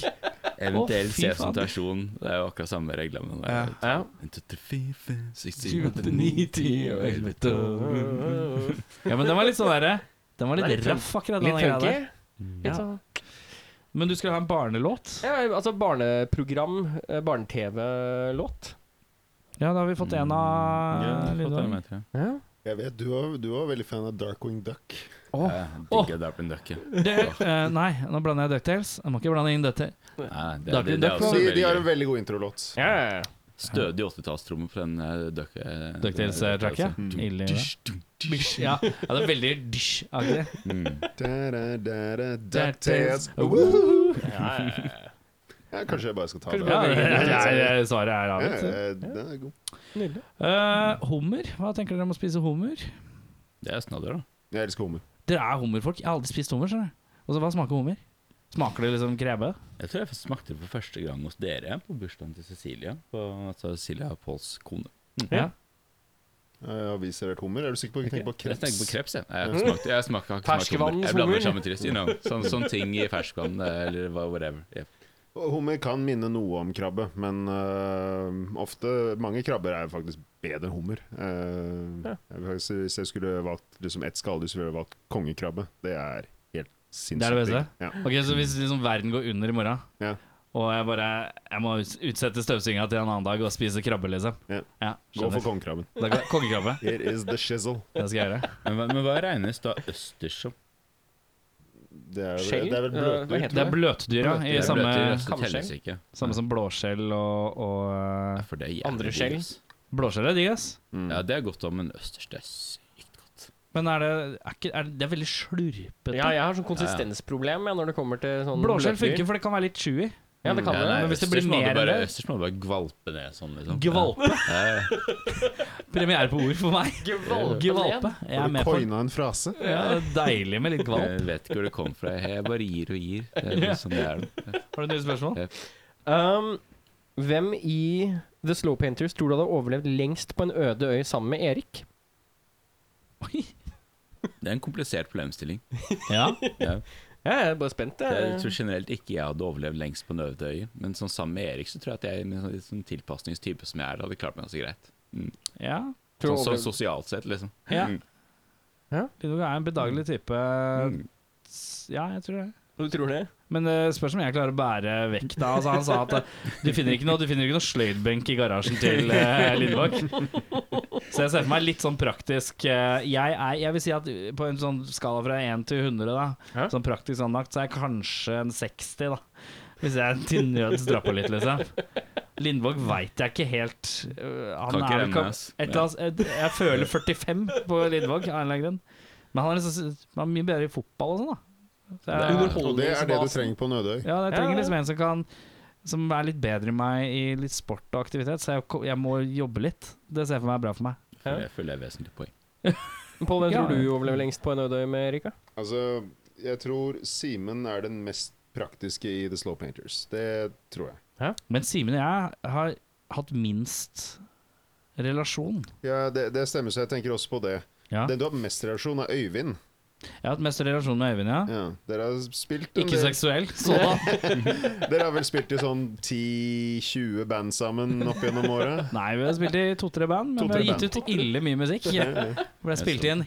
[SPEAKER 2] Å,
[SPEAKER 5] Eventuell
[SPEAKER 2] fy faen.
[SPEAKER 5] C-presentasjon. Det er jo akkurat samme reglene. men det er-
[SPEAKER 1] Ja.
[SPEAKER 5] 1, 2, 3, 4, 5, 6, 7, 8, 9, 10 og 11.
[SPEAKER 1] Litt
[SPEAKER 2] Ja, men den var litt sånn derre Den var
[SPEAKER 1] Nei, litt
[SPEAKER 2] litt raff, akkurat den greia
[SPEAKER 1] funky.
[SPEAKER 2] der.
[SPEAKER 1] Litt
[SPEAKER 2] Ja.
[SPEAKER 1] sånn.
[SPEAKER 2] Men du skulle ha en barnelåt?
[SPEAKER 1] Ja, altså barneprogram, eh, barne-TV-låt.
[SPEAKER 2] Ja, da har vi fått en
[SPEAKER 5] Ja,
[SPEAKER 2] av
[SPEAKER 5] fått det
[SPEAKER 2] lydene.
[SPEAKER 5] med, tror jeg.
[SPEAKER 1] Ja.
[SPEAKER 6] Jeg vet du var, du var veldig fan av Darkwing Duck.
[SPEAKER 1] Åh.
[SPEAKER 5] Ja, jeg digger Darkwing Duck, ja.
[SPEAKER 2] Eh, nei, nå blander jeg Ducktales. Jeg må ikke blande inn Ducktales.
[SPEAKER 5] Nei, det-
[SPEAKER 2] Darkwing
[SPEAKER 5] det- det er
[SPEAKER 2] Duck
[SPEAKER 5] også
[SPEAKER 2] var-
[SPEAKER 6] De,
[SPEAKER 5] veldig
[SPEAKER 6] de har
[SPEAKER 5] gøy.
[SPEAKER 6] en veldig god introlåt.
[SPEAKER 1] Ja.
[SPEAKER 5] Stødig 80-tallstromme på den eh, duck... eh,
[SPEAKER 2] Ducktales-tracket.
[SPEAKER 1] Mm.
[SPEAKER 5] Dum,
[SPEAKER 2] Ille.
[SPEAKER 5] dysj, dum, dysj.
[SPEAKER 2] Ja, ja, det er veldig dysj-aktig.
[SPEAKER 5] Mm.
[SPEAKER 6] Da, da, da, da,
[SPEAKER 2] Ducktales.
[SPEAKER 6] DuckTales. Woohoo! Ja, kanskje jeg bare skal ta
[SPEAKER 1] Kanskje
[SPEAKER 6] det.
[SPEAKER 2] Ja, det, det, det, svaret er
[SPEAKER 6] Ja,
[SPEAKER 2] avgitt.
[SPEAKER 6] eh, den er god.
[SPEAKER 2] Eh, hummer? Hva tenker dere om å spise hummer?
[SPEAKER 5] Det er snadder, da.
[SPEAKER 6] Jeg elsker hummer.
[SPEAKER 2] Dere er hummerfolk. Jeg har aldri spist hummer. skjønner du. Og så Hva smaker hummer? Smaker det liksom krebe?
[SPEAKER 5] Jeg tror jeg smakte det for første gang hos dere på bursdagen til Cecilie. På, altså Cecilie er Pauls kone.
[SPEAKER 2] Ja.
[SPEAKER 6] Eh, Har vi servert hummer? Er du sikker på ikke tenker på
[SPEAKER 5] Jeg tenker på
[SPEAKER 6] kreps?
[SPEAKER 5] kreps, jeg. Jeg har ikke smakt- jeg har smakt- har ikke smakt
[SPEAKER 1] Ferskvann
[SPEAKER 5] hummer. Jeg
[SPEAKER 1] som hummer.
[SPEAKER 5] blander sammen til det. You know. Sånn- Sånne ting i ferskvann eh, eller hva- whatever. Yep.
[SPEAKER 6] Hummer kan minne noe om krabbe, men eh, ofte Mange krabber er faktisk bedre enn hummer. Eh, jeg vil faktisk si, hvis jeg skulle valgt liksom ett skalldyr, så ville jeg valgt kongekrabbe. Det er helt sinnssykt.
[SPEAKER 2] Det er det beste?
[SPEAKER 6] digg. Ja.
[SPEAKER 2] Ok, Så hvis liksom verden går under i morgen,
[SPEAKER 6] Ja.
[SPEAKER 2] og jeg bare Jeg må uts- utsette støvsuginga til en annen dag og spise krabbe, liksom.
[SPEAKER 6] Ja. Gå
[SPEAKER 2] skjønner.
[SPEAKER 6] for kongekrabben.
[SPEAKER 2] Da kan-
[SPEAKER 6] *laughs*
[SPEAKER 2] Kongekrabbe.
[SPEAKER 6] It is the shizzle.
[SPEAKER 2] Det skal jeg gjøre.
[SPEAKER 5] Men, hva- men hva regnes da østers som?
[SPEAKER 6] Det er,
[SPEAKER 1] Skjell?
[SPEAKER 6] det er vel
[SPEAKER 1] Eh, hva
[SPEAKER 6] bløtdyr.
[SPEAKER 1] heter
[SPEAKER 2] Det er bløtdyr, ja. I
[SPEAKER 5] Det
[SPEAKER 2] samme,
[SPEAKER 5] bløter, øster
[SPEAKER 1] kamskjell.
[SPEAKER 5] telles ikke.
[SPEAKER 2] samme som blåskjell og, og
[SPEAKER 5] Ja,
[SPEAKER 2] eh,
[SPEAKER 5] for det er jævlig
[SPEAKER 1] Andre
[SPEAKER 5] digg,
[SPEAKER 1] skjell.
[SPEAKER 5] ass.
[SPEAKER 2] Blåskjell er digg, ass.
[SPEAKER 5] Ja, det er godt da, men østers det er sykt godt.
[SPEAKER 2] Men er det er ikke, er det, det er veldig slurpete.
[SPEAKER 1] ja, jeg har sånn konsistensproblem jeg, når det kommer til sånn
[SPEAKER 2] Blåskjell
[SPEAKER 1] bløtdyr.
[SPEAKER 2] funker, for det kan være litt chewy.
[SPEAKER 1] Ja, det kan
[SPEAKER 5] Mm, Ja,
[SPEAKER 1] det.
[SPEAKER 5] nei,
[SPEAKER 2] men hvis det
[SPEAKER 5] østers
[SPEAKER 2] blir
[SPEAKER 5] må du
[SPEAKER 2] mer enn
[SPEAKER 5] bare-
[SPEAKER 2] det-
[SPEAKER 5] Østers må du bare gvalpe ned sånn, liksom.
[SPEAKER 2] Gvalpe.
[SPEAKER 5] Ja. Ja, ja.
[SPEAKER 2] Premiere på ord for meg.
[SPEAKER 1] Gvalpe.
[SPEAKER 2] Gvalpe. Jeg er
[SPEAKER 6] Har du
[SPEAKER 2] med på det.
[SPEAKER 6] coina en frase?
[SPEAKER 2] Ja, det er deilig med litt gvalp.
[SPEAKER 5] Jeg vet ikke hvor det kom sånn, fra. Jeg bare gir og gir. Det er liksom det er det.
[SPEAKER 2] Har du nye spørsmål?
[SPEAKER 1] Um, Hvem i The Slow Painters tror du hadde overlevd lengst på en øde øy sammen med Erik?
[SPEAKER 5] Det er en komplisert problemstilling.
[SPEAKER 2] Ja.
[SPEAKER 5] Ja.
[SPEAKER 1] Jeg er bare spent.
[SPEAKER 5] Jeg
[SPEAKER 1] Jeg.
[SPEAKER 5] tror generelt ikke jeg hadde overlevd lengst på Nøvdøy men sånn sammen med Erik så tror jeg at jeg, med sånn, sånn tilpasningstype som jeg er, hadde klart meg ganske greit.
[SPEAKER 2] ja.
[SPEAKER 1] Tror
[SPEAKER 5] Sånn,
[SPEAKER 1] du
[SPEAKER 5] sånn
[SPEAKER 1] overlevde-
[SPEAKER 5] sosialt sett, liksom.
[SPEAKER 2] ja.
[SPEAKER 5] Mm.
[SPEAKER 2] Ludvig er en bedagelig type.
[SPEAKER 5] Mm.
[SPEAKER 2] S- Ja, jeg tror det.
[SPEAKER 1] Du tror det?
[SPEAKER 2] Men det spørs om jeg klarer å bære vekta. Altså, han sa at eh, du finner ikke noe, du finner ikke noe sløydbenk i garasjen til eh, Lindvåg. Så jeg ser for meg litt sånn praktisk eh, jeg, er, jeg vil si at på en sånn skala fra 1 til 100, da,
[SPEAKER 1] Hæ?
[SPEAKER 2] sånn praktisk anlagt, så er jeg kanskje en 60, da. Hvis jeg til nøds drar på litt, liksom. Lindvåg veit jeg ikke helt. øh, Han
[SPEAKER 5] Kan ikke
[SPEAKER 2] er vel
[SPEAKER 5] regne,
[SPEAKER 2] kap-
[SPEAKER 5] ass.
[SPEAKER 2] et eller annet, eh, jeg, jeg føler 45 på Lindvåg av en eller annen grunn. Men han er, liksom, han er mye bedre i fotball og sånn, da. Så jeg-
[SPEAKER 6] Og det er det du trenger på Nødøy.
[SPEAKER 2] ja, jeg
[SPEAKER 1] Ja,
[SPEAKER 2] trenger
[SPEAKER 1] ja.
[SPEAKER 2] liksom en som kan Som er litt bedre enn meg i litt sport og aktivitet, så jeg, ko- jeg må jobbe litt. Det ser jeg for meg er bra for meg.
[SPEAKER 1] Ja.
[SPEAKER 5] Jeg føler jeg er vesentlig poeng.
[SPEAKER 1] Pål, hvem
[SPEAKER 2] Ja.
[SPEAKER 1] tror du overlever lengst på en øde øy med Erik? da?
[SPEAKER 6] Altså, jeg tror Simen er den mest praktiske i The Slow Painters. Det tror jeg.
[SPEAKER 2] Men Simen og jeg har hatt minst relasjon.
[SPEAKER 6] Ja, det, det stemmer, så jeg tenker også på det.
[SPEAKER 2] Ja.
[SPEAKER 6] Den du har mest relasjon, er Øyvind.
[SPEAKER 2] Jeg har hatt mest relasjon med Øyvind, ja.
[SPEAKER 6] Ja, dere har spilt en
[SPEAKER 2] Ikke
[SPEAKER 6] del-
[SPEAKER 2] seksuell, så da.
[SPEAKER 6] Dere har vel spilt i sånn 10-20 band sammen opp gjennom året?
[SPEAKER 2] *laughs* Nei, vi har spilt i to-tre band, men vi har
[SPEAKER 6] To-tre
[SPEAKER 2] gitt ut ille mye *laughs* musikk. For jeg spilte inn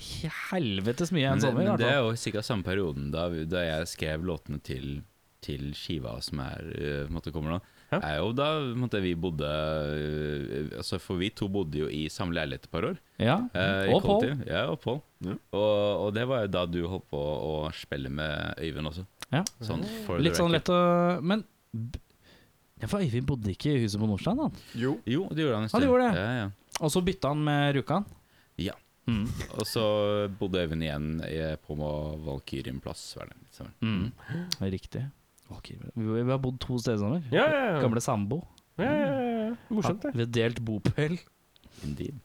[SPEAKER 2] helvetes mye
[SPEAKER 5] Men,
[SPEAKER 2] en
[SPEAKER 5] det-
[SPEAKER 2] sommer, i
[SPEAKER 5] men
[SPEAKER 2] hvert
[SPEAKER 5] det er
[SPEAKER 2] fall.
[SPEAKER 5] jo sikkert samme perioden da, vi- da jeg skrev låtene til, til skiva som er eh, på en måte kommer nå.
[SPEAKER 1] Ja.
[SPEAKER 5] Er jo da på en måte, vi bodde eh, altså, For vi to bodde jo i samme leilighet et par år.
[SPEAKER 2] Ja.
[SPEAKER 5] eh, i
[SPEAKER 2] Mhm. Og Pål.
[SPEAKER 5] kollektiv. Ja, og Pål.
[SPEAKER 6] Ja.
[SPEAKER 5] Og, og det var jo da du holdt på å spille med Øyvind også.
[SPEAKER 2] Ja.
[SPEAKER 5] Sånn for
[SPEAKER 2] Litt
[SPEAKER 5] the
[SPEAKER 2] sånn lett
[SPEAKER 5] record.
[SPEAKER 2] å Men b- ja, for Øyvind bodde ikke i huset på Nordstrand, han.
[SPEAKER 6] Jo.
[SPEAKER 5] Jo, det gjorde han
[SPEAKER 2] Han
[SPEAKER 5] en stund.
[SPEAKER 2] gjorde det.
[SPEAKER 5] Ja, ja.
[SPEAKER 2] Og så bytta han med Rjukan.
[SPEAKER 5] Ja.
[SPEAKER 2] Mm.
[SPEAKER 5] Og så bodde Øyvind igjen i- på Valkyrien plass. Var det litt sånn. sammen.
[SPEAKER 2] Mm. Riktig. Ok, Vi vi har bodd to steder sammen.
[SPEAKER 1] Ja, ja, ja.
[SPEAKER 2] Gamle sambo.
[SPEAKER 1] ja, ja, ja. Morsomt, det.
[SPEAKER 2] Vi har delt bopel.
[SPEAKER 5] Indeed.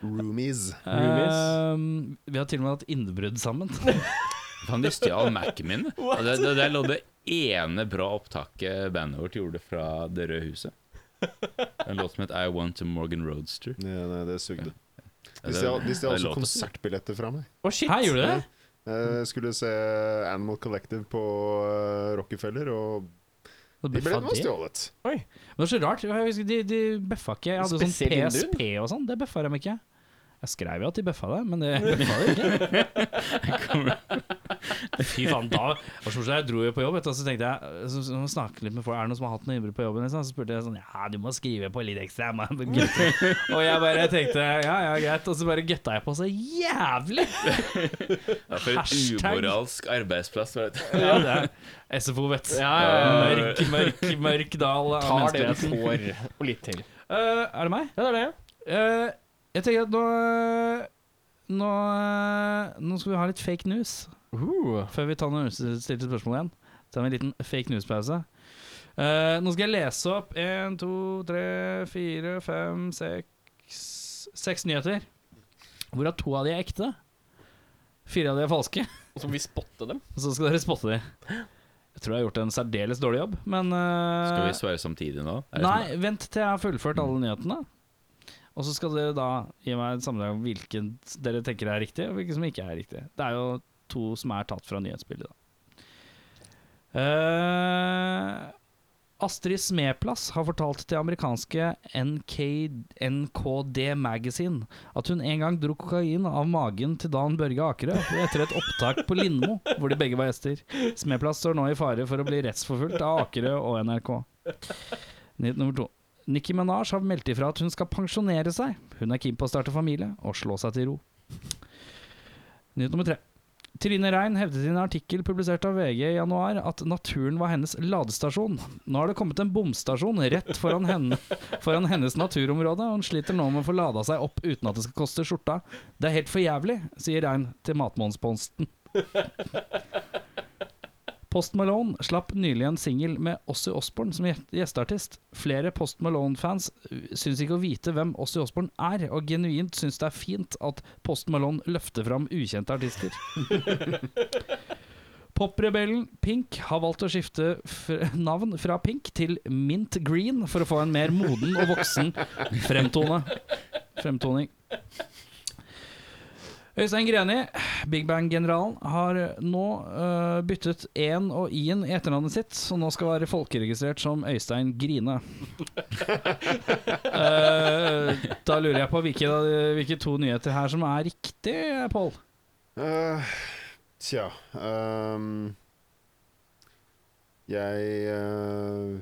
[SPEAKER 6] Roomies.
[SPEAKER 1] Roomies.
[SPEAKER 2] Eh, vi har til og med hatt innbrudd
[SPEAKER 1] *laughs*
[SPEAKER 2] sammen.
[SPEAKER 5] Faen, de stjal Mac-en
[SPEAKER 2] *laughs*
[SPEAKER 5] min. Og det, det, der lå det ene bra opptaket bandet vårt gjorde fra Det røde huset. En låt som het I Want a Morgan Roadster.
[SPEAKER 6] Nei, nei, det sugde.
[SPEAKER 5] Ja,
[SPEAKER 6] De
[SPEAKER 5] det-
[SPEAKER 6] stjal de stjal
[SPEAKER 5] det
[SPEAKER 6] også
[SPEAKER 5] låter-
[SPEAKER 6] konsertbilletter fra meg.
[SPEAKER 1] Å, shit!
[SPEAKER 2] Hæ, gjorde du det?
[SPEAKER 6] Jeg Eh, skulle se Animal Collective på eh, Rockefeller, og
[SPEAKER 2] Så
[SPEAKER 6] de
[SPEAKER 2] bøffa
[SPEAKER 6] ble
[SPEAKER 2] de.
[SPEAKER 6] stjålet.
[SPEAKER 2] Det var så rart. Jeg husker De, de bøffa ikke. Jeg hadde jo sånn
[SPEAKER 1] Spesiell vindu?
[SPEAKER 2] PSP og sånn. Det bøffa dem ikke. Jeg skrev jo at de bøffa det,
[SPEAKER 1] *laughs*
[SPEAKER 2] men det bøffa de ikke. *laughs* Fy faen, da Og så jeg dro jo på jobb, vet du, og så tenkte jeg så, så, må jeg snakke litt med folk. Er det noen som har hatt noe innbrudd på jobben? Liksom? Så spurte jeg sånn Ja, du må skrive på litt ekstra. Man. *laughs* Og jeg bare tenkte ja, ja, greit. Og så bare gøtta jeg på så jævlig.
[SPEAKER 1] *laughs*
[SPEAKER 5] Ja, for et
[SPEAKER 2] Hashtag.
[SPEAKER 5] umoralsk arbeidsplass. Var det.
[SPEAKER 2] Ja, det er SFO, vet du. Mørk, mørk, mørk dal av
[SPEAKER 1] Tar det du
[SPEAKER 2] menneskeligheten.
[SPEAKER 1] får, og litt til.
[SPEAKER 2] Eh, er det meg?
[SPEAKER 1] Ja, det er det.
[SPEAKER 2] Eh, jeg tenker at nå eh, nå, eh, nå skal vi ha litt fake news
[SPEAKER 1] Uh.
[SPEAKER 2] før vi tar noen stilte spørsmål igjen. Så har vi en liten fake news-pause. Eh, nå skal jeg lese opp én, to, tre, fire, fem, seks Seks nyheter. Hvorav to av de er ekte. Fire av de er falske. *laughs*
[SPEAKER 1] Og så må vi spotte dem.
[SPEAKER 2] Og så skal dere spotte de. Jeg tror jeg har gjort en særdeles dårlig jobb, men eh,
[SPEAKER 5] Skal vi svare samtidig nå? Er det
[SPEAKER 2] Nei, vent til jeg har fullført alle nyhetene. Og så skal dere da gi meg et sammendrag om hvilken dere tenker er riktig, og hvilken som ikke er riktig. Det er jo to som er tatt fra nyhetsbildet, da. Eh, Astrid Smeplass har fortalt til amerikanske NK, NKD Magazine at hun en gang dro kokain av magen til Dan Børge Akerø etter et opptak på Lindmo, hvor de begge var gjester. Smeplass står nå i fare for å bli rettsforfulgt av Akerø og NRK. Nyhet nummer to. Nicki Minaj har meldt ifra at hun skal pensjonere seg. Hun er keen på å starte familie og slå seg til ro. Nyhet nummer tre. Trine Rein hevdet i en artikkel publisert av VG i januar at naturen var hennes ladestasjon. Nå har det kommet en bomstasjon rett foran, henne, foran hennes naturområde, og hun sliter nå med å få lada seg opp uten at det skal koste skjorta. Det er helt for jævlig, sier Rein til Matmånsponsten. Post Malone slapp nylig en singel med Ossie Osborne som gje- gjesteartist. Flere Post Malone-fans syns ikke å vite hvem Ossie Osborne er, og genuint syns det er fint at Post Malone løfter fram ukjente artister. Poprebellen Pink har valgt å skifte f navn fra Pink til Mint Green for å få en mer moden og voksen fremtone. Fremtoning. Øystein Greni, Big Bang-generalen, har eh, nå øh, byttet en og i-en i etternavnet sitt, så nå skal være folkeregistrert som Øystein *laughs* Grine. Eh, da lurer jeg på hvilke, hvilke to nyheter her som er riktig, Pål.
[SPEAKER 6] Eh, tja ehm, Jeg eh,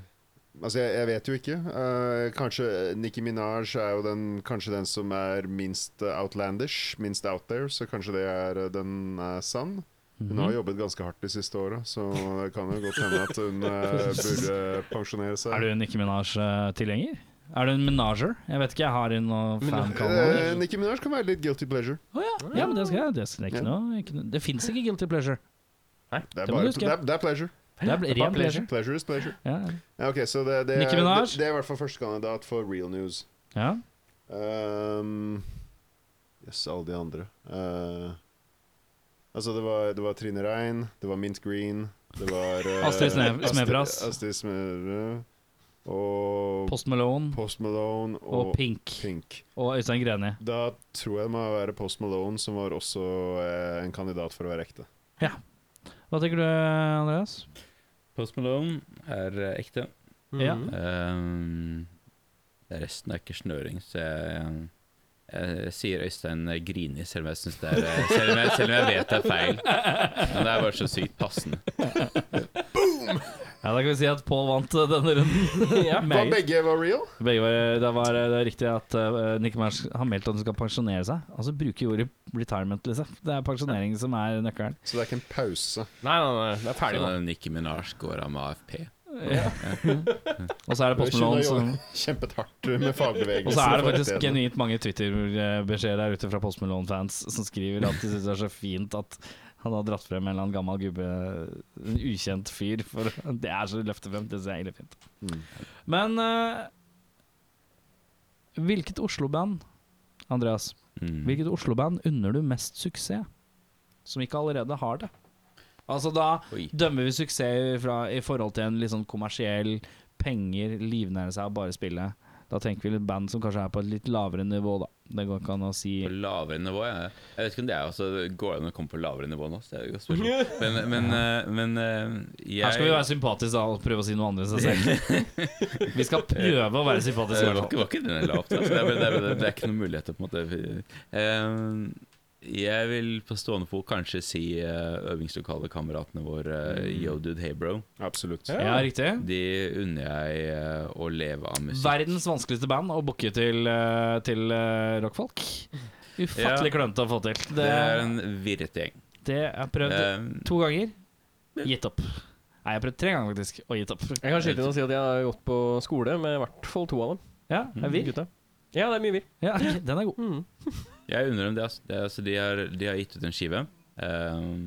[SPEAKER 6] Altså, jeg, jeg vet jo ikke. Eh, kanskje Nikki Minaj er jo den, kanskje den som er minst eh, outlandish, minst out there, så kanskje det er eh, den er sann. Hun har jobbet ganske hardt de siste åra, så det kan jo godt hende at hun eh, burde pensjonere seg.
[SPEAKER 2] Er du en Nicki Minaj-tilhenger? Er du en menager? Jeg vet ikke, jeg har en noe fankanaler.
[SPEAKER 6] Eh, Nicki Minaj kan være litt guilty pleasure.
[SPEAKER 2] Å ja. ja, men det skal jeg. Det, skal jeg ikke noe, ikke noe. det fins ikke guilty pleasure.
[SPEAKER 6] Det er,
[SPEAKER 2] Det må
[SPEAKER 6] bare,
[SPEAKER 2] du huske.
[SPEAKER 6] det er, det er pleasure.
[SPEAKER 2] Det er ren pleasure.
[SPEAKER 6] Pleasure is pleasure.
[SPEAKER 2] Ja.
[SPEAKER 6] Ja, ok, så det, det, er,
[SPEAKER 2] Nicki Minaj?
[SPEAKER 6] det, det er i hvert fall første kandidat for real news.
[SPEAKER 2] Ja.
[SPEAKER 6] Ehm, Jøss, alle de andre. Eh, altså, det var, det var Trine Rein, det var Mint Green, det var eh,
[SPEAKER 2] Astrid Sne-
[SPEAKER 6] Astrid-
[SPEAKER 2] Smebras.
[SPEAKER 6] Astrid Smebras. Og
[SPEAKER 2] Post Malone
[SPEAKER 6] Post Malone og,
[SPEAKER 2] og Pink
[SPEAKER 6] Pink.
[SPEAKER 2] og Øystein Greni.
[SPEAKER 6] Da tror jeg det må være Post Malone, som var også eh, en kandidat for å være ekte.
[SPEAKER 2] Hva tenker du, Andreas?
[SPEAKER 5] Post Malone er eh, ekte.
[SPEAKER 1] Mm.
[SPEAKER 2] Ja.
[SPEAKER 5] Ehm, resten er ikke snøring, så jeg, jeg, sier Øystein Grini, selv om jeg synes det er eh, selv om jeg, selv om jeg vet det er feil. Men det er bare så sykt passende.
[SPEAKER 2] Ja, Da kan vi si at Pål vant eh, denne *laughs* runden.
[SPEAKER 6] Var
[SPEAKER 2] Meget.
[SPEAKER 6] begge var real?
[SPEAKER 2] Begge var, det, var, eh, det er riktig at uh, Nicki Minaj har meldt at hun skal pensjonere seg. Altså bruke ordet retirement, liksom. Det er pensjonering som er nøkkelen.
[SPEAKER 6] Så det er ikke en pause.
[SPEAKER 1] Nei, nei, nei, det er ferdig
[SPEAKER 5] Så
[SPEAKER 1] nå.
[SPEAKER 5] Sånn Nicki Minaj går av med AFP.
[SPEAKER 2] Og så er det Post Malone som
[SPEAKER 6] Kjempet hardt med fagbevegelsen.
[SPEAKER 2] Og så er det
[SPEAKER 6] for
[SPEAKER 2] faktisk
[SPEAKER 6] rettighetene.
[SPEAKER 2] genuint mange Twitter-beskjeder der ute fra Post Malone-fans som skriver at de syns det er så fint at han har dratt frem en eller annen gammel gubbe, en ukjent fyr. For det er så løftefremt. Det syns jeg er egentlig fint.
[SPEAKER 6] Mm.
[SPEAKER 2] Men eh, hvilket Oslo-band, Andreas,
[SPEAKER 5] Mm.
[SPEAKER 2] hvilket Oslo-band unner du mest suksess? Som ikke allerede har det. Altså da
[SPEAKER 5] Oi.
[SPEAKER 2] dømmer vi suksess fra, i forhold til en litt sånn kommersiell penger, livnære seg og bare spille. Da tenker vi litt band som kanskje er på et litt lavere nivå, da. Det går ikke an å si
[SPEAKER 5] På lavere nivå, ja. Jeg vet ikke om det er også Går det an å komme på lavere nivå nå? Så det er jo et godt
[SPEAKER 2] *laughs*
[SPEAKER 5] spørsmål. Men, men, eh, men eh, jeg
[SPEAKER 2] Her skal vi være sympatiske da, og prøve å si noe annet enn seg selv.
[SPEAKER 5] *laughs*
[SPEAKER 2] Vi skal prøve å være
[SPEAKER 5] Det
[SPEAKER 2] sympatiske. i
[SPEAKER 5] Eh, var
[SPEAKER 2] hvert
[SPEAKER 5] ikke,
[SPEAKER 2] fall.
[SPEAKER 5] var ikke den jeg la opp til. Altså. Det, er, det, er, det, er, det er ikke noen muligheter, på en måte. Eh, jeg vil på stående fot kanskje si uh, øvingslokalekameratene våre, uh, Yo Dude Hey Bro.
[SPEAKER 6] Absolutt.
[SPEAKER 2] Ja, riktig.
[SPEAKER 5] De unner jeg eh, å leve av musikk.
[SPEAKER 2] Verdens vanskeligste band å booke til, eh, til eh, rockfolk. Ufattelig klønete å få til.
[SPEAKER 5] Det
[SPEAKER 2] Det,
[SPEAKER 5] er en virrete gjeng.
[SPEAKER 2] det er prøvd
[SPEAKER 5] Eh,
[SPEAKER 2] to ganger. Gitt opp. Nei, jeg har prøvd tre ganger faktisk, og gitt opp.
[SPEAKER 1] Jeg kan skyte inn og si at jeg har gått på skole med i hvert fall to av dem.
[SPEAKER 2] Ja, jeg vil.
[SPEAKER 1] Gutta. Ja, det er mye virr.
[SPEAKER 2] Ja, *laughs* ok, den er god.
[SPEAKER 1] Mm.
[SPEAKER 5] Jeg undrer om det, altså. Det, er- altså de, har, de har gitt ut en skive, ehm,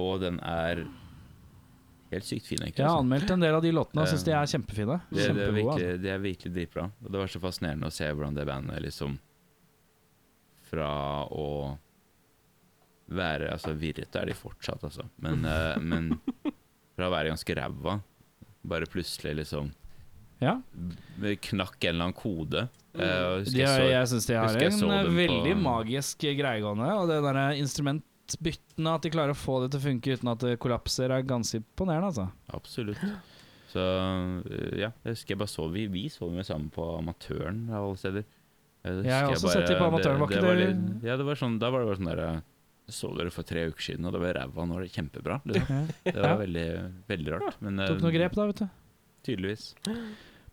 [SPEAKER 5] og den er helt sykt fin, egentlig.
[SPEAKER 2] Jeg har
[SPEAKER 5] altså.
[SPEAKER 2] anmeldt en del av de låtene og syns
[SPEAKER 5] Eh,
[SPEAKER 2] de er kjempefine.
[SPEAKER 5] Det, det, er
[SPEAKER 2] Kjempegode. altså.
[SPEAKER 5] virkelig, det er virkelig dritbra. Og det var så fascinerende å se hvordan det bandet liksom Fra å være Altså, virrete er de fortsatt, altså. Men, eh, men fra å være ganske ræva, bare plutselig liksom
[SPEAKER 2] Ja.
[SPEAKER 5] Knakk en eller annen kode. Eh, og husker
[SPEAKER 2] De
[SPEAKER 5] jeg
[SPEAKER 2] har,
[SPEAKER 5] så-
[SPEAKER 2] jeg syns de har
[SPEAKER 5] husker jeg så
[SPEAKER 2] en eh,
[SPEAKER 5] dem på-
[SPEAKER 2] veldig magisk greie gående. Og det derre instrumentbyttene, at de klarer å få det til å funke uten at det kollapser, er ganske imponerende, altså.
[SPEAKER 5] Absolutt. Så eh, ja, jeg husker jeg bare så Vi, vi så dem jo sammen på Amatøren av alle steder. Eh, det
[SPEAKER 2] Jeg har
[SPEAKER 5] husker
[SPEAKER 2] også sett dem på Amatøren, var ikke
[SPEAKER 5] var
[SPEAKER 2] det-
[SPEAKER 5] litt- Ja, det var sånn, da var det bare sånn derre Så dere for tre uker siden, og det var ræva, nå er det kjempebra. Liksom. *laughs* Det var
[SPEAKER 2] Ja.
[SPEAKER 5] veldig, veldig rart. Men eh,
[SPEAKER 2] Tok noen grep da, vet du.
[SPEAKER 5] tydeligvis.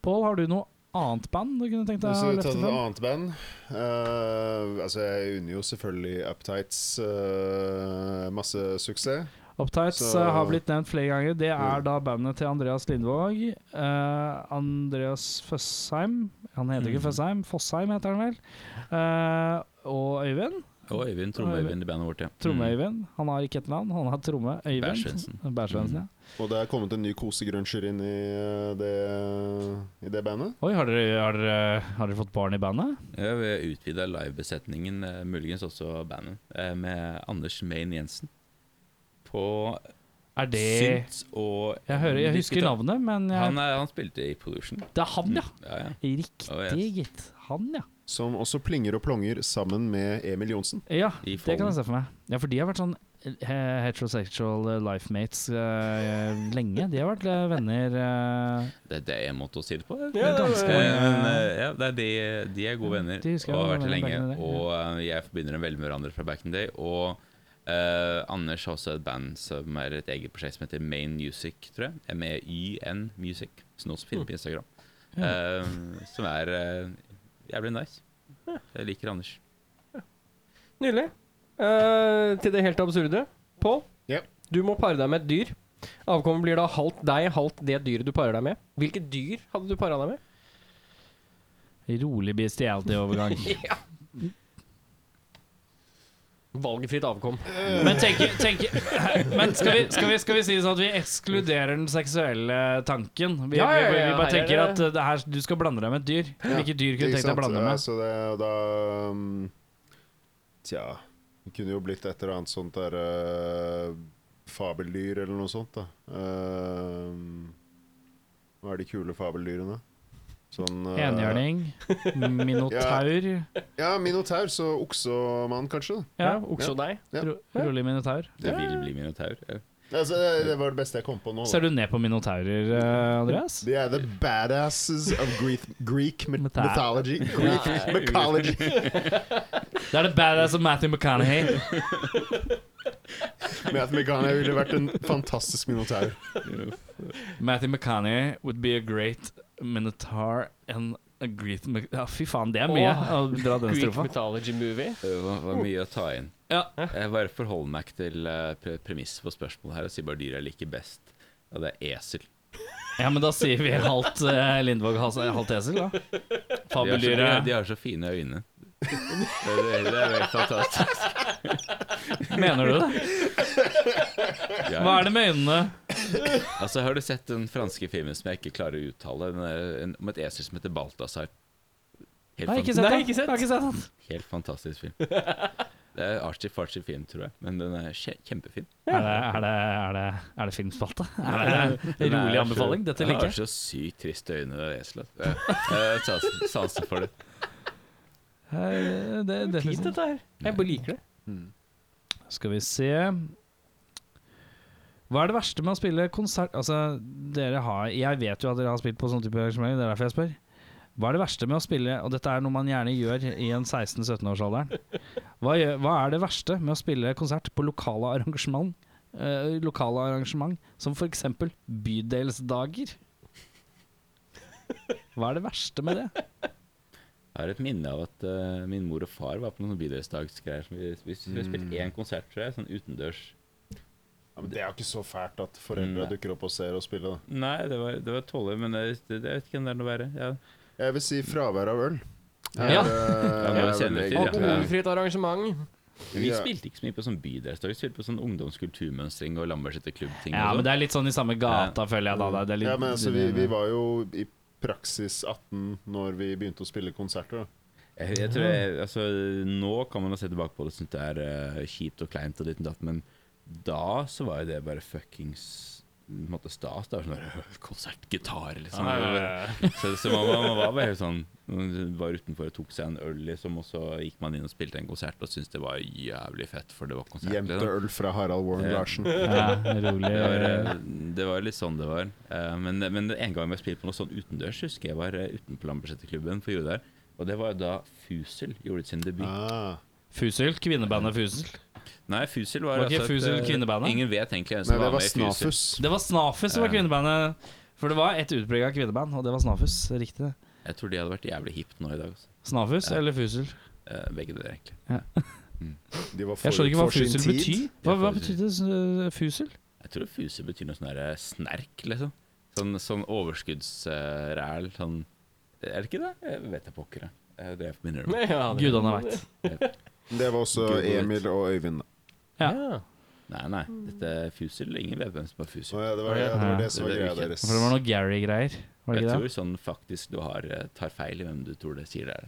[SPEAKER 2] Pål, har du noe annet band du kunne tenkt deg
[SPEAKER 6] Så
[SPEAKER 2] å
[SPEAKER 6] vi tar
[SPEAKER 2] løfte
[SPEAKER 6] et
[SPEAKER 2] fram?
[SPEAKER 6] annet band. Eh, altså, jeg unner jo selvfølgelig Uptights eh, masse suksess.
[SPEAKER 2] Uptights
[SPEAKER 6] Så-
[SPEAKER 2] eh, har blitt nevnt flere ganger. Det er
[SPEAKER 6] Mm.
[SPEAKER 2] da bandet til Andreas Lindvåg. eh, Andreas Føsheim Han heter ikke Føsheim,
[SPEAKER 5] Mm.
[SPEAKER 2] Fossheim heter han vel. Eh, og Øyvind.
[SPEAKER 5] Og Øyvind, Tromme-Øyvind i bandet vårt, ja. Mm.
[SPEAKER 2] Tromme-Øyvind. Han har ikke et navn, han har Tromme. Øyvind.
[SPEAKER 5] Bærsvendsen.
[SPEAKER 2] Bærsvensen.
[SPEAKER 5] Mm.
[SPEAKER 2] Ja.
[SPEAKER 6] Og det er kommet en ny kosegruncher inn i eh, det, i det bandet.
[SPEAKER 2] Oi, har dere, har, dere, har dere fått barn i bandet?
[SPEAKER 5] Mm. Ja, vi har utvida livebesetningen, eh, muligens også bandet, eh, med Anders Meyn Jensen på
[SPEAKER 2] Er det
[SPEAKER 5] Synt og
[SPEAKER 2] Jeg, hører, jeg husker
[SPEAKER 5] Digital.
[SPEAKER 2] navnet, men jeg,
[SPEAKER 5] Han, er, han spilte i Pollution.
[SPEAKER 2] det er han, ja.
[SPEAKER 5] Ja, ja.
[SPEAKER 2] Riktig,
[SPEAKER 5] Oh, yes.
[SPEAKER 2] gitt. Han, ja.
[SPEAKER 6] Som også plinger og plonger sammen med Emil Johnsen.
[SPEAKER 2] Ja,
[SPEAKER 5] I
[SPEAKER 2] det kan jeg
[SPEAKER 5] Fallen.
[SPEAKER 2] se for meg. Ja, for de har vært sånn eh, heterosexual eh, life mates eh, lenge. De har vært eh, venner eh,
[SPEAKER 5] Det, det er en måte å si det på. det.
[SPEAKER 1] Ja, det
[SPEAKER 5] Eh,
[SPEAKER 1] er-
[SPEAKER 5] Men eh, ja, det er de, de er gode venner
[SPEAKER 2] De husker jeg
[SPEAKER 5] og
[SPEAKER 2] var
[SPEAKER 5] har vært
[SPEAKER 2] venner
[SPEAKER 5] det lenge.
[SPEAKER 2] back in the day,
[SPEAKER 5] Og eh, jeg forbinder dem veldig med hverandre fra back in the day. Og eh, Anders har også et band som er et eget prosjekt som heter Main Music, tror jeg. M-E-Y-N Music, som også finner på Instagram. Eh, som er eh, jævlig nice. Jeg liker Anders.
[SPEAKER 1] Nydelig. Eh, til det helt absurde. Pål,
[SPEAKER 6] Ja.
[SPEAKER 1] du må pare deg med et dyr. Avkommet blir da halvt deg, halvt det dyret du parer deg med. Hvilket dyr hadde du para deg med?
[SPEAKER 2] rolig bestiality-overgang.
[SPEAKER 1] Valgfritt avkom.
[SPEAKER 2] Men, tenker, tenker, men skal, vi, skal, vi, skal vi si det sånn at vi ekskluderer den seksuelle tanken? Vi,
[SPEAKER 1] Ja, ja, ja,
[SPEAKER 2] vi, vi bare
[SPEAKER 1] her er
[SPEAKER 2] tenker
[SPEAKER 1] det-
[SPEAKER 2] at eh, det her, du skal blande deg med et dyr. Hvilket dyr kunne du
[SPEAKER 6] Ikke
[SPEAKER 2] tenkt deg å
[SPEAKER 6] sant?
[SPEAKER 2] blande deg
[SPEAKER 6] Ja,
[SPEAKER 2] med?
[SPEAKER 6] Så det, og da um, Tja Det kunne jo blitt et eller annet sånt der eh, Fabeldyr eller noe sånt, da. Eh, hva er de kule fabeldyrene? Sånn eh,
[SPEAKER 2] Enhjørning, minotaur,
[SPEAKER 6] Ja, minotaur, så oksemann, kanskje. da.
[SPEAKER 2] ja,
[SPEAKER 1] Okse og deg.
[SPEAKER 6] Ja.
[SPEAKER 2] ro, rolig minotaur.
[SPEAKER 5] Jeg vil bli minotaur. Ja.
[SPEAKER 6] Altså, det, det var det beste jeg kom på nå. Da.
[SPEAKER 2] Ser du ned på minotaurer, eh, Andreas?
[SPEAKER 6] De er the badasses of Greek, Greek myth-
[SPEAKER 2] Mytha- *laughs*
[SPEAKER 6] mythology. Greek mythology.
[SPEAKER 2] Det er det badass av Matthew McConaughey.
[SPEAKER 6] Med at Megane ville vært en fantastisk minotaur.
[SPEAKER 2] Matthew McConaughey would be a great minotaur and a great Mc- Ja, fy faen, det er mye å dra den
[SPEAKER 1] Greek
[SPEAKER 2] strofa.
[SPEAKER 1] mythology movie.
[SPEAKER 5] Det var, var mye å ta inn.
[SPEAKER 2] Ja.
[SPEAKER 5] Jeg bare forholder meg ikke til eh, pre premiss på spørsmålet her og sier bare dyret jeg liker best. Og det er esel.
[SPEAKER 2] Ja, men da sier vi halvt eh, Lindvåg, halvt halvt esel, da.
[SPEAKER 5] De har, så, de, har, de
[SPEAKER 2] Fabeldyret.
[SPEAKER 5] har så fine øyne. Det, det, det er helt fantastisk.
[SPEAKER 2] Mener du det? Hva er det med øynene?
[SPEAKER 5] Altså, har du sett den franske filmen som jeg ikke klarer å uttale, den er en, om et esel som heter Balthazar? Helt,
[SPEAKER 2] Nei, ikke
[SPEAKER 5] fan-
[SPEAKER 2] sett
[SPEAKER 1] Nei,
[SPEAKER 2] den.
[SPEAKER 1] ikke sett.
[SPEAKER 2] Jeg har ikke sett den.
[SPEAKER 5] helt fantastisk film. Det er artsy-fartsy film, tror jeg, men den er kje- kjempefin.
[SPEAKER 2] Er det, er det, er det, er det filmspalte? Er det
[SPEAKER 5] Den
[SPEAKER 2] rolig
[SPEAKER 5] er så-
[SPEAKER 2] anbefaling? Dette
[SPEAKER 5] Den har
[SPEAKER 2] liker jeg.
[SPEAKER 5] så sykt triste øyne, det eselet. Eh, eh, sans- Sansen for det.
[SPEAKER 2] Eh, Det, det,
[SPEAKER 1] Fint, dette her. Jeg bare liker det.
[SPEAKER 2] Skal vi se Hva er det verste med å spille konsert Altså, dere har Jeg vet jo at dere har spilt på sånne type arrangementer, det er derfor jeg spør. Hva er det verste med å spille Og dette er noe man gjerne gjør i en 16-17-årsalderen. Hva, gjør- hva er det verste med å spille konsert på lokale arrangement? eh, lokale arrangement som f.eks. bydelsdager. Hva er det verste med det?
[SPEAKER 5] Jeg har et minne av at eh, min mor og far var på noen bydelsdagsgreier. som Vi, vi, vi spilte
[SPEAKER 2] Mm.
[SPEAKER 5] én konsert, tror jeg, sånn utendørs.
[SPEAKER 6] Ja, men det er jo ikke så fælt at foreldre
[SPEAKER 5] Nei.
[SPEAKER 6] dukker opp og ser og spiller. Da.
[SPEAKER 5] Nei, det var, det var tåler, men det, det, jeg vet ikke om det er noe verre. Ja.
[SPEAKER 6] Jeg vil si fravær av øl.
[SPEAKER 2] Ja.
[SPEAKER 6] Eh,
[SPEAKER 5] må
[SPEAKER 6] er
[SPEAKER 5] vi sende
[SPEAKER 6] veldig-
[SPEAKER 5] til, ja.
[SPEAKER 1] Alkoholfritt arrangement.
[SPEAKER 5] Men vi
[SPEAKER 6] Ja.
[SPEAKER 5] spilte ikke så mye på sånn bydelsdag, vi spilte på sånn ungdomskulturmønstring og Lambertseter-klubbting.
[SPEAKER 2] Ja, men det er litt sånn i samme gata, føler jeg da. da. Det er litt,
[SPEAKER 6] Ja, men altså, vi, vi var jo i praksis 18 når vi begynte å spille konserter. Da.
[SPEAKER 5] jeg, jeg tror jeg, altså, Nå kan man jo se tilbake på det og synes det er eh, kjipt og kleint, og ditt og datt, men da så var jo det bare fuckings på en måte stas. Det var sånn der, *laughs* konsertgitar, liksom.
[SPEAKER 1] eh,
[SPEAKER 5] Så, så man, man var bare helt sånn Man var utenfor og tok seg en øl, liksom, og så gikk man inn og spilte en konsert og syntes det var jævlig fett, for det var konsert.
[SPEAKER 6] Gjemte
[SPEAKER 5] Liksom.
[SPEAKER 6] øl fra Harald Warren
[SPEAKER 5] Ja.
[SPEAKER 6] Larsen.
[SPEAKER 2] ja, rolig.
[SPEAKER 5] Det var, eh, det var litt sånn det var. Eh, Men, men en gang jeg spilte på noe sånn utendørs, husker jeg var eh, utenpå Lambertseterklubben på Jordar. Og det var da Fusel gjorde sin debut.
[SPEAKER 6] Ah.
[SPEAKER 2] Fusil, kvinnebandet Fusil.
[SPEAKER 5] Nei, Fusel var,
[SPEAKER 2] Var ikke
[SPEAKER 5] et,
[SPEAKER 2] Fusel
[SPEAKER 5] eh,
[SPEAKER 2] kvinnebandet?
[SPEAKER 5] Ingen vet egentlig hvem
[SPEAKER 6] Nei,
[SPEAKER 5] som
[SPEAKER 6] det
[SPEAKER 5] var
[SPEAKER 6] var
[SPEAKER 5] med i Fusel.
[SPEAKER 6] Snafus.
[SPEAKER 2] Det var Snafus som var
[SPEAKER 5] Ja.
[SPEAKER 2] kvinnebandet. For det var et utprega kvinneband, og det var Snafus. Riktig. det.
[SPEAKER 5] Jeg tror de hadde vært jævlig hipt nå i dag. Altså.
[SPEAKER 2] Snafus
[SPEAKER 5] Ja.
[SPEAKER 2] eller Fusil?
[SPEAKER 5] Eh, Begge deler, egentlig.
[SPEAKER 6] De var
[SPEAKER 2] Jeg skjønner ikke hva
[SPEAKER 6] forut for sin
[SPEAKER 2] Fusil
[SPEAKER 6] tid.
[SPEAKER 2] betyr. Hva,
[SPEAKER 5] Ja,
[SPEAKER 2] hva
[SPEAKER 5] for-
[SPEAKER 2] betydde uh, Fusil?
[SPEAKER 5] Jeg tror Fusel betyr noe sånn der eh, snerk, liksom. Sånn, sånn overskuddsræl. Sånn Er det ikke det? Jeg vet jeg pokker, jeg. Eh, Det er jeg forbinder det
[SPEAKER 1] *laughs*
[SPEAKER 5] med.
[SPEAKER 1] Ja, det-
[SPEAKER 2] Gudene veit.
[SPEAKER 6] Det var også
[SPEAKER 5] Google it.
[SPEAKER 6] Emil og Øyvind. altså. da.
[SPEAKER 1] Ja.
[SPEAKER 5] Nei, nei. Dette er Fusel. Ingen vet hvem som er Fusel.
[SPEAKER 6] Å, ja, det, var, ja, det var det som var
[SPEAKER 5] Det er
[SPEAKER 6] greia
[SPEAKER 5] ukjent.
[SPEAKER 6] deres.
[SPEAKER 2] For det var noe Gary-greier. Var det
[SPEAKER 5] Jeg
[SPEAKER 2] ikke
[SPEAKER 5] tror
[SPEAKER 2] det?
[SPEAKER 5] sånn faktisk du har, eh, tar feil i hvem du tror det sier det er.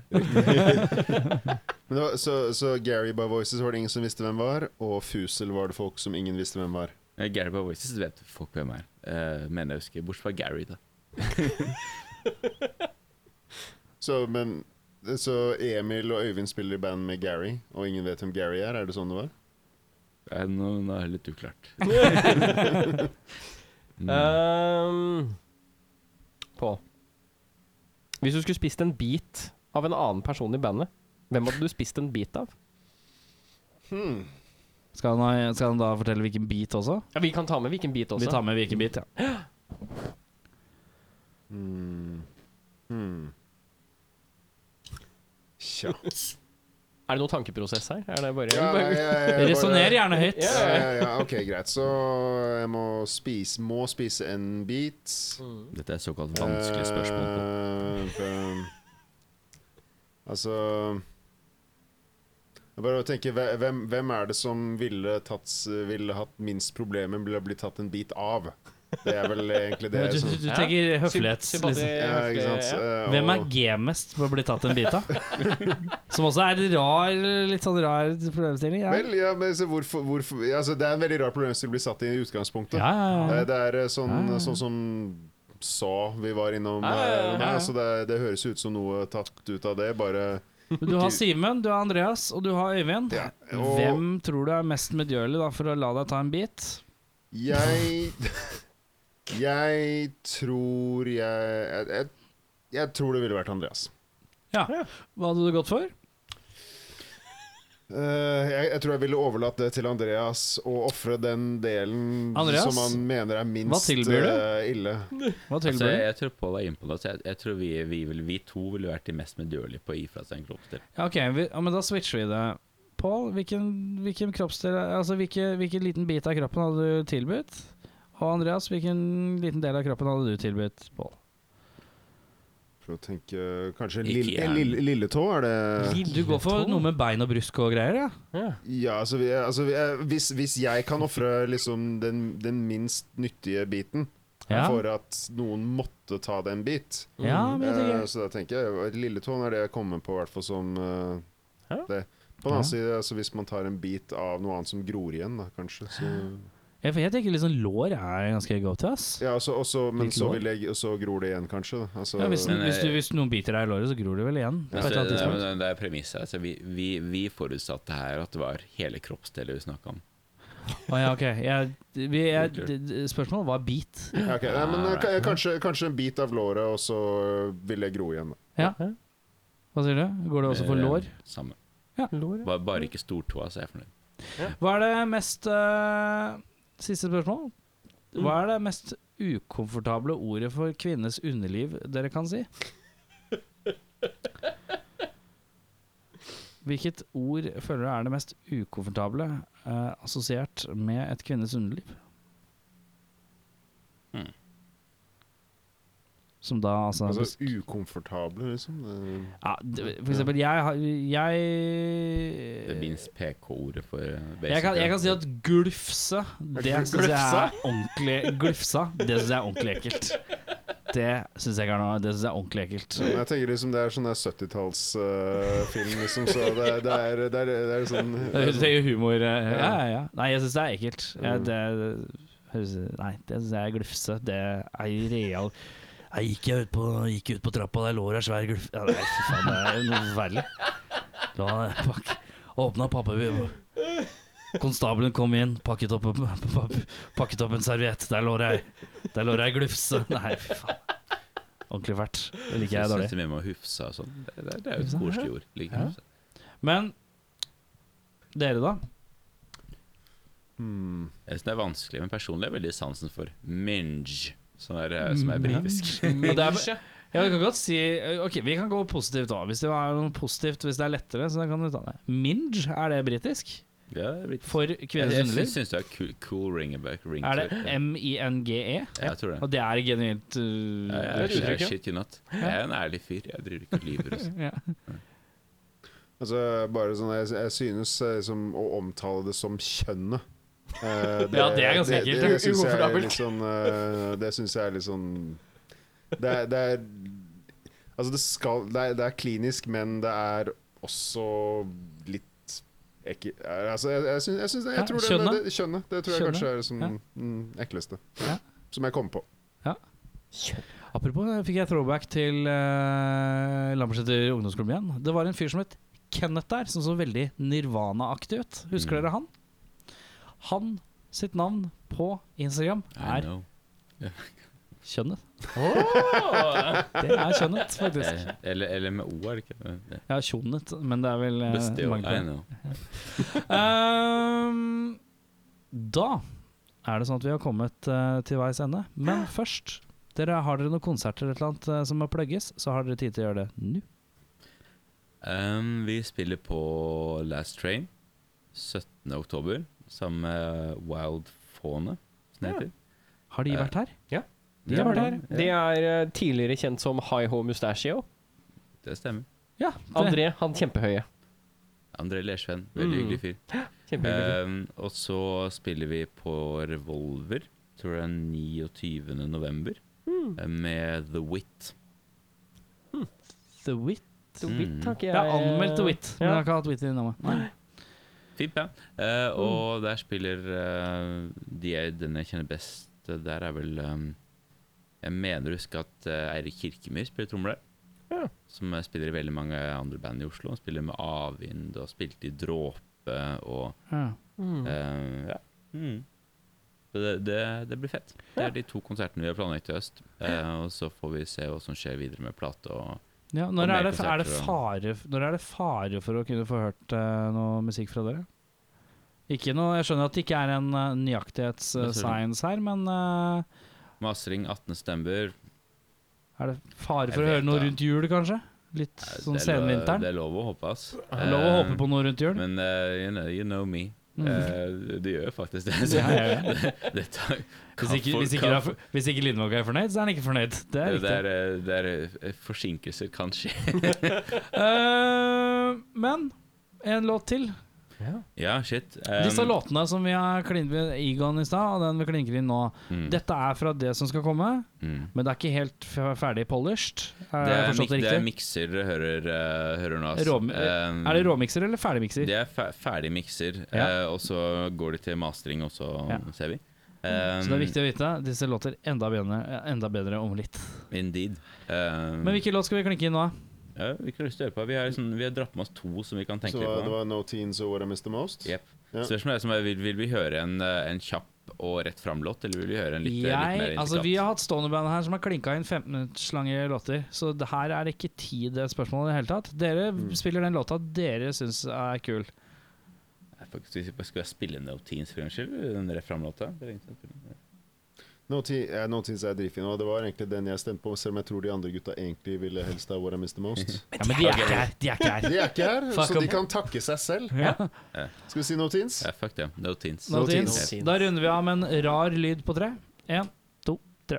[SPEAKER 6] Men det var, så, så Gary by Voices var det ingen som visste hvem var, og Fusel var det folk som ingen visste hvem var.
[SPEAKER 5] Eh, Gary på Voices vet folk hvem er. Eh, mener jeg husker. Bortsett fra Gary, da.
[SPEAKER 6] Så, men, så Emil og Øyvind spiller i band med Gary, og ingen vet hvem Gary er? Er det sånn det var?
[SPEAKER 5] Eh, Nå nå er det litt uklart.
[SPEAKER 1] Ehm, Pål. Hvis du skulle spist en bit av en annen person i bandet, hvem hadde du spist en bit av?
[SPEAKER 2] Skal han, ha- skal han da fortelle hvilken bit også?
[SPEAKER 1] Ja, vi kan ta med hvilken bit også.
[SPEAKER 2] Vi tar med hvilken bit, ja.
[SPEAKER 6] Tja.
[SPEAKER 1] Er det noen tankeprosess her? Er det bare, *laughs*
[SPEAKER 6] Ja, jeg- jeg- jeg bare-
[SPEAKER 2] Resonner gjerne høyt.
[SPEAKER 6] Ja, ja, ja, ok, greit. Så jeg må spise, må spise en bit.
[SPEAKER 5] Dette er såkalt Mm. vanskelig spørsmål.
[SPEAKER 6] Eh, ehm, altså jeg bare tenker, hve- hvem, hvem er det som ville, tatt, ville hatt minst problemer med å bli tatt en bit av? Det er sånn- vel egentlig det.
[SPEAKER 2] *laughs* Du,
[SPEAKER 6] som,
[SPEAKER 2] du, du tenker høflighet.
[SPEAKER 1] Sympati-
[SPEAKER 2] Liksom.
[SPEAKER 6] ja, ikke sant?
[SPEAKER 1] ja.
[SPEAKER 6] Eh,
[SPEAKER 2] Hvem er
[SPEAKER 6] og-
[SPEAKER 2] gamest på å bli tatt en bit
[SPEAKER 6] *laughs*
[SPEAKER 2] av? Som også er rar, litt sånn rar problemstilling. Ja.
[SPEAKER 6] Vel, ja, men så hvorfor, hvorfor ja, altså, Det er en veldig rar problemstilling å bli satt i i utgangspunktet.
[SPEAKER 2] Ja, ja, ja.
[SPEAKER 6] Eh, Det er eh, sånn, sånn som Sa vi var innom. eh,
[SPEAKER 2] ja, ja.
[SPEAKER 6] Altså, det, det høres ut som noe tatt ut av det, bare
[SPEAKER 2] Du har Simen, du har Andreas, og du har Øyvind.
[SPEAKER 6] Ja, og-
[SPEAKER 2] Hvem tror du er mest medgjørlig da, for å la deg ta en bit?
[SPEAKER 6] Jeg *laughs* Jeg tror jeg jeg, jeg jeg tror det ville vært Andreas.
[SPEAKER 2] Ja. Hva hadde du gått for?
[SPEAKER 6] Eh, jeg, jeg tror jeg ville overlatt det til Andreas og ofre den delen
[SPEAKER 2] Andreas,
[SPEAKER 6] som han mener er minst
[SPEAKER 2] hva tilbyr du?
[SPEAKER 6] eh, ille.
[SPEAKER 2] Hva
[SPEAKER 5] Altså,
[SPEAKER 2] tilbyr du?
[SPEAKER 5] jeg, jeg tror Pål er inne på noe. Så jeg, jeg tror vi, vi, vil, vi to ville vært de mest medgjørlige på å gi fra seg en kroppsdel.
[SPEAKER 2] Ja, ok, vi, ja, men da switcher vi det. Pål, hvilken, hvilken kroppsdel Altså, hvilke, hvilken liten bit av kroppen hadde du tilbudt? Og Andreas, hvilken liten del av kroppen hadde du tilbudt Pål?
[SPEAKER 6] For å tenke Kanskje
[SPEAKER 5] Ikke
[SPEAKER 6] lille,
[SPEAKER 5] gjerne.
[SPEAKER 6] lille, lilletå? Er det
[SPEAKER 2] Du går for noe med bein og brusk og greier, ja?
[SPEAKER 6] Ja, altså, vi, altså vi, eh, hvis, hvis jeg kan ofre liksom den, den minst nyttige biten
[SPEAKER 2] Ja.
[SPEAKER 6] for at noen måtte ta den bit,
[SPEAKER 2] Ja, men jeg
[SPEAKER 6] Eh,
[SPEAKER 2] tenker
[SPEAKER 6] Så da tenker jeg Lilletåen er det jeg kommer på, i hvert fall som eh,
[SPEAKER 1] Ja.
[SPEAKER 6] det. På den annen side, altså, hvis man tar en bit av noe annet som gror igjen, da, kanskje så,
[SPEAKER 2] Ja, for jeg tenker liksom lår er ganske go to, ass.
[SPEAKER 6] ja, også, også, Men
[SPEAKER 2] Litt
[SPEAKER 6] så,
[SPEAKER 2] lår?
[SPEAKER 6] vil jeg, og så gror det igjen, kanskje. Da. Altså,
[SPEAKER 2] Ja, hvis,
[SPEAKER 5] Men, eh,
[SPEAKER 2] hvis, du, hvis noen biter deg i låret, så gror det vel igjen. På et
[SPEAKER 5] Altså,
[SPEAKER 2] eller annet
[SPEAKER 5] det,
[SPEAKER 2] tidspunkt.
[SPEAKER 5] det, det er premisset. Altså, vi, vi, vi forutsatte her at det var hele kroppsdeler vi snakka om.
[SPEAKER 2] Å ja, ok. Jeg, vi, jeg, d- d- spørsmålet var bit.
[SPEAKER 6] ja, ok. Nei, men eh, ka- kanskje, kanskje en bit av låret, og så vil jeg gro igjen. Da.
[SPEAKER 2] Ja. Hva sier du? Går det også for
[SPEAKER 5] Eh,
[SPEAKER 2] lår?
[SPEAKER 5] Samme.
[SPEAKER 1] Lår, ja.
[SPEAKER 5] Bare, bare ikke stortåa, så er jeg fornøyd.
[SPEAKER 2] Hva er det mest eh, Siste spørsmål. Hva er det mest ukomfortable ordet for kvinnes underliv dere kan si? Hvilket ord føler du er det mest ukomfortable eh, assosiert med et kvinnes underliv?
[SPEAKER 5] Hmm.
[SPEAKER 2] Som da altså, bes-
[SPEAKER 6] Altså ukomfortable, liksom. Det-
[SPEAKER 2] ja, d- For eksempel, jeg har Jeg
[SPEAKER 5] Det minst PK-ordet for eh,
[SPEAKER 2] Eh, jeg kan, jeg kan si at glufse, det syns jeg
[SPEAKER 6] Glufsa?
[SPEAKER 2] er ordentlig Glufsa, det syns jeg er ordentlig ekkelt. Det syns jeg er noe Det synes jeg er ordentlig ekkelt.
[SPEAKER 6] Men jeg tenker liksom Det er sånn 70-tallsfilm, liksom, så det, er- det, er, det, er, det er sånn
[SPEAKER 2] *laughs* Det er- Det er jo humor eh, Ja, Mm. ja, ja. Nei, jeg syns det er ekkelt. Jeg, det, høres- nei, det syns jeg er glufse. Det er real Jeg gikk jeg ut på, gikk ut på trappa, der lå det ei svær glufse ja, Nei, fy faen, det er noe forferdelig. La meg pakke Åpna pappabilen. Konstabelen kom inn, pakket opp, pakket opp en serviett. Der lå det ei Der lå det ei glufse. Nei, fy faen. Ordentlig fælt. Det liker jeg dårlig.
[SPEAKER 5] Syns vi må hufsa og sånn. Det, det, det er jo et
[SPEAKER 2] Hufsa?
[SPEAKER 5] koselig ord. Like,
[SPEAKER 2] Ja.
[SPEAKER 5] hufsa.
[SPEAKER 2] Men dere, da?
[SPEAKER 6] hmm.
[SPEAKER 5] Jeg syns det er vanskelig, men personlig er jeg veldig sansen for minge, som er, eh,
[SPEAKER 2] Mm,
[SPEAKER 5] som er
[SPEAKER 2] *laughs*
[SPEAKER 5] britisk.
[SPEAKER 2] Og det er, ja, vi kan godt si Ok, vi kan gå positivt òg. Hvis det er noe positivt Hvis det er lettere, så kan du ta det. Minge, er det britisk?
[SPEAKER 5] Ja, det er britisk.
[SPEAKER 2] For
[SPEAKER 5] Jeg,
[SPEAKER 2] kvinners
[SPEAKER 5] jeg syns-
[SPEAKER 2] underliv?
[SPEAKER 5] syns det er cool, cool ring about ring
[SPEAKER 2] Er det
[SPEAKER 5] to it.
[SPEAKER 2] M-I-N-G-E?
[SPEAKER 5] Ja, jeg tror det.
[SPEAKER 2] E? Og det er genuint uh,
[SPEAKER 5] Jeg, jeg, jeg,
[SPEAKER 2] uttrykk, ja.
[SPEAKER 5] shit you not. jeg er en ærlig fyr. Jeg driver ikke og lyver.
[SPEAKER 2] *laughs*
[SPEAKER 5] altså.
[SPEAKER 2] Ja.
[SPEAKER 6] Altså, bare sånn, jeg, jeg synes eh, liksom, å omtale det som kjønnet
[SPEAKER 2] *laughs*
[SPEAKER 6] eh,
[SPEAKER 2] Ja, det er ganske
[SPEAKER 6] det-
[SPEAKER 2] ekkelt.
[SPEAKER 6] Det, det syns jeg er
[SPEAKER 2] Ukomfortabelt.
[SPEAKER 6] litt sånn eh, Det syns jeg er litt sånn Det er, det er Altså, det skal det er, det er klinisk, men det er også litt Jeg, ikke- eh, altså, jeg, jeg, syns- jeg, syns- jeg
[SPEAKER 2] Ja,
[SPEAKER 6] tror det,
[SPEAKER 2] kjønnet.
[SPEAKER 6] det, det, kjønnet. Det tror jeg
[SPEAKER 2] Kjønnet,
[SPEAKER 6] kanskje er det som,
[SPEAKER 2] ja.
[SPEAKER 6] mm, ekleste.
[SPEAKER 2] Ja.
[SPEAKER 6] Som jeg kom på.
[SPEAKER 2] Apropos, der fikk jeg throwback til uh, Lambertseter ungdomsklubb igjen. Det var en fyr som het Kenneth der, som så veldig Nirvana-aktig ut. Husker
[SPEAKER 5] Mm.
[SPEAKER 2] dere han? Han sitt navn på Instagram
[SPEAKER 5] I
[SPEAKER 2] er
[SPEAKER 5] know.
[SPEAKER 2] Kjønnet. *laughs* Det er Kjønnet, faktisk.
[SPEAKER 5] Eh, Eller, eller med O, er det ikke? Eh,
[SPEAKER 2] Ja, Kjønnet, men det er vel eh,
[SPEAKER 5] Beste jo.
[SPEAKER 2] mange
[SPEAKER 5] I
[SPEAKER 2] flere.
[SPEAKER 5] know.
[SPEAKER 2] Ehm, da er det sånn at vi har kommet eh, til veis ende. Men først dere, Har dere noen konserter eller et eller annet eh, som må plugges, så har dere tid til å gjøre det nå.
[SPEAKER 5] Um, vi spiller på Last Train 17. oktober sammen med Wild Faune, som det heter.
[SPEAKER 2] Har
[SPEAKER 5] Eh,
[SPEAKER 2] de vært her?
[SPEAKER 1] De har vært her.
[SPEAKER 5] Ja,
[SPEAKER 1] De er eh, tidligere kjent som High Ho Mustachio.
[SPEAKER 5] Det stemmer.
[SPEAKER 2] Ja, det,
[SPEAKER 1] André, han kjempehøye.
[SPEAKER 5] André Lersven, veldig
[SPEAKER 1] Mm.
[SPEAKER 5] hyggelig fyr.
[SPEAKER 1] Kjempehyggelig.
[SPEAKER 5] Um, og så spiller vi på Revolver, tror jeg er 29. november, eh, med The Wit.
[SPEAKER 2] The Wit.
[SPEAKER 1] Så vidt har ikke
[SPEAKER 2] Jeg har anmeldt The Wit, men jeg
[SPEAKER 1] Ja.
[SPEAKER 2] har ikke hatt Wit i navnet.
[SPEAKER 5] Fint, ja. Eh, og der spiller eh, de jeg, den jeg kjenner best, eh, der er vel eh, Jeg mener å huske at eh, Eirik Kirkemyr spiller trommer der.
[SPEAKER 1] Ja.
[SPEAKER 5] Som eh, spiller i veldig mange andre band i Oslo. Han spiller med Avvind og spilte i Dråpe og
[SPEAKER 2] Ja.
[SPEAKER 1] Mm.
[SPEAKER 5] Eh, ja.
[SPEAKER 2] Mm.
[SPEAKER 5] Så Det, det, det blir fett. Det er de to konsertene vi har planlagt i høst. Eh, og så får vi se hva som skjer videre med plate og
[SPEAKER 2] Ja,
[SPEAKER 5] Og
[SPEAKER 2] når,
[SPEAKER 5] mer
[SPEAKER 2] er det, er det
[SPEAKER 5] konserter
[SPEAKER 2] fare, når er det fare for å kunne få hørt eh, noe musikk fra dere? Ikke noe, Jeg skjønner at det ikke er en uh,
[SPEAKER 5] Hva sier du?
[SPEAKER 2] nøyaktighets-science her, men eh,
[SPEAKER 5] Mastering 18. september.
[SPEAKER 2] er det fare
[SPEAKER 5] Jeg
[SPEAKER 2] for å høre
[SPEAKER 5] vet
[SPEAKER 2] noe
[SPEAKER 5] det.
[SPEAKER 2] rundt jul, kanskje? Litt
[SPEAKER 5] Eh,
[SPEAKER 2] sånn
[SPEAKER 5] det er lov-
[SPEAKER 2] senvinteren?
[SPEAKER 5] Det er lov å håpe, ass.
[SPEAKER 2] Lov å
[SPEAKER 5] Eh,
[SPEAKER 2] håpe på noe rundt jul?
[SPEAKER 5] Men eh, you, know, you know me.
[SPEAKER 2] Mm.
[SPEAKER 5] Eh, det gjør faktisk det. Så
[SPEAKER 2] Ja, ja, ja.
[SPEAKER 5] *laughs* det tar,
[SPEAKER 2] Hvis ikke,
[SPEAKER 5] kan-
[SPEAKER 2] hvis ikke,
[SPEAKER 5] kan-
[SPEAKER 2] du er- hvis ikke Lindvåg er fornøyd, så er han ikke fornøyd. Det er
[SPEAKER 5] det,
[SPEAKER 2] riktig.
[SPEAKER 5] er, eh, det er, eh, forsinkelser kan skje. *laughs*
[SPEAKER 2] Eh, men en låt til.
[SPEAKER 5] Ja, shit.
[SPEAKER 2] Disse
[SPEAKER 5] Um,
[SPEAKER 2] låtene som vi har klint ved Egon i stad, og den vi klinker inn nå,
[SPEAKER 5] mm,
[SPEAKER 2] dette er fra det som skal komme.
[SPEAKER 5] mm.
[SPEAKER 2] Men det er ikke helt f- ferdig polished? Har
[SPEAKER 5] Det
[SPEAKER 2] jeg
[SPEAKER 5] er, mik
[SPEAKER 2] forstått det
[SPEAKER 5] det er
[SPEAKER 2] riktig?
[SPEAKER 5] mikser dere hører, eh, hører nå. ass.
[SPEAKER 2] Råm-
[SPEAKER 5] Um,
[SPEAKER 2] Er det råmikser eller ferdigmikser?
[SPEAKER 5] Det er fe ferdig mikser,
[SPEAKER 2] Ja.
[SPEAKER 5] eh, og så går de til mastering også,
[SPEAKER 2] Ja. Mm.
[SPEAKER 5] ser vi.
[SPEAKER 2] Så det er viktig å vite. Disse låter enda bedre, enda bedre om litt.
[SPEAKER 5] Mm. Eh, Indeed. Um,
[SPEAKER 2] Men hvilken låt skal vi klinke inn nå?
[SPEAKER 5] ja, hvilke har du lyst til å høre på? Vi har, liksom, vi har dratt med oss to som vi kan tenke
[SPEAKER 6] Så
[SPEAKER 5] litt
[SPEAKER 6] det
[SPEAKER 5] på.
[SPEAKER 6] var No Teens og What I Missed The Most?
[SPEAKER 5] Yep.
[SPEAKER 6] Ja.
[SPEAKER 5] Spørsmålet er som er, vil, vil vi høre en, eh, en kjapp og rett fram-låt, eller vil vi høre en litt, eh, litt
[SPEAKER 2] Jeg,
[SPEAKER 5] mer
[SPEAKER 2] altså Vi
[SPEAKER 5] intrikat?
[SPEAKER 2] har hatt Stoneband her som har klinka inn 15 minutters lange låter, så det her er ikke tid det spørsmålet i det hele tatt. Dere spiller den låta dere syns er kul.
[SPEAKER 5] Nei, faktisk, Skal vi- skal jeg spille No Teens for en gangs skyld? Den rett fram-låta? Det er lenge siden jeg spilte den.
[SPEAKER 6] No, te eh, no Teens er dritfin, og det var egentlig den jeg stemte på, selv om jeg tror de andre gutta egentlig ville helst ha What I Missed
[SPEAKER 5] *laughs*
[SPEAKER 6] The Most.
[SPEAKER 2] Ja, men de er ikke her! De er ikke her.
[SPEAKER 6] De er ikke her,
[SPEAKER 2] Fuck
[SPEAKER 6] så de
[SPEAKER 2] up.
[SPEAKER 6] kan takke seg selv.
[SPEAKER 2] *laughs*
[SPEAKER 6] Skal vi si No Teens?
[SPEAKER 5] Ja, fuck det. No Teens.
[SPEAKER 2] No teens.
[SPEAKER 1] teens.
[SPEAKER 2] Da runder vi av med en rar lyd på tre. En, to, tre.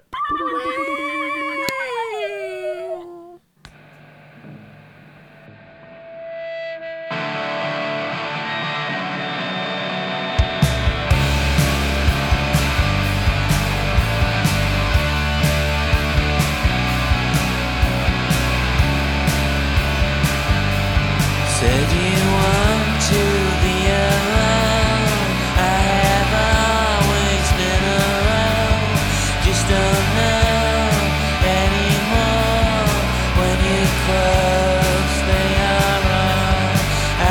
[SPEAKER 7] Said you want to be alone. I have always been around. Just don't know anymore. When you close, they are wrong.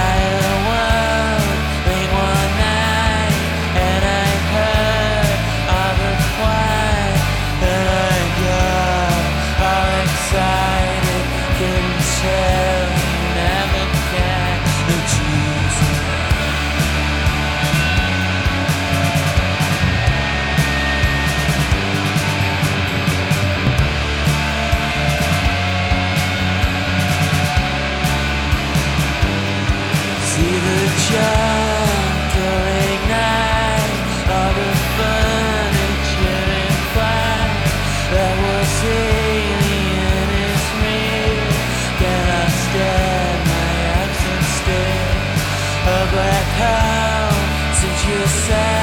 [SPEAKER 7] I awoke late one night and I heard all the quiet and I got all excited, couldn't tell you never can. Oh Jesus. See the juggling night, all the furniture and fire that was alien is real. Can I stand my absence still? A black hole since your side.